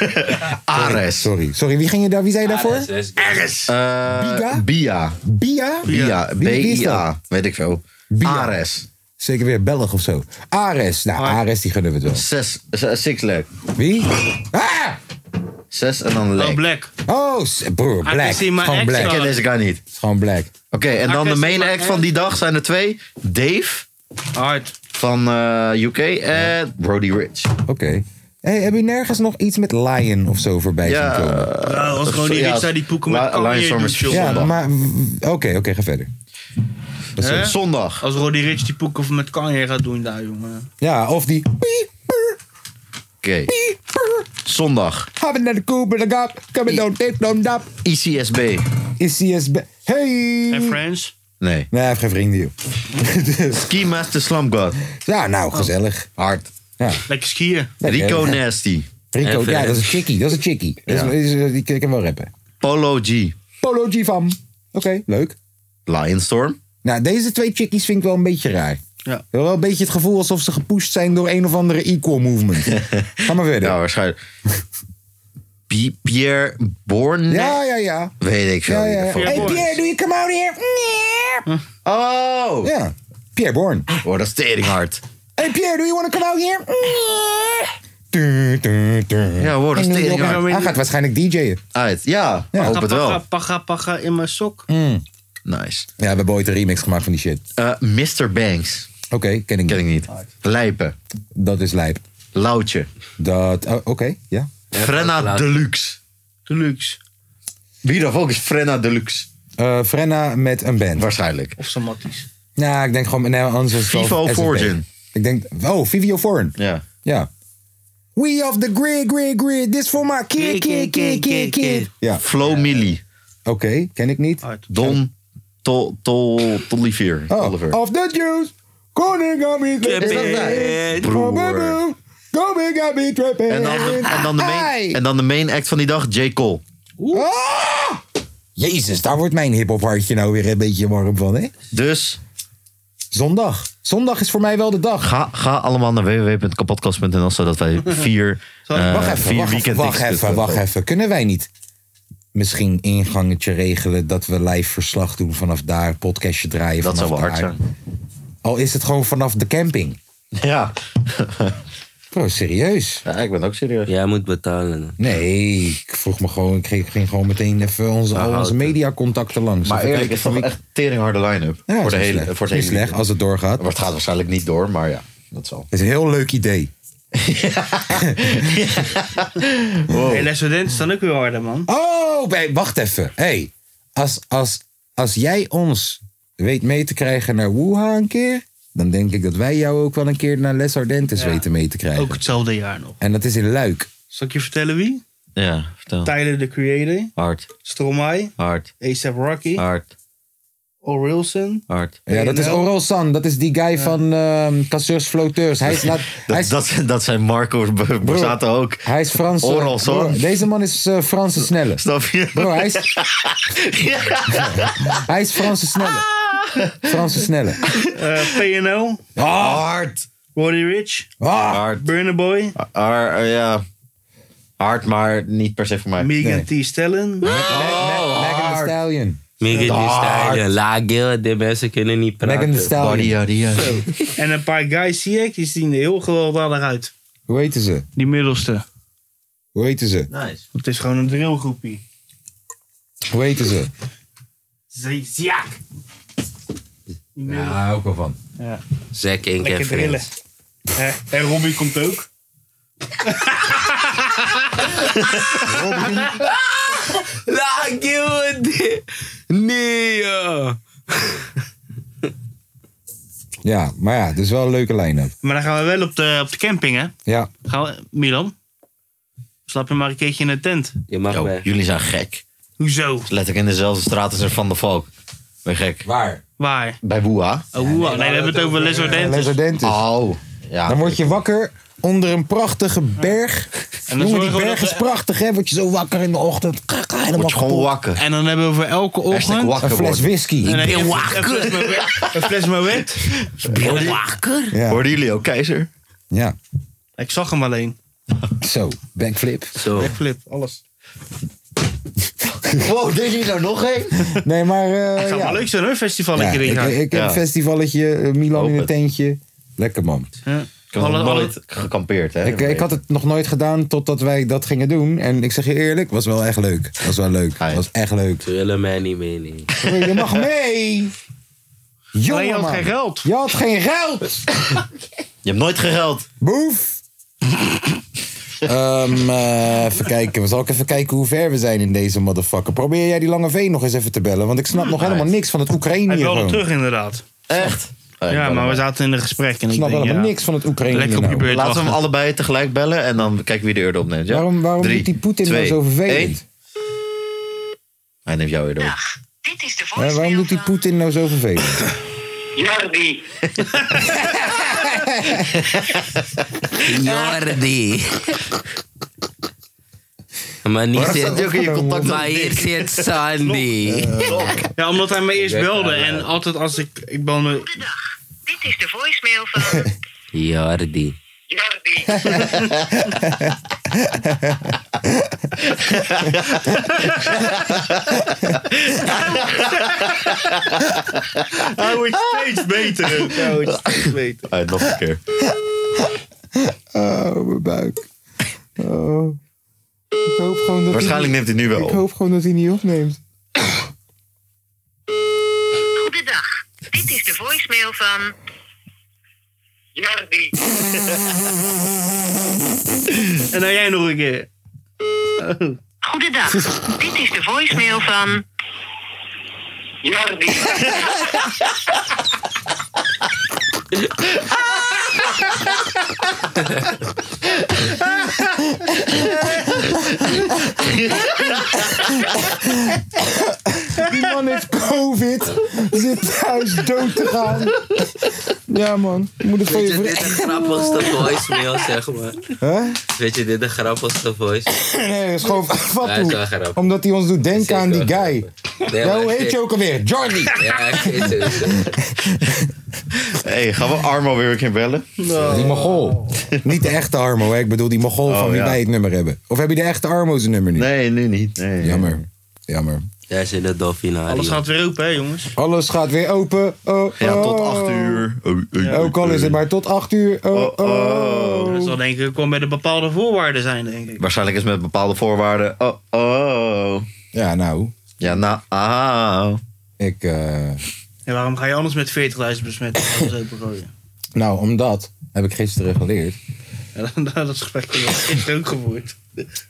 B: Ares.
A: Sorry. Sorry, wie ging je daar? Wie zei je
D: [laughs]
A: daarvoor?
B: Eh,
A: Biga?
B: Bia.
A: Bia?
B: Bia.
A: Wie- wie is dat?
B: B-I-A. Weet ik veel.
A: Bia.
B: Ares. Ah.
A: Zeker weer Belg of zo. Ares. Nou, Ares, die gunnen we het
B: Zes, z- six leg.
A: wel. Wie? Ah!
B: Zes en dan
C: Oh,
B: leg. Ik
C: Black. Ah,
A: Oh, s- broer, black.
C: see my
A: Gewoon
C: ex
A: black.
C: wel.
B: ken deze guy niet.
A: Gewoon black.
B: Oké, en dan
C: Ah,
B: de
C: ik
B: main
C: zie
B: act
C: maar
B: van
C: echt.
B: die dag zijn er twee. Dave
C: Hard.
B: van eh, UK en Brody Rich.
A: [laughs] Oké. Hey, heb je nergens nog iets met lion of zo voorbij
B: Ja, eh,
A: zien komen?
C: Ja, dat was gewoon die
B: Ja,
C: Rich die dus poeken met
B: La- Lion
C: Kanye
B: Storm
C: doet,
B: is
C: joh.
A: ja,
B: zondag.
A: maar... w- Oké, oké, ga verder.
C: Hè?
A: eh,
B: Zondag.
C: Als Roddy Rich die poeken of met Kanye gaat doen daar, jongen.
A: Ja, of die... piep, piep,
B: Oké. Zondag.
A: Ga we naar de koe, ben ik op. Kom ik dan, dit, dan, dat.
B: ICSB.
A: Is hij eens... be- Hey!
C: En
A: Nee,
C: Friends.
B: Nee.
A: hij heeft geen vrienden, joh. Dus-
B: Ski Master Slum God.
A: ja, nou, gezellig.
B: Hard.
C: Lekker skiën.
A: Lekker.
B: Rico Nasty.
A: Rico,
D: Even-
A: ja, dat is een chickie. Dat is een chickie. Dat is-
B: Ja.
A: is- is- Die kan ik wel rappen.
B: Polo G.
A: Polo G van. Oké, leuk.
B: Lionstorm.
A: Nou, deze twee chickies vind ik wel een beetje raar.
C: Ja.
A: Wel een beetje het gevoel alsof ze gepusht zijn door een of andere equal movement. Ga maar verder.
B: Ja, waarschijnlijk. Pi- Pierre Born.
A: Ja, ja, ja.
B: Weet ik veel.
A: ja,
B: in
A: ja,
B: ieder
A: ja.
B: geval.
A: Hey Pierre, doe je come out here? Nee.
B: [laughs] Oh!
A: Ja, Pierre Born.
B: Oh, dat is teringhard.
A: Hey Pierre, do you want to come out here? Nee. Tu, tu, tu.
B: Ja, hoor, dat is
A: En
B: tering
A: Hij
B: hard.
A: hij gaat waarschijnlijk DJ'en.
B: Uit. Ja,
A: Ja.
B: hoop het
C: Paga,
B: wel.
C: paga, paga in mijn sok.
A: Mm.
B: Nice.
A: Ja, we hebben ooit een remix gemaakt van die shit.
B: Eh, Mr. Banks.
A: Oké, ken ik
B: Ken
A: niet.
B: ik niet. Lijpen.
A: Dat is lijp.
B: Loutje.
A: Dat, oh, oké, ja.
B: Frenna
D: Loutje.
B: Deluxe.
C: Deluxe.
B: Wie dan ook is Frenna Deluxe.
A: Eh, Frenna met een band.
B: Waarschijnlijk.
C: Of Samatisch.
A: Ja, Nou, ik denk gewoon... Nee, anders is het wel
B: Vivo
A: SFP.
B: Fortune.
A: Ik denk... Oh, Vivio Foreign.
B: Ja.
A: Ja. We off the grid, grid, grid. This for my kid, kid, kid, kid, kid. Ja,
B: Flo Millie.
A: oké, ken ik niet.
C: Hard.
B: Don Tol Tol Tollivier.
A: Oh,
B: Oliver.
A: of the juice. Koning got me
D: Trippin'.
A: tripping.
B: Broer.
A: Koning got me tripping.
B: En dan, de, en, dan de main, en dan de main act van die dag, J. Cole.
A: Ah! Jezus, daar wordt mijn hip-hop hartje nou weer een beetje warm van, hè?
B: Dus
A: Zondag. Zondag is voor mij wel de dag.
B: ga, ga allemaal naar www.kapotkast.nl zodat
A: [laughs]
B: wij vier, eh,
A: wacht even,
B: vier
A: wacht even,
B: weekend
A: wacht even, wacht even. Kunnen wij niet misschien ingangetje regelen dat we live verslag doen vanaf daar, podcastje draaien
B: Dat
A: vanaf
B: zou wel hard
A: daar?
B: zijn.
A: Al is het gewoon vanaf de camping. [laughs]
B: Ja.
A: Bro, Oh, serieus?
B: ja, ik ben ook serieus.
D: Jij moet betalen.
A: Nee, ik vroeg me gewoon, ik ging, ging gewoon meteen even onze, al onze
D: houten.
A: mediacontacten langs.
B: Nou, Maar
A: Even
B: eerlijk, het
A: kijken
B: is toch
A: van wie-
B: echt teringharde line-up.
A: Ja,
B: voor, de
A: is niet
B: hele,
A: slecht.
B: voor het
A: Is niet
B: hele
A: slecht
B: weekend.
A: als het doorgaat.
B: Maar het gaat waarschijnlijk niet door, maar ja, dat zal.
A: Het is een heel leuk idee. [laughs]
C: Hey, Les Studenten staan ook weer harder, man.
A: Oh, bij- wacht even. hey, als, als, als jij ons weet mee te krijgen naar Wuha een keer... dan denk ik dat wij jou ook wel een keer naar Les Ardentes
C: Ja.
A: weten mee te krijgen.
C: Ook hetzelfde jaar nog.
A: En dat is in Luik.
C: Zal ik je vertellen wie?
B: Ja, vertel.
C: Tyler, the Creator.
B: Hard,
C: Stromae.
B: hard,
C: A$AP Rocky.
B: hard,
C: Orelson.
B: hard.
A: Ja, dat is
C: ANL.
A: Oral San. Dat is die guy van ehm Casseurs Floateurs.
B: [laughs]
A: Hij is, laat, hij
B: Dat,
A: is,
B: dat, dat zijn Marco B- Borsato ook.
A: hij is Frans. eh,
B: Oral San.
A: broer, Deze man is eh, Franse Snelle.
B: Snap je?
A: Bro, hij [laughs] is... hij is Franse Snelle. Franse Snelle.
C: Eh, PNL.
B: Hard,
C: Roddy Rich.
A: Ah,
B: hard,
C: Burner Boy.
B: hard, ja. Hard, maar niet per se voor mij.
C: Megan T. Stellen.
B: Oh,
A: Megan Thee Stallion.
D: Megan Thee Stallion, La Gil, de mensen kunnen niet
A: Megan Thee
D: praten.
A: Stallion.
C: En een paar guys zie ik, die zien er heel gewelddadig uit.
A: Hoe heten ze?
C: Die middelste.
A: Hoe heten ze?
D: Nice.
C: Het is gewoon een drillgroepie.
A: Hoe heten ze?
C: Zizak. Die middelste.
A: Ja, ook wel van.
D: Zack en
C: Lekker drillen.
D: Kevin.
C: Hè, Eh, En Robbie komt ook.
D: La Gil, de- nee eh. joh.
A: Ja, maar ja, het is wel een leuke line-up.
C: Maar dan gaan we wel op de, op de camping, hè?
A: Ja,
C: Gaan we, Milan? Slaap je maar een keertje in de tent.
D: Je mag
B: Yo,
D: weg.
B: jullie zijn gek.
C: Hoezo?
B: Letterlijk in dezelfde straat als er Van de Valk. Ben je gek.
A: waar?
C: Waar?
B: Bij Boeha.
C: Oh, nee, nee, we hebben het over Les Ordentes.
A: Les Ardentes.
B: Oh. Ah, Ja.
A: Dan word je wakker onder een prachtige berg
C: En dan
A: Jongen,
C: zorgen
A: die
C: we
A: berg
C: dat
A: is
C: we-
A: prachtig, hè? Word je zo wakker in de ochtend. Ga, ga, helemaal
B: Word je gewoon
A: kapot.
B: wakker.
C: En dan hebben we voor elke
B: Hashtag
C: ochtend...
A: Een
B: wakker
A: fles
B: worden.
A: whisky.
C: En dan-
D: ben
C: een-
D: wakker.
C: Een fles Moet- een fles Moet.
D: wakker.
A: Ja,
B: Hoorden jullie ook, keizer?
A: ja.
C: Ik zag hem alleen.
A: Zo, backflip.
B: Oh.
D: Zo.
C: Flip,
A: [laughs]
C: alles.
B: Wow, deed jullie nou nog één?
A: Nee, maar... eh,
C: Het zou
A: ja.
C: wel leuk zijn hoor, een
A: Ja,
C: festivalletje
A: ik,
C: erin gaan.
A: ik heb
B: Ja.
A: een festivalletje, eh, Milan
B: Hoop
A: in een
B: het.
A: tentje. Lekker man.
B: Ik heb nog
C: Alle-
B: nooit gekampeerd, hè?
A: Ik, ik had het nog nooit gedaan totdat wij dat gingen doen. En ik zeg je eerlijk, was wel echt
C: [laughs]
A: leuk. Was wel leuk.
B: Hi.
A: Was echt leuk.
D: Ze willen mij niet mee, nee.
A: Hey, je mag mee! Jongen,
C: Alleen je had
A: man.
C: geen geld.
A: Je had geen geld!
B: Je hebt nooit gegeld. [laughs]
A: Boef! Ehm, eh, even kijken. Zal ik even kijken hoe ver we zijn in deze motherfucker? Probeer jij die lange veen nog eens even te bellen? Want ik snap nog helemaal niks van het Oekraïne
C: Hij
A: hier
C: belde
A: gewoon.
C: terug inderdaad.
B: Echt?
C: Ja, maar we zaten in een gesprek. En
A: Ik
C: ik
A: snap
C: denk,
A: helemaal
C: ja,
A: niks van het Oekraïne
C: Lekker
A: hier
C: op je
A: nou.
C: beurt
B: Laten we hem
C: wachten.
B: allebei tegelijk bellen en dan kijken wie de eurde opneemt. Ja?
A: Waarom, waarom
B: Drie,
A: doet die Poetin nou
B: twee,
A: zo
B: één.
A: vervelend?
B: Hij neemt jou eurde op.
H: Dag, dit is de
A: Hè,
H: voicemail
A: waarom doet die
H: van...
A: Poetin nou zo vervelend? [laughs]
I: Jardi.
A: [laughs]
D: Jordi. maar niet
B: Waarom staat hij
D: zit...
B: ook in je contact?
D: Maar hier zit Sandy.
C: Ja, omdat hij me eerst belde. En altijd als ik... Ik bel me...
H: Goedendag, dit is de voicemail van...
D: Jordi.
H: Jordi.
C: Hij wordt steeds beter. Hij wordt steeds beter.
B: Hey, nog een keer.
A: Oh, mijn buik. Oh. Ik hoop gewoon dat
B: Waarschijnlijk neemt hij nu wel
A: Ik
B: op.
A: hoop gewoon dat hij niet opneemt.
H: Goedendag, dit is de voicemail van...
A: [laughs]
H: Jordi.
C: En dan jij nog een keer.
D: [laughs]
H: Goedendag, dit is de voicemail van... Jordi.
A: Die man heeft COVID. Zit thuis dood te gaan. Ja, man. Je Moet het voor
D: Weet
A: je
D: je, dit is
A: vrienden.
D: de [laughs] grappigste voicemail, zeg maar.
A: Hè?
D: Weet je, dit is de grappigste voice.
A: Nee, dat is gewoon [laughs]
D: Ja, is wel
A: fatu.
D: grappig.
A: Omdat hij ons doet denken aan die guy.
D: Nee,
A: Ja,
D: maar
A: hoe
D: ik-
A: heet je ook alweer? Jordi.
D: Ja, ik weet het.
B: hey, gaan we Armo weer een keer bellen?
A: Die Mogol. [laughs] Niet de echte Armo, hè. Ik bedoel die Mogol van wie
B: Oh, ja.
A: wij het nummer hebben. Of heb je de echte Armo zijn nummer niet?
B: Nee, nu niet. Nee.
A: Jammer. Jammer.
D: Daar zit de dolfinario.
C: Alles gaat weer open, hè, jongens.
A: Alles gaat weer open. Oh,
B: Ja, tot
A: oh.
B: 8 uur. Oh, oh, oh,
A: Ook al is het
B: oh.
A: maar tot 8 uur. Oh, oh.
B: Oh, oh.
C: Dat zal denk ik gewoon bij de bepaalde voorwaarden zijn, denk ik.
B: Waarschijnlijk is het met bepaalde voorwaarden. Oh, oh.
A: Ja, nou.
B: Ja, nou. au.
A: Ik, eh,
C: En waarom ga je anders met 40.000 besmettingen alles opengooien?
A: nou, omdat, heb ik gisteren geleerd.
C: Ja, dat- dat gesprek is ook gevoerd.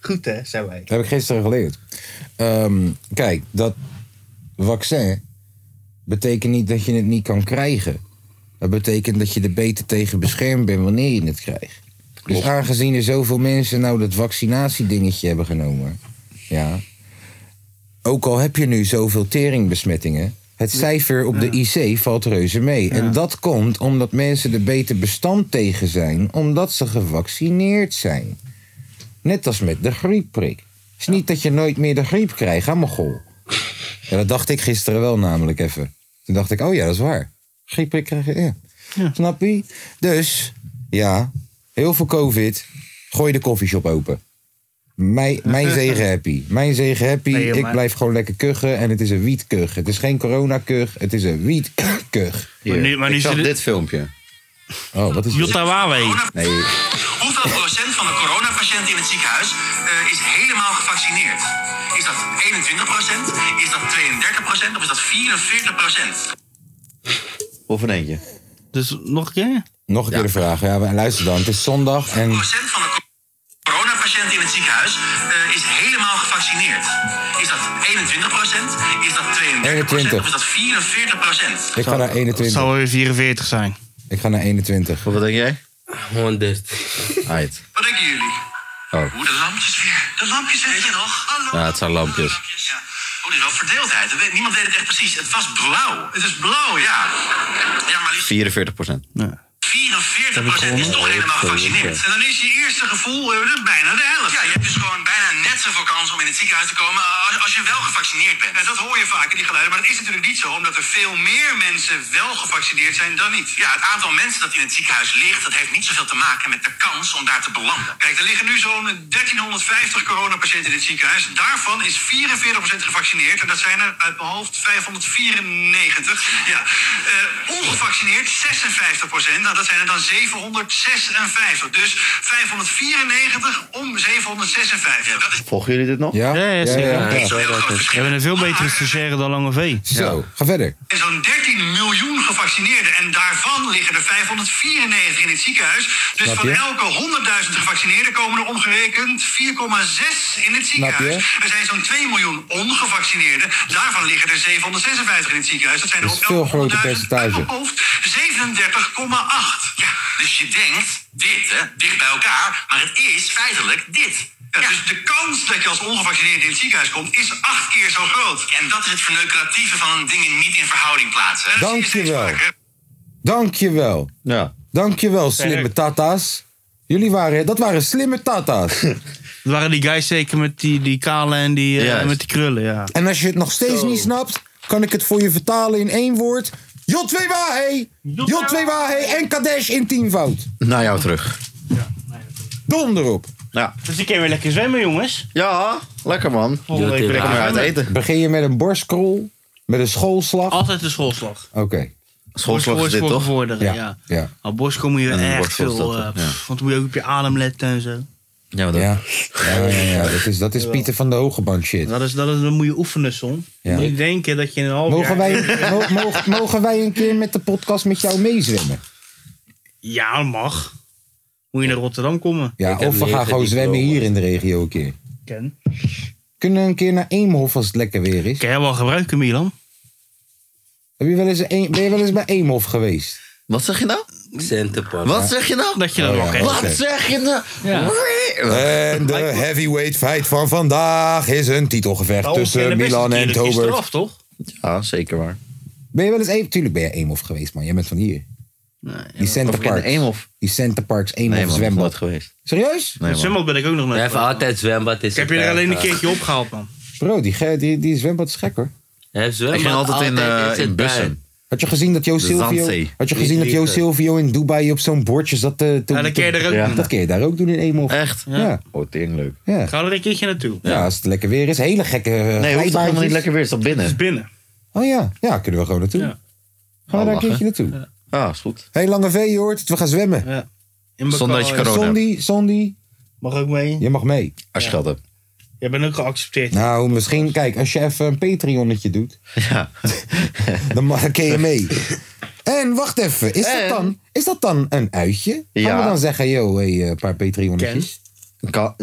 C: Goed, hè, zijn wij.
A: heb ik gisteren geleerd. Ehm, kijk, dat vaccin betekent niet dat je het niet kan krijgen. Dat betekent dat je er beter tegen beschermd bent wanneer je het krijgt. Dus aangezien er zoveel mensen nou dat vaccinatiedingetje hebben genomen... ja, ook al heb je nu zoveel teringbesmettingen... het cijfer op de IC valt reuze mee. En dat komt omdat mensen er beter bestand tegen zijn... omdat ze gevaccineerd zijn. Net als met de griepprik. Het is niet dat je nooit meer de griep krijgt, hè, mogol? Ja, dat dacht ik gisteren wel namelijk even. Toen dacht ik, oh ja, dat is waar. Griepprik krijg je, ja. Snap je? Dus, ja, heel veel covid. Gooi de koffieshop open. Mijn,
C: [laughs]
A: mijn zegen happy. Mijn zegen happy.
C: Nee, joh,
A: ik
C: maar-
A: blijf gewoon lekker kuchen en het is een wietkug. Het is geen coronakug, het is een wietkug.
B: Hier,
C: Maar nu- maar nu
B: ik zag
C: zit het-
B: dit filmpje.
A: Oh, wat is dit?
C: Jutta Wawe.
B: Nee,
E: Hoeveel procent van de coronapatiënten in het ziekenhuis eh, is helemaal gevaccineerd? Is dat 21 procent? Is dat 32 procent? Of is dat 44 procent?
B: of een eentje.
C: Dus nog een keer?
A: Nog een keer de vraag. Ja, maar luister dan. Het is zondag en...
E: procent van de co- coronapatiënten in het ziekenhuis eh, is helemaal gevaccineerd. Is dat 21 procent? Is dat 32 procent?
A: 21.
E: Of is dat 44 procent?
A: Ik ga naar
C: Het
A: 21.
C: zal weer 44 zijn.
A: Ik ga naar 21.
B: Of wat denk jij?
D: 100.
B: Ait.
E: Wat denken jullie?
B: Oh.
E: Hoe de lampjes weer. De lampjes weet je nog? Hallo.
B: Ja, het zijn lampjes.
E: Ja. Oh, dit is wel verdeeldheid. Dat weet- Niemand weet het echt precies. Het was blauw. Het is blauw, ja. Ja, maar liefst
B: 44 procent.
E: 44%
D: Heb ik
E: 44% is
D: gewonnen?
E: toch
D: Oh,
E: helemaal
D: sorry,
E: gevaccineerd.
D: oké.
E: En dan is je eerste gevoel eh, bijna de helft. Ja, je hebt dus gewoon bijna net zoveel kans om in het ziekenhuis te komen eh, als, als je wel gevaccineerd bent. En dat hoor je vaker, die geluiden. Maar dat is natuurlijk niet zo, omdat er veel meer mensen wel gevaccineerd zijn dan niet. Ja, het aantal mensen dat in het ziekenhuis ligt, dat heeft niet zoveel te maken met de kans om daar te belanden. Kijk, er liggen nu zo'n 1350 coronapatiënten in het ziekenhuis. Daarvan is 44% gevaccineerd. En dat zijn er uit mijn hoofd 594. Ja. Eh, ongevaccineerd 56%. Nou, dat zijn er dan 756. Dus 594 om 756. Ja, dat is
B: Volgen jullie dit nog?
A: Ja,
C: Ja, ja, zeker.
A: ja.
E: een heel groot
C: We
E: verschil.
C: hebben een veel betere stagiaire dan Lange V.
A: Zo, ga verder.
E: En zo'n 13 miljoen gevaccineerden. En daarvan liggen er 594 in het ziekenhuis. Dus
A: Snap
E: van
A: je?
E: elke 100.000 gevaccineerden komen er omgerekend 4,6 in het ziekenhuis.
A: je?
E: Er zijn zo'n 2 miljoen ongevaccineerden. Daarvan liggen er 756 in het ziekenhuis. Dat zijn er
A: Dat is
E: op
A: veel
E: elke
A: groter
E: 100.000 uit
A: percentage.
E: mijn hoofd 37,8. Ja, dus je denkt dit, hè, dicht bij elkaar. Maar het is feitelijk dit. Ja. Dus de kans dat je als ongevaccineerde in het ziekenhuis komt, is acht keer zo groot. En dat is het verneukeratieve van dingen niet in verhouding plaatsen. hè.
A: Dank
E: Dat zie
A: je wel.
E: steeds vaker.
A: Dankjewel.
B: Ja.
A: Dankjewel, slimme tata's. Jullie waren, dat waren slimme tata's.
B: [laughs]
C: Dat waren die guys zeker met die, die kale en die, eh,
B: Juist.
C: met die krullen, ja.
A: En als je het nog steeds niet snapt, kan ik het voor je vertalen in één woord. Jotwewahe! Jotwewahe en Kadesh in tienvoud.
B: Naar jou terug.
A: Dom erop.
B: Ja.
C: Dus ik keer weer lekker zwemmen, jongens.
B: Ja, lekker man.
C: Volgende week weer
D: Jotje,
B: Lekker
C: lekker
B: maar uit
C: zwemmen.
B: eten.
A: Begin je met een borstkrol, met een schoolslag.
C: Altijd de schoolslag.
A: Oké,
B: Schoolslag is dit
C: Borstvoor-
B: toch?
C: bevorderen,
A: ja.
C: ja.
A: ja.
C: Nou, borstkool moet je
B: En
C: echt
B: borstvoor
C: veel...
B: is dat,
C: eh,
B: ja.
C: pff, Want dan moet je ook op je adem letten en zo.
B: Ja, maar dat-
A: Ja, ja, ja, ja, Dat, is, dat is Pieter van de Hogeband shit.
C: Dat is, dat is, dan moet je oefenen, son.
A: Ja.
C: Moet je denken dat je in een half
A: Mogen
C: jaar... [laughs]
A: wij, mo- mogen, mogen wij een keer met de podcast met jou meezwemmen?
C: Ja, mag. Moet je naar Rotterdam komen.
A: Ja,
D: Ik heb
A: of we gaan
D: negen
A: gewoon zwemmen
D: diploma's.
A: hier in de regio een keer.
C: Ken.
A: Kunnen we een keer naar Eemhof als het lekker weer is?
C: Kan jij wel gebruiken, Milan?
A: Heb je wel eens een, ben je wel eens bij Eemhof geweest?
B: Wat zeg je nou?
D: Centenpan.
B: Wat zeg je nou?
C: Dat je dat
A: Oh,
C: wel
A: ja.
C: kent.
A: Wat?
B: Wat zeg je nou?
A: En de heavyweight fight van vandaag is een titelgevecht tussen Milan en Tobert.
C: Straf, toch?
B: Ja, zeker waar.
A: Ben je wel eens Eemhof? Tuurlijk ben je Eemhof geweest, man. Jij bent van hier. Die Center
B: Of in de
A: Parks.
B: Eemhof.
A: Die Center Parks
B: Nee,
A: Eemhof
B: man, ik ben nooit
A: zwembad.
B: geweest.
A: Serieus?
C: Het
B: Nee, man.
C: zwembad ben ik ook nog
D: We
C: net.
D: hebben altijd zwembad. Is
C: Ik heb je er alleen een keertje opgehaald, man.
A: Bro, die, ge- die, die zwembad is gek hoor.
D: Hij zwembad
B: Ik ging altijd in, eh,
D: is het
B: in bussen.
A: Had je gezien dat Jo Silvio,
B: Zandzee. eh,
A: had je
D: Niet
A: gezien dat Jo
D: liegen.
A: Silvio in Dubai op zo'n bordje zat eh, te, te,
C: Ja, dat kun je
A: te-
C: er ook
B: Ja.
C: doen.
A: Dat kun je daar ook doen in Eemhof.
B: Echt?
A: Ja. Ja.
B: Oh, ding leuk.
A: Ja.
C: Ga er een keertje naartoe.
A: als het lekker weer is. Hele gekke eh,
B: Nee, hoeft toch helemaal
A: glijbaantjes.
B: niet lekker weer. Is dat
C: Het is
B: binnen?
C: binnen.
A: Oh ja, ja, kunnen we gewoon naartoe.
C: Ja.
A: Gaan we daar een
B: Lachen.
A: keertje naartoe.
B: Ah, is goed.
A: Hé, Lange V, je hoort het, we gaan zwemmen.
C: In
B: Zonder dat je
C: Bacau,
B: corona-
C: ja.
A: Sondi, Sondi,
C: Mag ook mee.
A: je mag mee.
B: Als je geld hebt.
C: Jij bent ook geaccepteerd.
A: Nou, misschien, kijk, als je even een Patreonnetje doet,
B: Ja.
A: [laughs] dan mag kun je mee. En wacht even, is,
B: En?
A: dat, dan, is dat dan een uitje? Gaan
B: Ja.
A: we dan zeggen, yo, hey, eh, een paar Patreonnetjes?
B: Kan-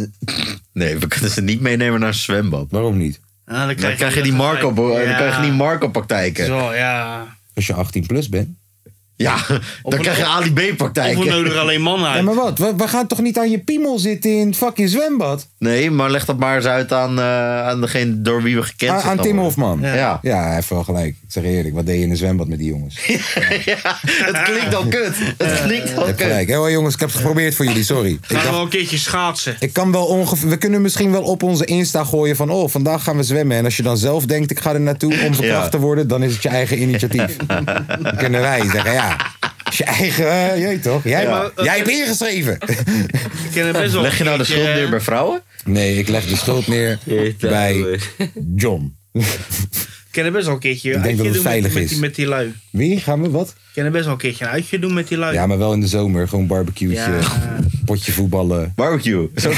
B: Nee, we kunnen ze niet meenemen naar een zwembad.
A: Waarom niet?
C: Ja, Ah, dan
B: Dan krijg je die Marco, bo- dan krijg je die Marco praktijken.
C: Zo, ja.
A: Als je 18 plus bent.
B: Ja, dan
C: een-
B: krijg je Ali B
C: Of we
B: praktijken. [laughs]
C: nodigen alleen mannen
A: Ja,
C: uit.
A: maar wat? We, we gaan toch niet aan je piemel zitten in het fucking zwembad?
B: Nee, maar leg dat maar eens uit aan, eh, aan degene door wie we gekend
A: Aan,
B: zijn.
A: aan
B: dan
A: Tim
B: worden.
A: Hofman.
C: Ja.
B: Ja. [laughs]
A: Ja, hij heeft wel gelijk. Ik zeg eerlijk, wat deed je in een zwembad met die jongens? Je
B: Ja, het klinkt al kut. Het klinkt al
A: hebt
B: kut.
A: gelijk. Hé hoor, jongens, ik heb het geprobeerd voor jullie, sorry. Ik,
C: Gaan we
A: dacht,
C: wel een keertje schaatsen.
A: ik kan wel ongeveer... We kunnen misschien wel op onze Insta gooien van... Oh, vandaag gaan we zwemmen. En als je dan zelf denkt, ik ga er naartoe om verkracht
B: Ja.
A: te worden... dan is het je eigen
B: [laughs]
A: initiatief. dan kunnen wij zeggen, ja... Is je eigen... eh, je weet toch? Jij, jij hebt ingeschreven.
C: Ik ken er best wel
B: Leg je nou de
C: een keertje,
B: schuld neer bij vrouwen?
A: nee, ik leg de schuld neer bij John.
C: Ik ken er best wel een keertje. Ik
A: denk dat het veilig
C: met,
A: is.
C: Met die, met die lui.
A: Wie? Gaan we wat?
C: Ik ken er best wel een keertje een uitje doen met die lui.
A: Ja, maar wel in de zomer. Gewoon barbecue'tje,
C: Ja.
A: potje voetballen. [laughs] Nou,
B: Barbecue. Zo-
A: [laughs]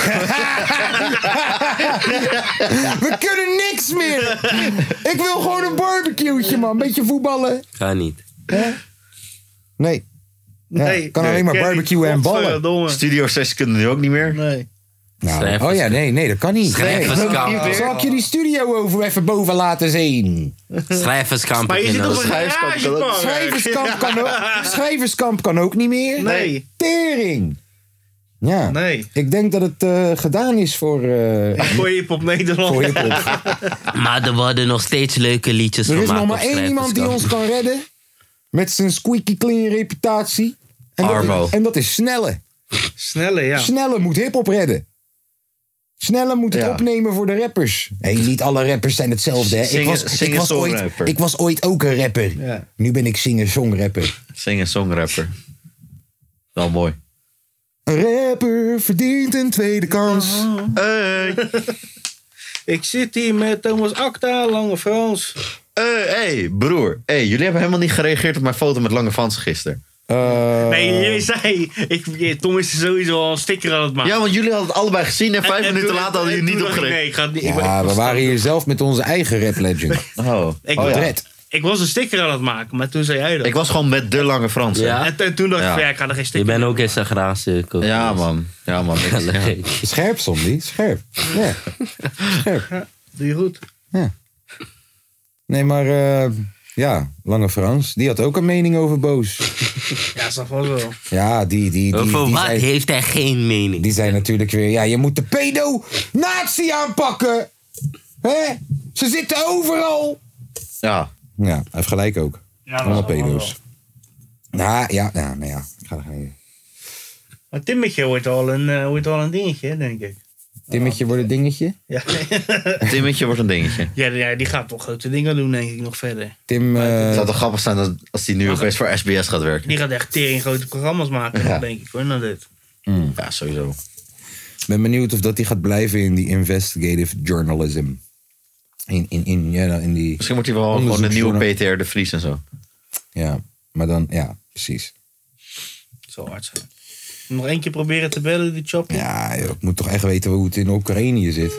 A: We kunnen niks meer! Ik wil gewoon een barbecue'tje, man. Beetje voetballen.
D: Ga niet.
A: Nee. Ja,
C: Nee.
A: kan alleen maar
C: Ken ik.
A: barbecuen en ballen.
C: Godverdomme.
B: Studio sessies kunnen nu ook niet meer.
C: Nee.
A: Nou,
D: Schrijf
A: oh ja, nee, nee, dat kan niet. Nee.
D: Schrijverskamp.
A: Zal ik je die studio over even boven laten zien?
D: Schrijverskamp.
C: Maar je zit
D: in
C: op
D: ons-
C: een garage,
B: Schrijfkamp.
C: man.
A: Schrijverskamp
C: [laughs]
A: kan ook, schrijverskamp kan ook niet meer.
C: Nee.
A: Tering! Ja.
C: Nee.
A: Ik denk dat het eh, gedaan is voor, eh
C: [laughs] Gooi je op Nederland.
A: voor hiphop.
D: [laughs] Maar er worden nog steeds leuke liedjes
A: Er
D: gemaakt.
A: is nog
D: op
C: dus
A: maar één iemand die
D: Schrijverskamp.
A: ons kan redden. Met zijn squeaky clean reputatie. En dat,
D: Armo.
A: en dat is snelle.
C: Snelle, ja.
A: Snelle moet hip-hop redden. Snelle moet het
B: Ja.
A: opnemen voor de rappers. Hé, niet alle rappers zijn hetzelfde. Hè?
B: Zingen-
A: ik, was, ik, was ooit,
B: singer-songwriter.
A: ik was ooit ook een rapper.
C: Ja.
A: Nu ben ik singer-songrapper.
B: Singer-songrapper. Wel mooi.
A: Een rapper Eh, verdient een tweede kans.
B: Hey,
C: Ik zit hier met Eh, Thomas Acta, Lange Frans.
B: hey, Eh, hey, broer. Hey, jullie hebben helemaal niet gereageerd op mijn foto met Lange Frans gisteren.
A: Eh,
C: Nee,
B: Eh.
C: jullie zei, ik, Tom is er sowieso al een sticker aan het maken.
B: Ja, want jullie hadden het allebei gezien en vijf
C: En- en
B: minuten
C: toen-
B: later hadden
C: en
B: jullie
C: toen
B: niet op
C: dacht ik,
B: gereageerd.
C: Nee, ik ga het niet. [laughs] ik ben-
A: Ja, we waren hier zelf met onze eigen rap legend.
B: Oh,
C: Ik-
B: oh ja.
A: Red.
C: Ik was een sticker aan het maken, maar toen zei jij dat.
B: Ik was gewoon met de Lange Frans. hè.
D: Ja.
C: en, en toen dacht ik,
B: Ja.
C: van, ja, ik ga er geen
D: Je
C: sticker
D: bent ook in Sagraanse.
B: Ja, man.
D: [laughs]
B: Ja, man. Ik- ja.
A: Scherp, Sondi. Scherp.
C: [laughs]
A: Ja.
C: Doe je goed.
A: Nee, maar eh, ja, Lange Frans. Die had ook een mening over
B: [laughs]
A: Boos.
C: Ja, dat is toch wel zo.
A: Ja, die, die, die,
D: Over
A: die,
D: wat
A: zei,
D: heeft hij geen mening?
A: die zei natuurlijk weer... Ja, je moet de pedo-nazi aanpakken. Hè? Ze zitten overal.
B: ja.
A: Ja, hij heeft gelijk ook.
C: Ja,
A: Allemaal pedo's. Nou ja, ja, nou ja. Ik ga er geen...
C: Maar Timmetje wordt al een, eh, wordt al een dingetje, hè, denk ik.
A: Timmetje wordt een dingetje.
C: Ja.
B: [laughs] Timmetje wordt een dingetje.
C: ja, ja, die gaat wel grote dingen doen, denk ik, nog verder.
A: Tim... eh,
B: Het zou toch grappig zijn dat als hij nu opeens voor SBS gaat werken.
C: Die gaat echt tering grote programma's maken,
B: Ja.
C: denk ik, hoor, na dit.
B: Ja, sowieso.
A: ben benieuwd of dat die gaat blijven in die investigative journalism. In, in, in, ja, nou, in die...
B: Misschien wordt hij wel gewoon de nieuwe PTR de Vries en zo.
A: Ja, maar dan... Ja, precies.
C: Zo hard zijn. Nog één keer proberen te bellen, die chop.
A: Ja, joh, ik moet toch echt weten hoe het in Oekraïne zit.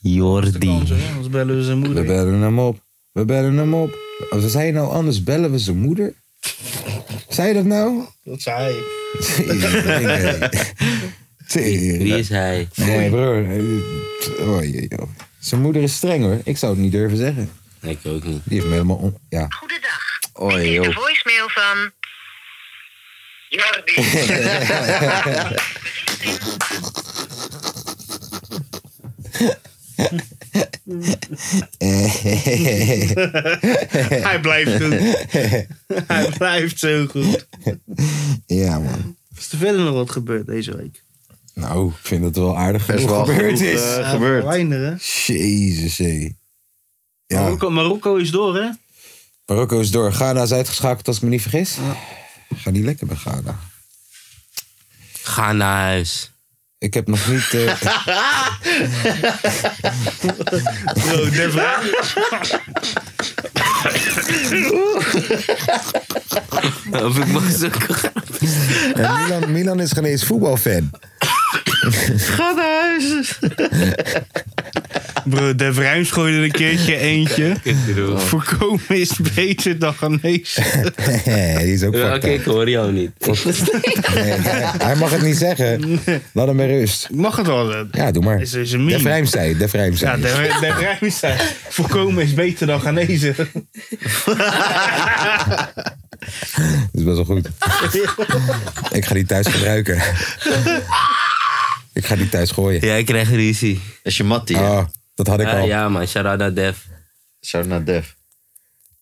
D: Jordi.
C: Anders bellen we zijn
A: We
C: moeder.
A: bellen hem op. We bellen hem op. Ze zei nou anders bellen we zijn moeder. Zei je dat nou?
C: Dat zei hij.
D: Wie
A: Tering.
D: is hij?
A: Nee, broer. Oh, jee, joh. Zijn moeder is streng hoor. Ik zou het niet durven zeggen.
D: Ik ook niet.
A: Die heeft me helemaal om. Ja.
E: Goedendag.
B: Oei,
E: Dit is de
B: joh.
E: voicemail van... Jordi.
C: [laughs] Hij blijft goed. hij blijft zo goed.
A: ja, man.
C: Is er verder nog wat gebeurd deze week?
A: Nou, ik vind dat wel aardig
B: Best
A: genoeg
B: wel
A: gebeurd
B: genoeg,
A: is.
B: eh,
C: Ja,
B: gebeurd.
C: Weinig, hè?
A: Jezus, hé. Ja,
C: Marokko, Marokko is door, hè?
A: Marokko is door. Ghana is uitgeschakeld als ik me niet vergis. Ga niet lekker bij Ghana.
D: Ga naar huis.
A: Ik heb nog niet... eh,
C: Bro, de vraag.
A: eh,
D: [laughs] Of ik mag zoeken.
A: En Eh, Milan, Milan is geen eens voetbalfan.
C: Bro, de Vrijms gooide een
B: [laughs]
C: keertje eentje. Voorkomen is beter dan genezen.
B: [laughs]
A: die is ook
D: Oké,
A: fucked
D: ik
A: up.
D: hoor jou niet.
A: Nee, [laughs] Hij mag het niet zeggen. Laat hem maar rust.
C: Mag het wel? eh,
A: Ja, doe maar.
C: Is, is een
A: De
C: meme.
A: Vrijm zei, de Vrijm
C: ja,
A: zei.
C: de, de Vrijms zei, Voorkomen is beter dan
A: [laughs]
C: genezen.
A: Dat is best wel goed. Ik ga die thuis gebruiken. Ik ga die thuis gooien.
D: Jij krijgt ruzie.
B: Dat is je mattie, hè?
A: Ah, dat had ik
D: Ah,
A: al.
D: ja, man. Shout-out naar Def.
B: Shout naar Def.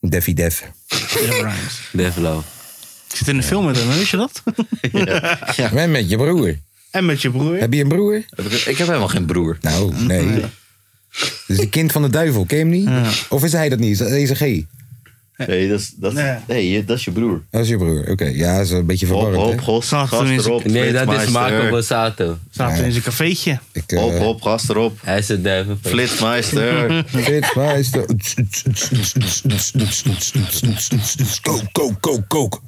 A: Deffy Def.
D: Def Love.
C: Ik zit in de film met hem, weet je dat?
A: En met je broer.
C: En met je broer.
A: Heb je een broer?
B: Heb Ik ik heb helemaal geen broer.
A: Nou, nee. Dus die kind van de duivel, ken je hem niet? Of is hij dat niet? Is dat deze G?
B: Nee, dat is, dat is,
C: Nee.
B: nee, je- dat is je broer.
A: Dat is je broer. Oké, ja, dat is een beetje
B: Hop,
A: verwarrend.
B: hop,
A: hè?
B: gast,
C: Zacht,
B: gast
C: tenminste.
B: erop.
D: Nee, dat is
B: Flitsmeister.
D: Marco Borsato.
C: Zaten in zijn cafeetje.
A: Ik, eh,
B: Hop, hop, gast erop.
D: Hij is een duivel. [laughs]
B: Flitsmeister.
A: Dit is de. Kook, kook, kook, kook.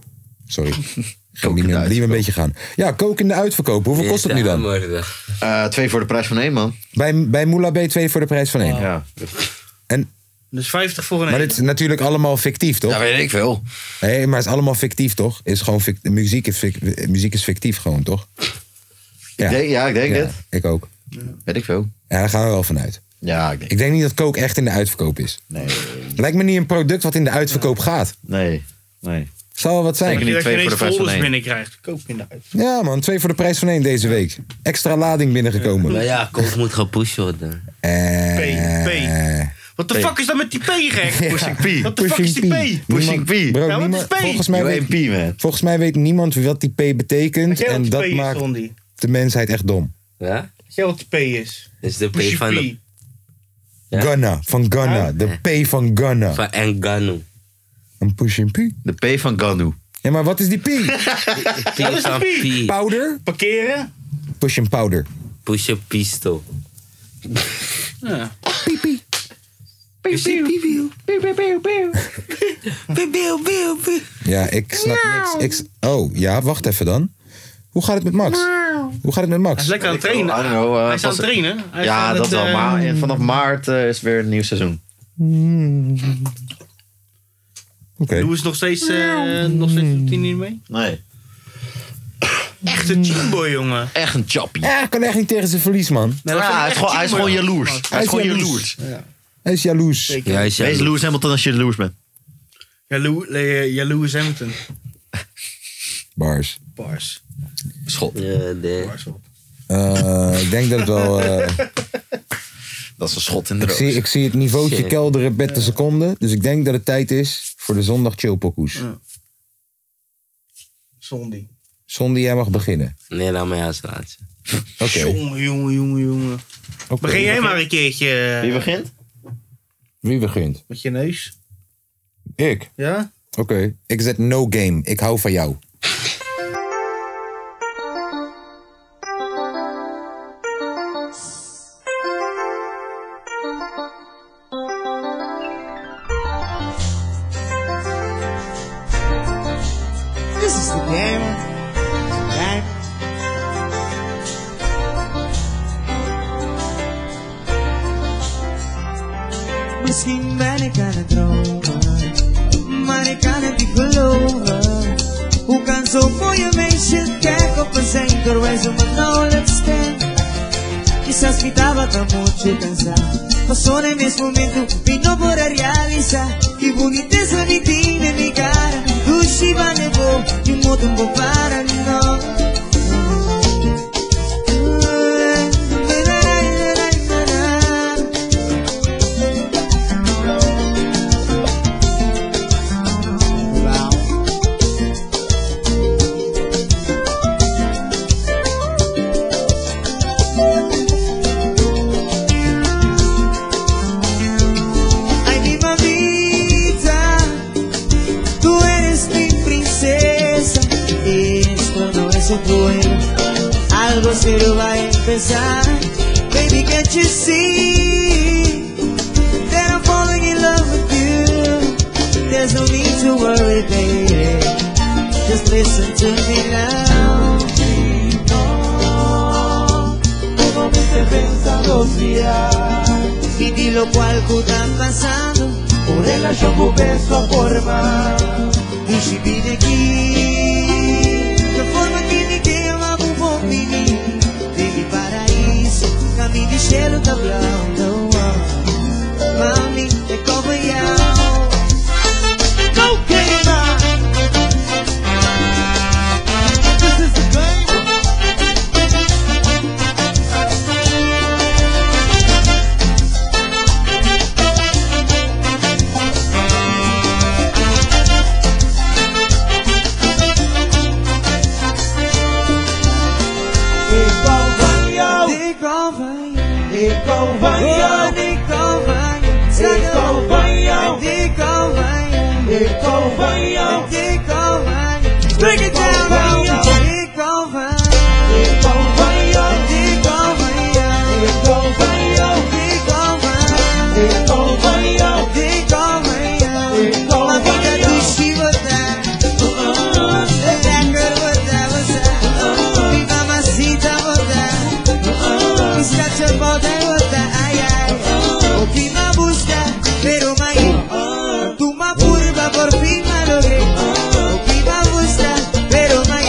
A: Sorry. Ik ga niet meer, niet meer een beetje gaan. Ja, kook in de uitverkoop. Hoeveel kost het nu dan?
B: Eh, twee voor de prijs van één, man.
A: Bij, bij Moula B2 voor de prijs van één.
B: Ja.
A: En,
C: Dus 50 voor een
A: maar dit is natuurlijk allemaal fictief, toch?
B: Dat weet ik veel.
A: Nee, maar het is allemaal fictief, toch? Is gewoon fic- muziek, is fic- muziek is fictief, gewoon, toch? Ja,
B: Ik denk, ja, ik denk
A: Ja,
B: het.
A: ik ook.
B: Weet ik veel.
A: Ja, daar gaan we wel vanuit.
B: Ja, ik denk
A: Ik denk niet dat kook echt in de uitverkoop is.
B: Nee,
A: Lijkt me niet een product wat in de uitverkoop gaat.
B: nee, nee.
A: Zal wel wat zijn.
B: Zeker niet
C: dat je
B: twee voor
C: ineens
B: de prijs van
C: folders
B: één.
C: binnenkrijgt. Koop in de uit.
A: Ja, man, twee voor de prijs van één deze week. Extra lading binnengekomen.
D: Maar ja, Koos moet gepusht worden.
A: Eh,
C: P, P. What the fuck is dat met die P, gek?
B: Pushing P.
C: What the fuck is die P?
B: Pushing P.
A: Bro,
C: Ja, wat
A: niemand-
C: is P?
A: volgens, mij
B: Yo,
A: weet,
B: MP, man.
A: volgens mij weet niemand wat die P
C: Weet
A: betekent.
C: jij wat
A: En
C: die P
A: dat
C: is,
A: maakt
C: Rondi?
A: de mensheid echt dom.
D: Ja?
C: Weet jij wat die P is?
D: Dat is de P
C: Pushing
D: van, de,
C: P.
D: Ja?
A: Ghana, van Ghana. De P van Ghana.
D: van Engano.
A: Een push and P.
B: De P van Ganu.
A: Ja, maar wat is
B: [laughs]
A: die P?
D: P van P.
A: Powder?
C: Parkeren?
A: Push and powder.
D: Push a pistol.
A: Ja, ik snap
B: Nou.
A: niks. Ik, oh, ja, wacht even dan. Hoe gaat het met
B: Nou.
A: Max? Hoe gaat het met
C: Hij
A: Max?
C: is lekker aan het trainen.
B: I don't know, eh,
C: Hij is aan
B: pas-
C: het trainen. Hij is
B: Ja,
C: aan
B: dat
C: het,
B: wel.
C: eh,
B: Maar eh, vanaf maart eh, is weer een nieuw seizoen.
A: Oké.
C: Doe eens nog steeds,
B: Nou.
C: eh, nog steeds op 10 uur mee.
B: Nee.
C: Echt een chimbo, jongen.
B: Mm. Echt een chappie.
A: Ja, hij kan echt niet tegen zijn verlies, man.
C: Nee, dat
B: Ja,
C: vind ik
B: hij,
C: echt
B: is gewoon, hij is
C: chimbo,
B: gewoon
C: jongen.
B: jaloers. Hij is gewoon jaloers.
A: Hij is jaloers.
C: Zeker.
D: Ja, hij is
B: Wees
D: jaloers.
B: jaloers Hamilton als je jaloers bent.
C: Jaloe- le- Jaloers Hamilton.
A: Bars.
C: Bars.
B: Schot.
D: Ja, de-
A: Eh, ik denk dat het wel... eh,
B: [laughs] Dat is een schot in de
A: ik, zie,
B: roos.
A: ik zie het niveautje
D: Shit.
A: kelderen met de seconde. Dus ik denk dat het tijd is voor de zondag chillpokoes.
C: Zondi.
A: Zonde, jij mag beginnen.
D: Nee, laat mij als laatste.
A: Oké.
C: Jongen, jongen, jongen, jongen.
A: Oké.
C: Begin jij maar een keertje
B: Wie
C: eh,
B: begint?
A: Wie begint?
C: met je neus.
A: Ik.
C: Ja?
A: Oké. Ik zet no game. Ik hou van jou.
F: This is the game. Right? Whiskey, money gonna throw over. Money gonna be all over. Hoe kan zo voor je meisje kijken op een zenker wijzen maar nauwelijks stem? Quizás gritaba tan mucho y cansado. Pasó en ese momento y no podré realizar. Y bonita es la vitrina en mi cara. Gucci va nevo y un modo un para no. Wow. Ay, mi mamita, tú eres mi princesa. Esto no es un juego, algo serio va a empezar. Baby, can't you see that I'm falling in love with you? There's no need to worry, baby. Just listen to me now. Y di lo cual está pasando Por el asciombo beso a forma Y si vive aquí La forma tiene que amar un buen vivir De mi paraíso Camino y cielo está hablando Mami, te cojo ya Go, querida This is the game Nico Vanyo. Nico Vanyo. Nico Vanyo. Nico Vanyo. Nico Vanyo. Nico Vanyo. Nico Vanyo. Break it down. Nico Vanyo. Nico Vanyo. Nico Vanyo. Nico Vanyo. Nico Vanyo. Nico Vanyo. Nico Vanyo. Nico Vanyo. Mamita, tu chivotar. That girl, what that was that. Mi mamacita, what that. Busca te volta e volta, ai ai O que não busca, pero mai Tu ma curva por fin ma logré O que não busca, pero mai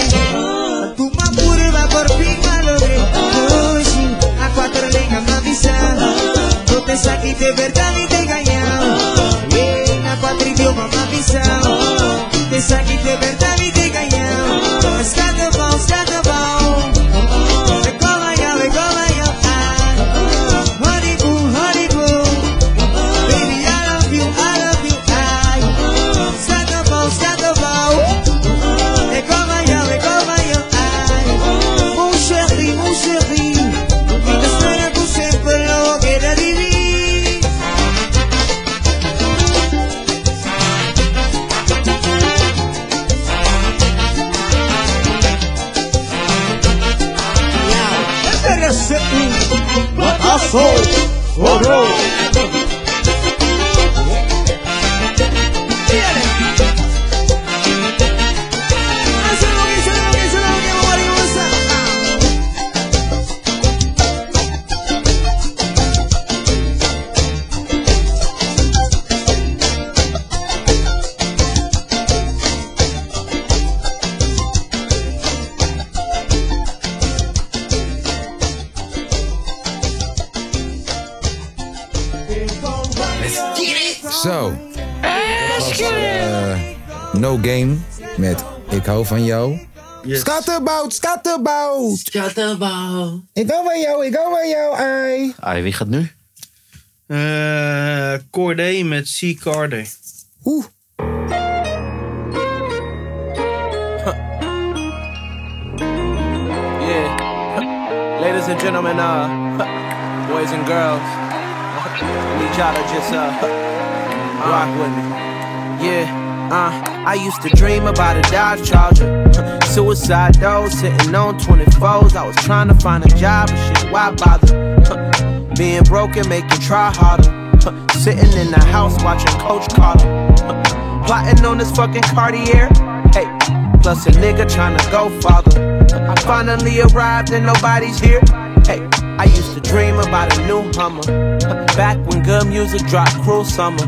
F: Tu ma curva por fin ma logré Hoje, a quatro lenga ma avisada No te saquei de verdade e te engañado Eh, Na quatro idioma ma avisado Te saquei de verdade e te engañado Escada bom, escada bom Honeymoon, honeymoon, baby, sitting, but I sold for road.
A: Zo. Eh, no Game met Ik hou van jou.
E: Scatterbout, scatterbout.
D: Scatterbout.
E: Ik hou van jou, ik hou van jou, ai.
B: Ai, wie gaat nu?
C: Eh Corday met C. Carday.
E: Oeh.
J: Yeah. Ladies and gentlemen, uh, [laughs] boys and girls, [laughs] I need y'all to just uh, [laughs] rock with me. Yeah. Uh, I used to dream about a Dodge Charger. [laughs] Suicide though, sitting on 24s. I was trying to find a job and shit. Why bother? [laughs] Being broken, make you try harder. [laughs] Sitting in the house watching Coach Carter. [laughs] Plotting on this fucking Cartier. Hey, plus a nigga tryna go farther. I finally arrived and nobody's here. Hey, I used to dream about a new Hummer. Back when good music dropped, cruel summer.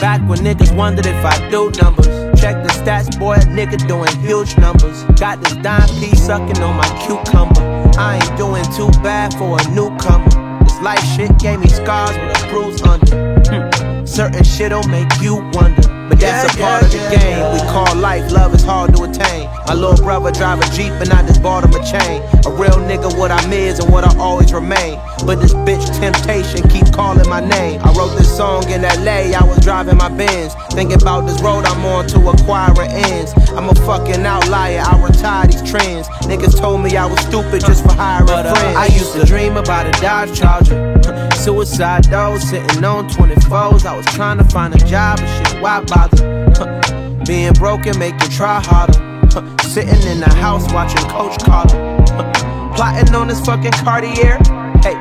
J: Back when niggas wondered if I do numbers. Check the stats, boy, a nigga doing huge numbers. Got this dime piece sucking on my cucumber. I ain't doing too bad for a newcomer. This life shit gave me scars with a bruise under. Hmm. Certain shit'll make you wonder. But that's a part of the game. We call life, love is hard to attain. My little brother drive a Jeep and I just bought him a chain. A real nigga, what I'm is and what I always remain. But this bitch temptation keep calling my name. I wrote this song in LA, I was driving my Benz. Thinking about this road I'm on to acquiring ends. I'm a fucking outlier, I retire these trends. Niggas told me I was stupid just for hiring friends. uh, I used to dream about a Dodge Charger. Suicide though, sitting on 24s. I was trying to find a job and shit, why bother? Being broken make you try harder. Sitting in the house watching Coach Carter. Plotting on this fucking Cartier. Hey,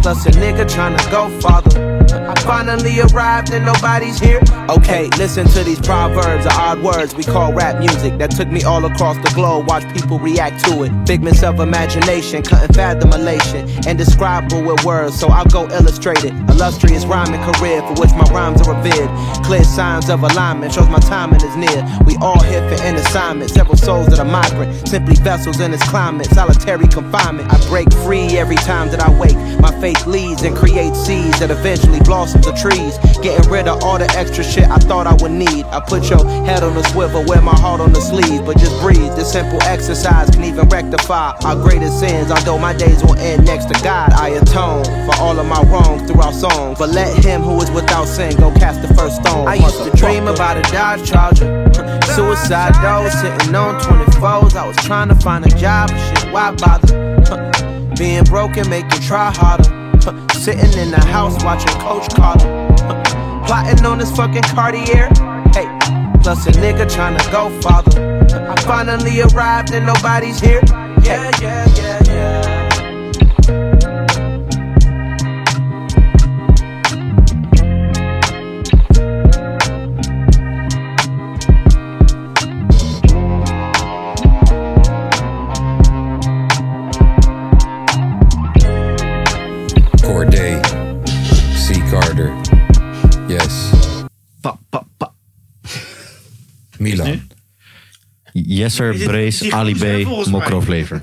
J: plus a nigga tryna go farther. I finally arrived and nobody's here. Okay, listen to these proverbs, are odd words we call rap music that took me all across the globe. Watch people react to it. Figments of imagination, couldn't fathom elation, indescribable with words, so I'll go illustrate it. Illustrious rhyming career for which my rhymes are revered. Clear signs of alignment shows my timing is near. We all here for an assignment. Several souls that are migrant, simply vessels in this climate. Solitary confinement. I break free every time that I wake. My faith leads and creates seeds that eventually blossom to trees. Getting rid of all the extra shit I thought I would need. I put your head on the swivel, wear my heart on the sleeve. But just breathe. This simple exercise can even rectify our greatest sins. Although my days will end next to God, I atone for all of my wrongs through our songs. But let him who is without sin go cast the first stone. I used to dream about a Dodge Charger. Suicide though, sitting on 24s. I was trying to find a job and shit. Why bother? Being broken make you try harder. Sitting in the house watching Coach Carter. Plotting on this fucking Cartier. Hey, plus a nigga tryna go farther. I finally arrived and nobody's here. Yeah, yeah, yeah, yeah.
A: Corday. C. Carter. Yes. Pa, pa, pa. Milan.
B: Jesser,
A: zit-
B: Brace,
A: die
B: Ali
A: gozer,
B: B,
A: volgens
C: [laughs]
A: mij.
B: Mokroflever.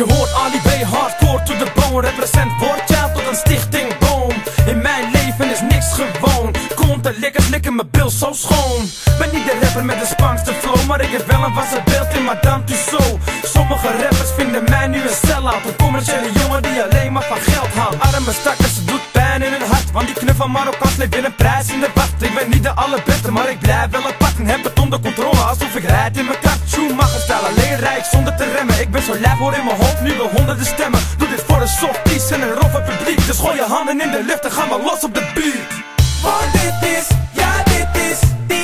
K: Je hoort Ali B hardcore to the bone Represent woordjaal tot een stichting boom In mijn leven is niks gewoon Komt de likkers likken mijn bil zo schoon Ben niet de rapper met de spangste flow Maar ik heb wel een wassen beeld in Madame Tussauds Sommige rappers vinden mij nu een sell-out Een commerciële jongen die alleen maar van geld houdt Arme stakkers, het doet pijn in hun hart Want die knuffel Marokkaans leeft in een prijs in de wacht Ik ben niet de allerbeste, maar ik blijf wel apart En heb het onder controle, alsof ik rijd in mijn kart Schumacher stijl, alleen rijk zonder te remmen Ik ben zo lijf, hoor in mijn hoofd nu de honderden stemmen Doe dit voor de softies en een roffe publiek Dus gooi je handen in de lucht en ga maar los op de beat Want dit is, ja dit is, die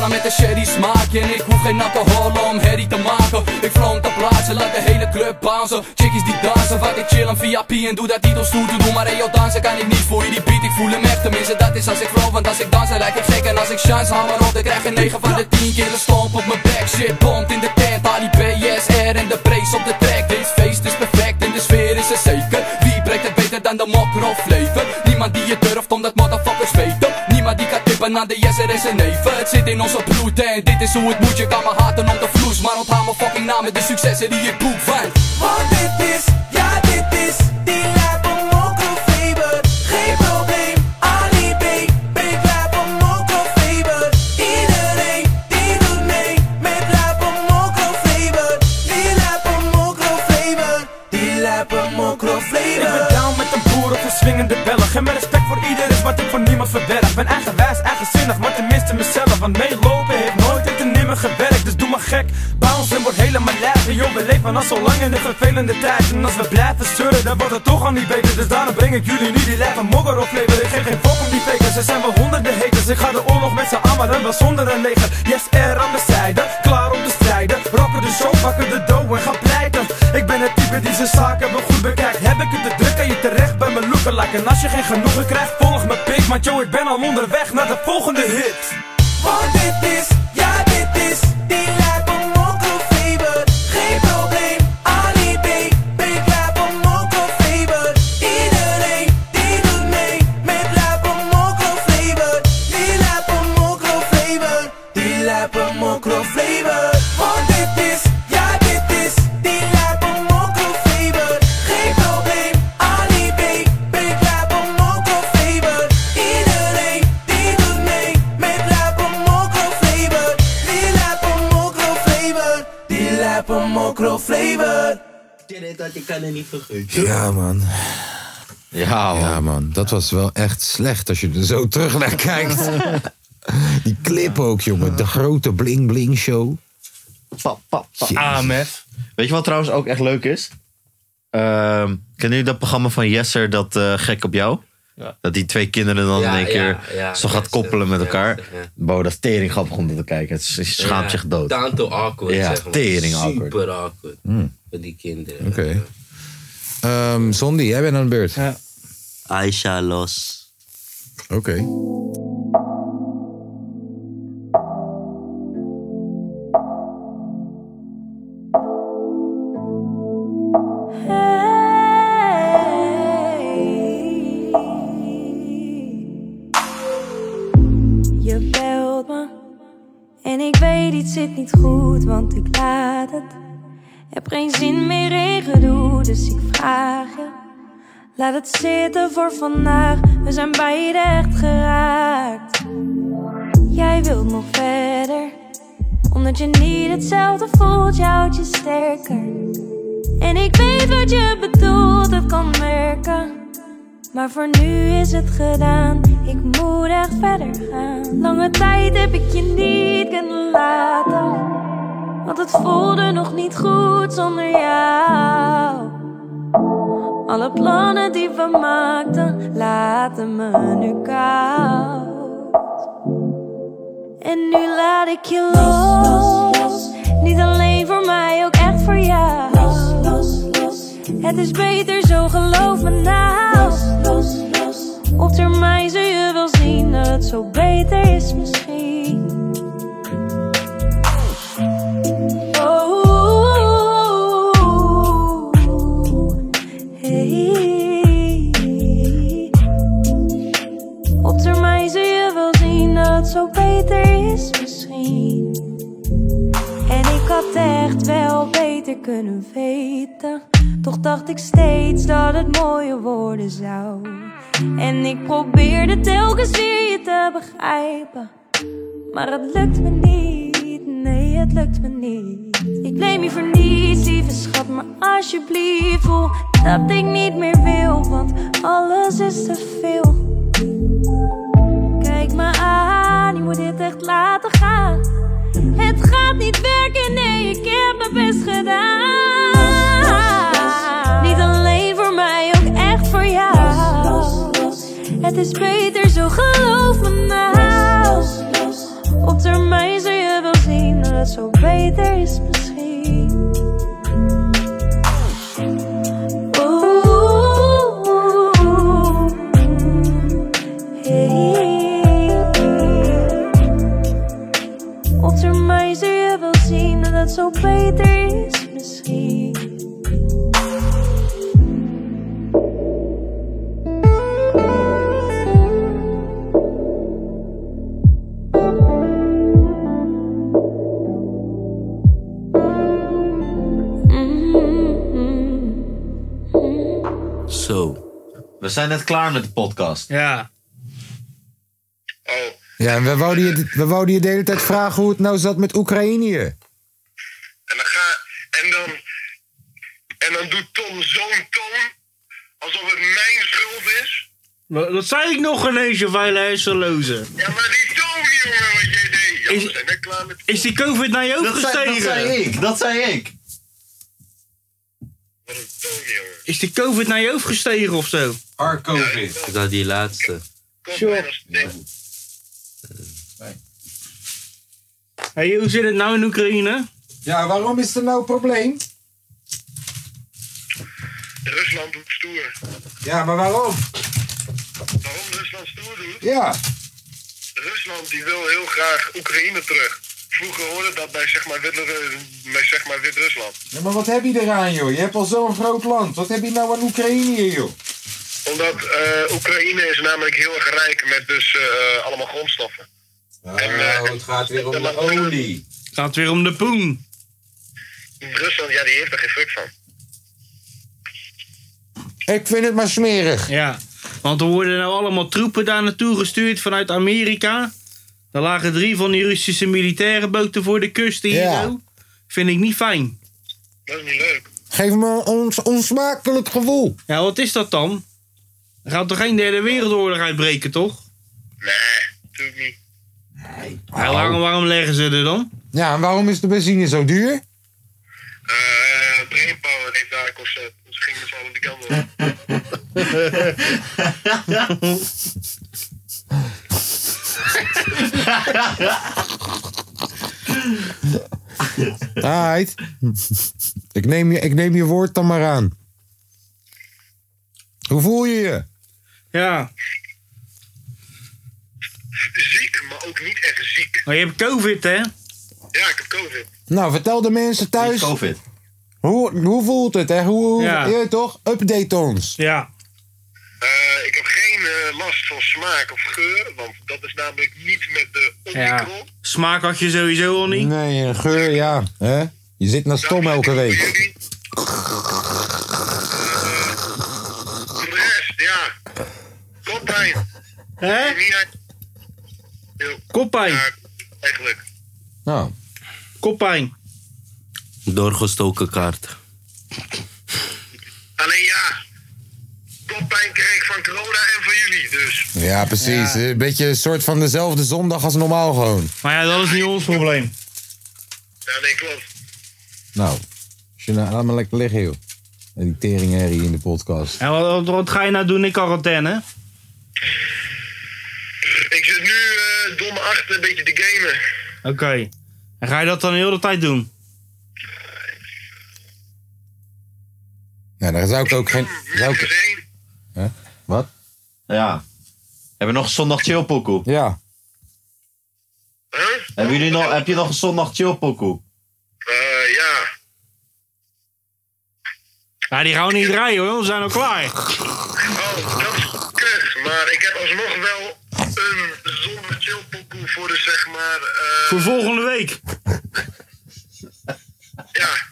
L: maar met de sherry smaak En ik hoef geen alcohol om herrie te maken Ik flow om te plaatsen, laat de hele club bouncen Chickies die dansen, vaak ik chill een VIP En doe dat niet om stoer te doen, maar hey yo dansen kan ik niet Voor je die beat, ik voel hem echt Tenminste dat is als ik flow, want als ik dans dan lijk ik gek En als ik chance hou maar op, dan krijg je 9 van de 10 keer een stomp op mijn back Shit bomt in de tent, Ali BSR en de brace op de track Dit feest is perfect en de sfeer is er zeker Wie breekt het beter dan de mokro flavor? Niemand die het durft, omdat motherfuckers weten Niemand die kan tippen aan de yes, er is een neven Het zit in onze bloed en dit is hoe het moet Je kan me haten op de vloes, maar onthaal mijn fucking naam Met de successen die ik boek van
M: Want dit is, ja dit is, die lijp om Mokro Faber. Geen probleem, Ali B, big lijp om Mokro Faber. Iedereen die doet mee, met lijp om Mokro Faber. Die lijp om Mokro Faber, die lijp om Mokro
K: Ik
M: Faber.
K: ben down met een boer op een swingende Belg En met respect voor ieder is wat ik voor niemand verberg Ben eigenwijs, eigenzinnig, maar tenminste mezelf Want meelopen heeft nooit en te nimmer gewerkt Dus doe maar gek, bounce en word helemaal lijf En joh, we leven al zo lang in de vervelende tijd En als we blijven zeuren, dan wordt het toch al niet beter Dus daarom breng ik jullie nu die lijf een mokker of flavor Ik geef geen fok om die fakers, er zijn wel honderden haters Ik ga de oorlog met z'n allen, en wel zonder een leger Yes, er aan mijn zijde, klaar om te strijden Rocken de show, pakken de dough en gaan pleiten Ik ben het type die zijn zaken wel goed bekijkt Heb ik het te druk, kan je terecht bij mijn lookalike En als je geen genoegen krijgt, volg mijn pik Want yo, ik ben al onderweg naar de volgende hit
M: Want dit is, ja dit is, die lijp om Mokro Faber. Geen probleem, Ali B, big lijp om Mokro Faber. Iedereen die doet mee, met lijp om Mokro Faber. Die lijp om Mokro Faber, die lijp om Mokro Faber. Want dit is, ja dit is, die lijp om Mokro Faber. Geen probleem, Ali B, big lijp om Mokro Faber. Iedereen die doet mee, met lijp om Mokro Faber. Die lijp om Mokro Faber, die lijp om Mokro Flavor.
N: dat ik kan er niet vergeten.
A: Ja, man.
B: Ja,
A: man. Dat was wel echt slecht als je er zo terug naar
N: [laughs]
A: kijkt. Die clip ook, jongen. De grote Bling Bling Show.
B: Pap, pap, pap. AMF. Weet je wat trouwens ook echt leuk is? Ehm ken je dat programma van Jesser, dat eh, Gek op jou? Dat die twee kinderen dan
D: Ja,
B: in één
D: ja,
B: keer
D: ja,
B: zo gaat koppelen met elkaar. Bo, dat is tering grappig om dat te kijken. Het is- het schaamt zich dood.
D: Down to awkward.
B: Ja,
D: zeg maar.
B: tering awkward. Hmm.
D: Super awkward. Voor die kinderen.
A: Oké. Ehm Zondi, jij bent aan de beurt.
N: Aisha Los.
A: Oké.
O: Je belt me en ik weet iets zit niet goed, want ik laat het. Heb geen zin meer in gedoe, dus ik vraag je. Laat het zitten voor vandaag, we zijn beide echt geraakt. Jij wilt nog verder, omdat je niet hetzelfde voelt, je houdt je sterker. En ik weet wat je bedoelt, dat kan merken. Maar voor nu is het gedaan, ik moet echt verder gaan. Lange tijd heb ik je niet kunnen laten, want het voelde nog niet goed zonder jou. Alle plannen die we maakten, laten me nu koud. En nu laat ik je los, niet alleen voor mij, ook echt voor jou. Het is beter zo, geloof me nou. Op termijn zul je wel zien dat het zo beter is misschien. Oh, hey. Op termijn zul je wel zien dat het zo beter is misschien. En ik had echt wel beter kunnen weten. Toch dacht ik steeds dat het mooie worden zou. En ik probeerde telkens weer je te begrijpen. Maar het lukt me niet, nee, het lukt me niet. Ik neem je voor niets, lieve schat, maar alsjeblieft voel dat ik niet meer wil, want alles is te veel. Kijk me aan, je moet dit echt laten gaan. Het gaat niet werken, nee, ik heb mijn best gedaan. Niet alleen voor mij, ook echt voor jou. Het is beter zo, geloof me nou. Op termijn zul je wel zien dat het zo beter is misschien. Oeh, hey. Op termijn zul je wel zien dat het zo beter is misschien.
B: Zo. We zijn net klaar met de podcast.
C: Ja.
A: Ja, en we wouden, je, we wouden je de hele tijd vragen hoe het nou zat met Oekraïne.
E: En dan, en dan doet Tom zo'n toon alsof het mijn schuld is.
C: Wa- Dat zei ik nog ineens, je vuile hersenloze.
E: Ja, maar die toon, jongen, wat jij deed. Ja, we zijn net klaar met...
C: Is die COVID naar je hoofd
E: Dat zei- dat
C: gestegen?
E: zei ik,
B: dat zei ik.
C: Is die COVID naar je hoofd gestegen of zo?
B: Our COVID.
D: Is dat die laatste?
C: Sure. Hey, hoe zit het nou in Oekraïne?
A: Ja, waarom is er nou een probleem?
E: Rusland doet stoer.
A: Ja, maar waarom?
E: Waarom Rusland stoer doet?
A: Ja.
E: Rusland die wil heel graag Oekraïne terug. Vroeger hoorde dat bij zeg maar, Wit- bij, zeg maar Wit-Rusland.
A: Ja, maar wat heb je eraan, joh? Je hebt al zo'n groot land. Wat heb je nou aan Oekraïne, joh?
E: Omdat eh, Oekraïne is namelijk heel erg rijk met dus eh, allemaal grondstoffen. en, eh,
A: Ah, nou, het gaat weer om
E: de
A: olie.
C: Gaat het weer om de poen?
E: Rusland, ja, die heeft er geen fuck van.
A: Ik vind het maar smerig.
C: Ja, want er worden nou allemaal troepen daar naartoe gestuurd vanuit Amerika. Er lagen drie van die Russische militaire boten voor de kust hier zo. Vind ik niet fijn.
A: Geef me ons onsmakelijk gevoel.
C: Ja, wat is dat dan? Er gaat toch geen derde wereldoorlog uitbreken, toch? Nee, natuurlijk niet. Ja, waarom, waarom leggen ze er dan?
A: Nou. Ja, en waarom is de benzine zo [laughs] duur?
E: Eh, dus
A: [laughs] Alright. Ik neem, je, ik neem je woord dan maar aan. Hoe voel je je?
C: Ja.
E: Ziek, maar ook niet echt ziek.
C: Maar je hebt COVID, hè?
E: Ja, ik heb COVID.
A: Nou, vertel de mensen thuis.
B: COVID.
A: Hoe, hoe voelt het, hè? Hoe, hoe,
E: Ja.
A: je weet toch? Update ons.
C: Ja.
E: Eh, ik heb geen eh, last van smaak of geur, want dat is namelijk niet met de
C: Ja. Smaak had je sowieso al niet.
A: Nee, een geur, ja. Hè? Je zit naar stom elke week.
E: Koppijn.
C: Hè? Koppijn.
E: eigenlijk.
A: Nou.
C: Koppijn.
D: Doorgestoken kaart.
E: Alleen ja, koppijn kreeg ik van corona en van jullie, dus...
A: Ja, precies. Een beetje een soort van dezelfde zondag als normaal gewoon.
C: Maar ja, dat is niet ons probleem.
E: Ja, nee, klopt.
A: Nou, als je nou, laat me lekker liggen, joh. En die teringherrie in de podcast.
C: En wat, wat, wat ga je nou doen in quarantaine?
E: Ik zit nu eh domme achter een beetje te gamen.
C: Oké. En ga je dat dan heel de hele tijd doen?
A: Nou, daar zou ik ook geen... Zou ik... Hè? Wat?
B: Ja. Hebben we nog een zondag chillpokoe?
A: Ja.
B: Hebben jullie nog, heb je nog een zondag chillpokoe?
E: Eh, ja.
C: Ja, die gaan we niet draaien hoor, we zijn al
E: Eh.
C: klaar.
E: Oh, dat is kut, maar ik heb alsnog wel een zonder chillpokoe voor de zeg maar... eh,
C: Voor volgende week. Ja.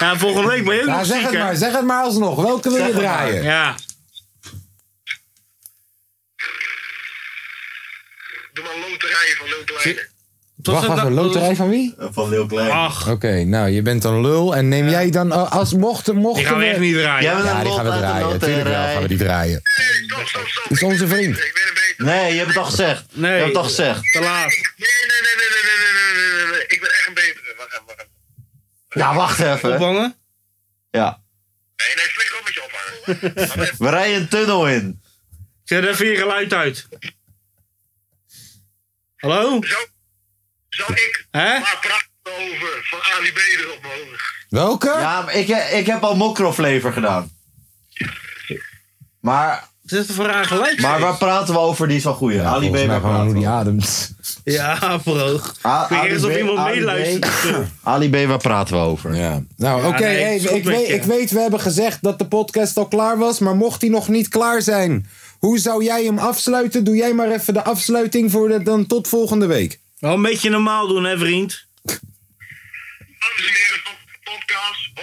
C: Ja, volgende week ben je ook
A: Nou,
C: nog
A: zeg
C: ziek,
A: het
C: hè?
A: maar, zeg het maar alsnog. Welke wil
C: Zeg
A: je
C: het maar.
A: draaien?
C: Ja.
A: Wacht, wacht, een loterij van wie?
B: Eh, Van Lil Klein.
E: Ah.
C: Ach.
A: Oké, nou, je bent een lul. En neem jij dan, eh, als mocht, mocht
C: Die gaan we echt niet draaien. Jij bent
A: Ja,
C: een
A: die
C: lul
A: gaan we
C: uit de
A: draaien. Tuurlijk wel gaan we die draaien. Dat is onze vriend.
B: Nee, je hebt het al gezegd.
C: Nee.
B: Je hebt het al gezegd.
C: Te laat.
B: Ja, wacht even.
C: Ophangen?
B: Ja. [laughs] We rijden een tunnel in.
C: Zet even je geluid uit. Hallo?
E: Zou ik
C: Hè?
E: maar praten over van Ali B erop mogen.
A: Welke?
B: Ja, maar ik, he- ik heb al mokroflever gedaan. Maar...
C: Het is voor haar gelijk.
B: Maar waar praten we over die is wel goeie? Ali B.
A: Volgens mij
B: waar
A: gewoon
B: praten
A: hoe
B: we?
A: die ademt.
C: Ja, bro.
B: Ah,
C: Vind je alsof
B: Ali B,
C: iemand
B: Ali B.
C: meeluistert?
B: Ali B, waar praten we over?
A: Ja. Nou, oké,
C: nee,
A: hey,
C: stop
A: ik,
C: met
A: weet,
C: je.
A: ik weet, we hebben gezegd dat de podcast al klaar was, maar mocht die nog niet klaar zijn, hoe zou jij hem afsluiten? Doe jij maar even de afsluiting voor de, dan tot volgende week.
C: Wel een beetje normaal doen, hè, vriend?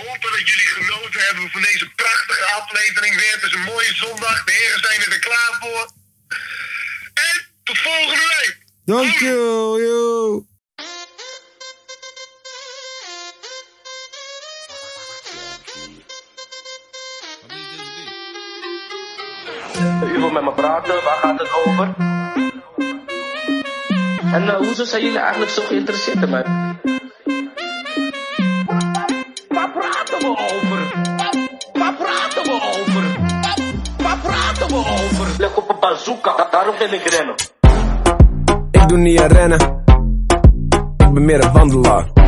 E: Hopen dat jullie genoten hebben van deze prachtige aflevering weer. Het is een mooie zondag. De heren zijn er klaar voor. En tot volgende week.
A: Dank you, you.
D: U wil met me praten, waar gaat het over? En eh, hoezo zijn jullie eigenlijk zo geïnteresseerd in mij? Waar praten we
J: oh,
D: over? Waar praten we over? Waar praten we over? Leg op een bazooka, da- daarom ben ik rennen.
K: Ik doe niet aan rennen. Ik ben meer een wandelaar.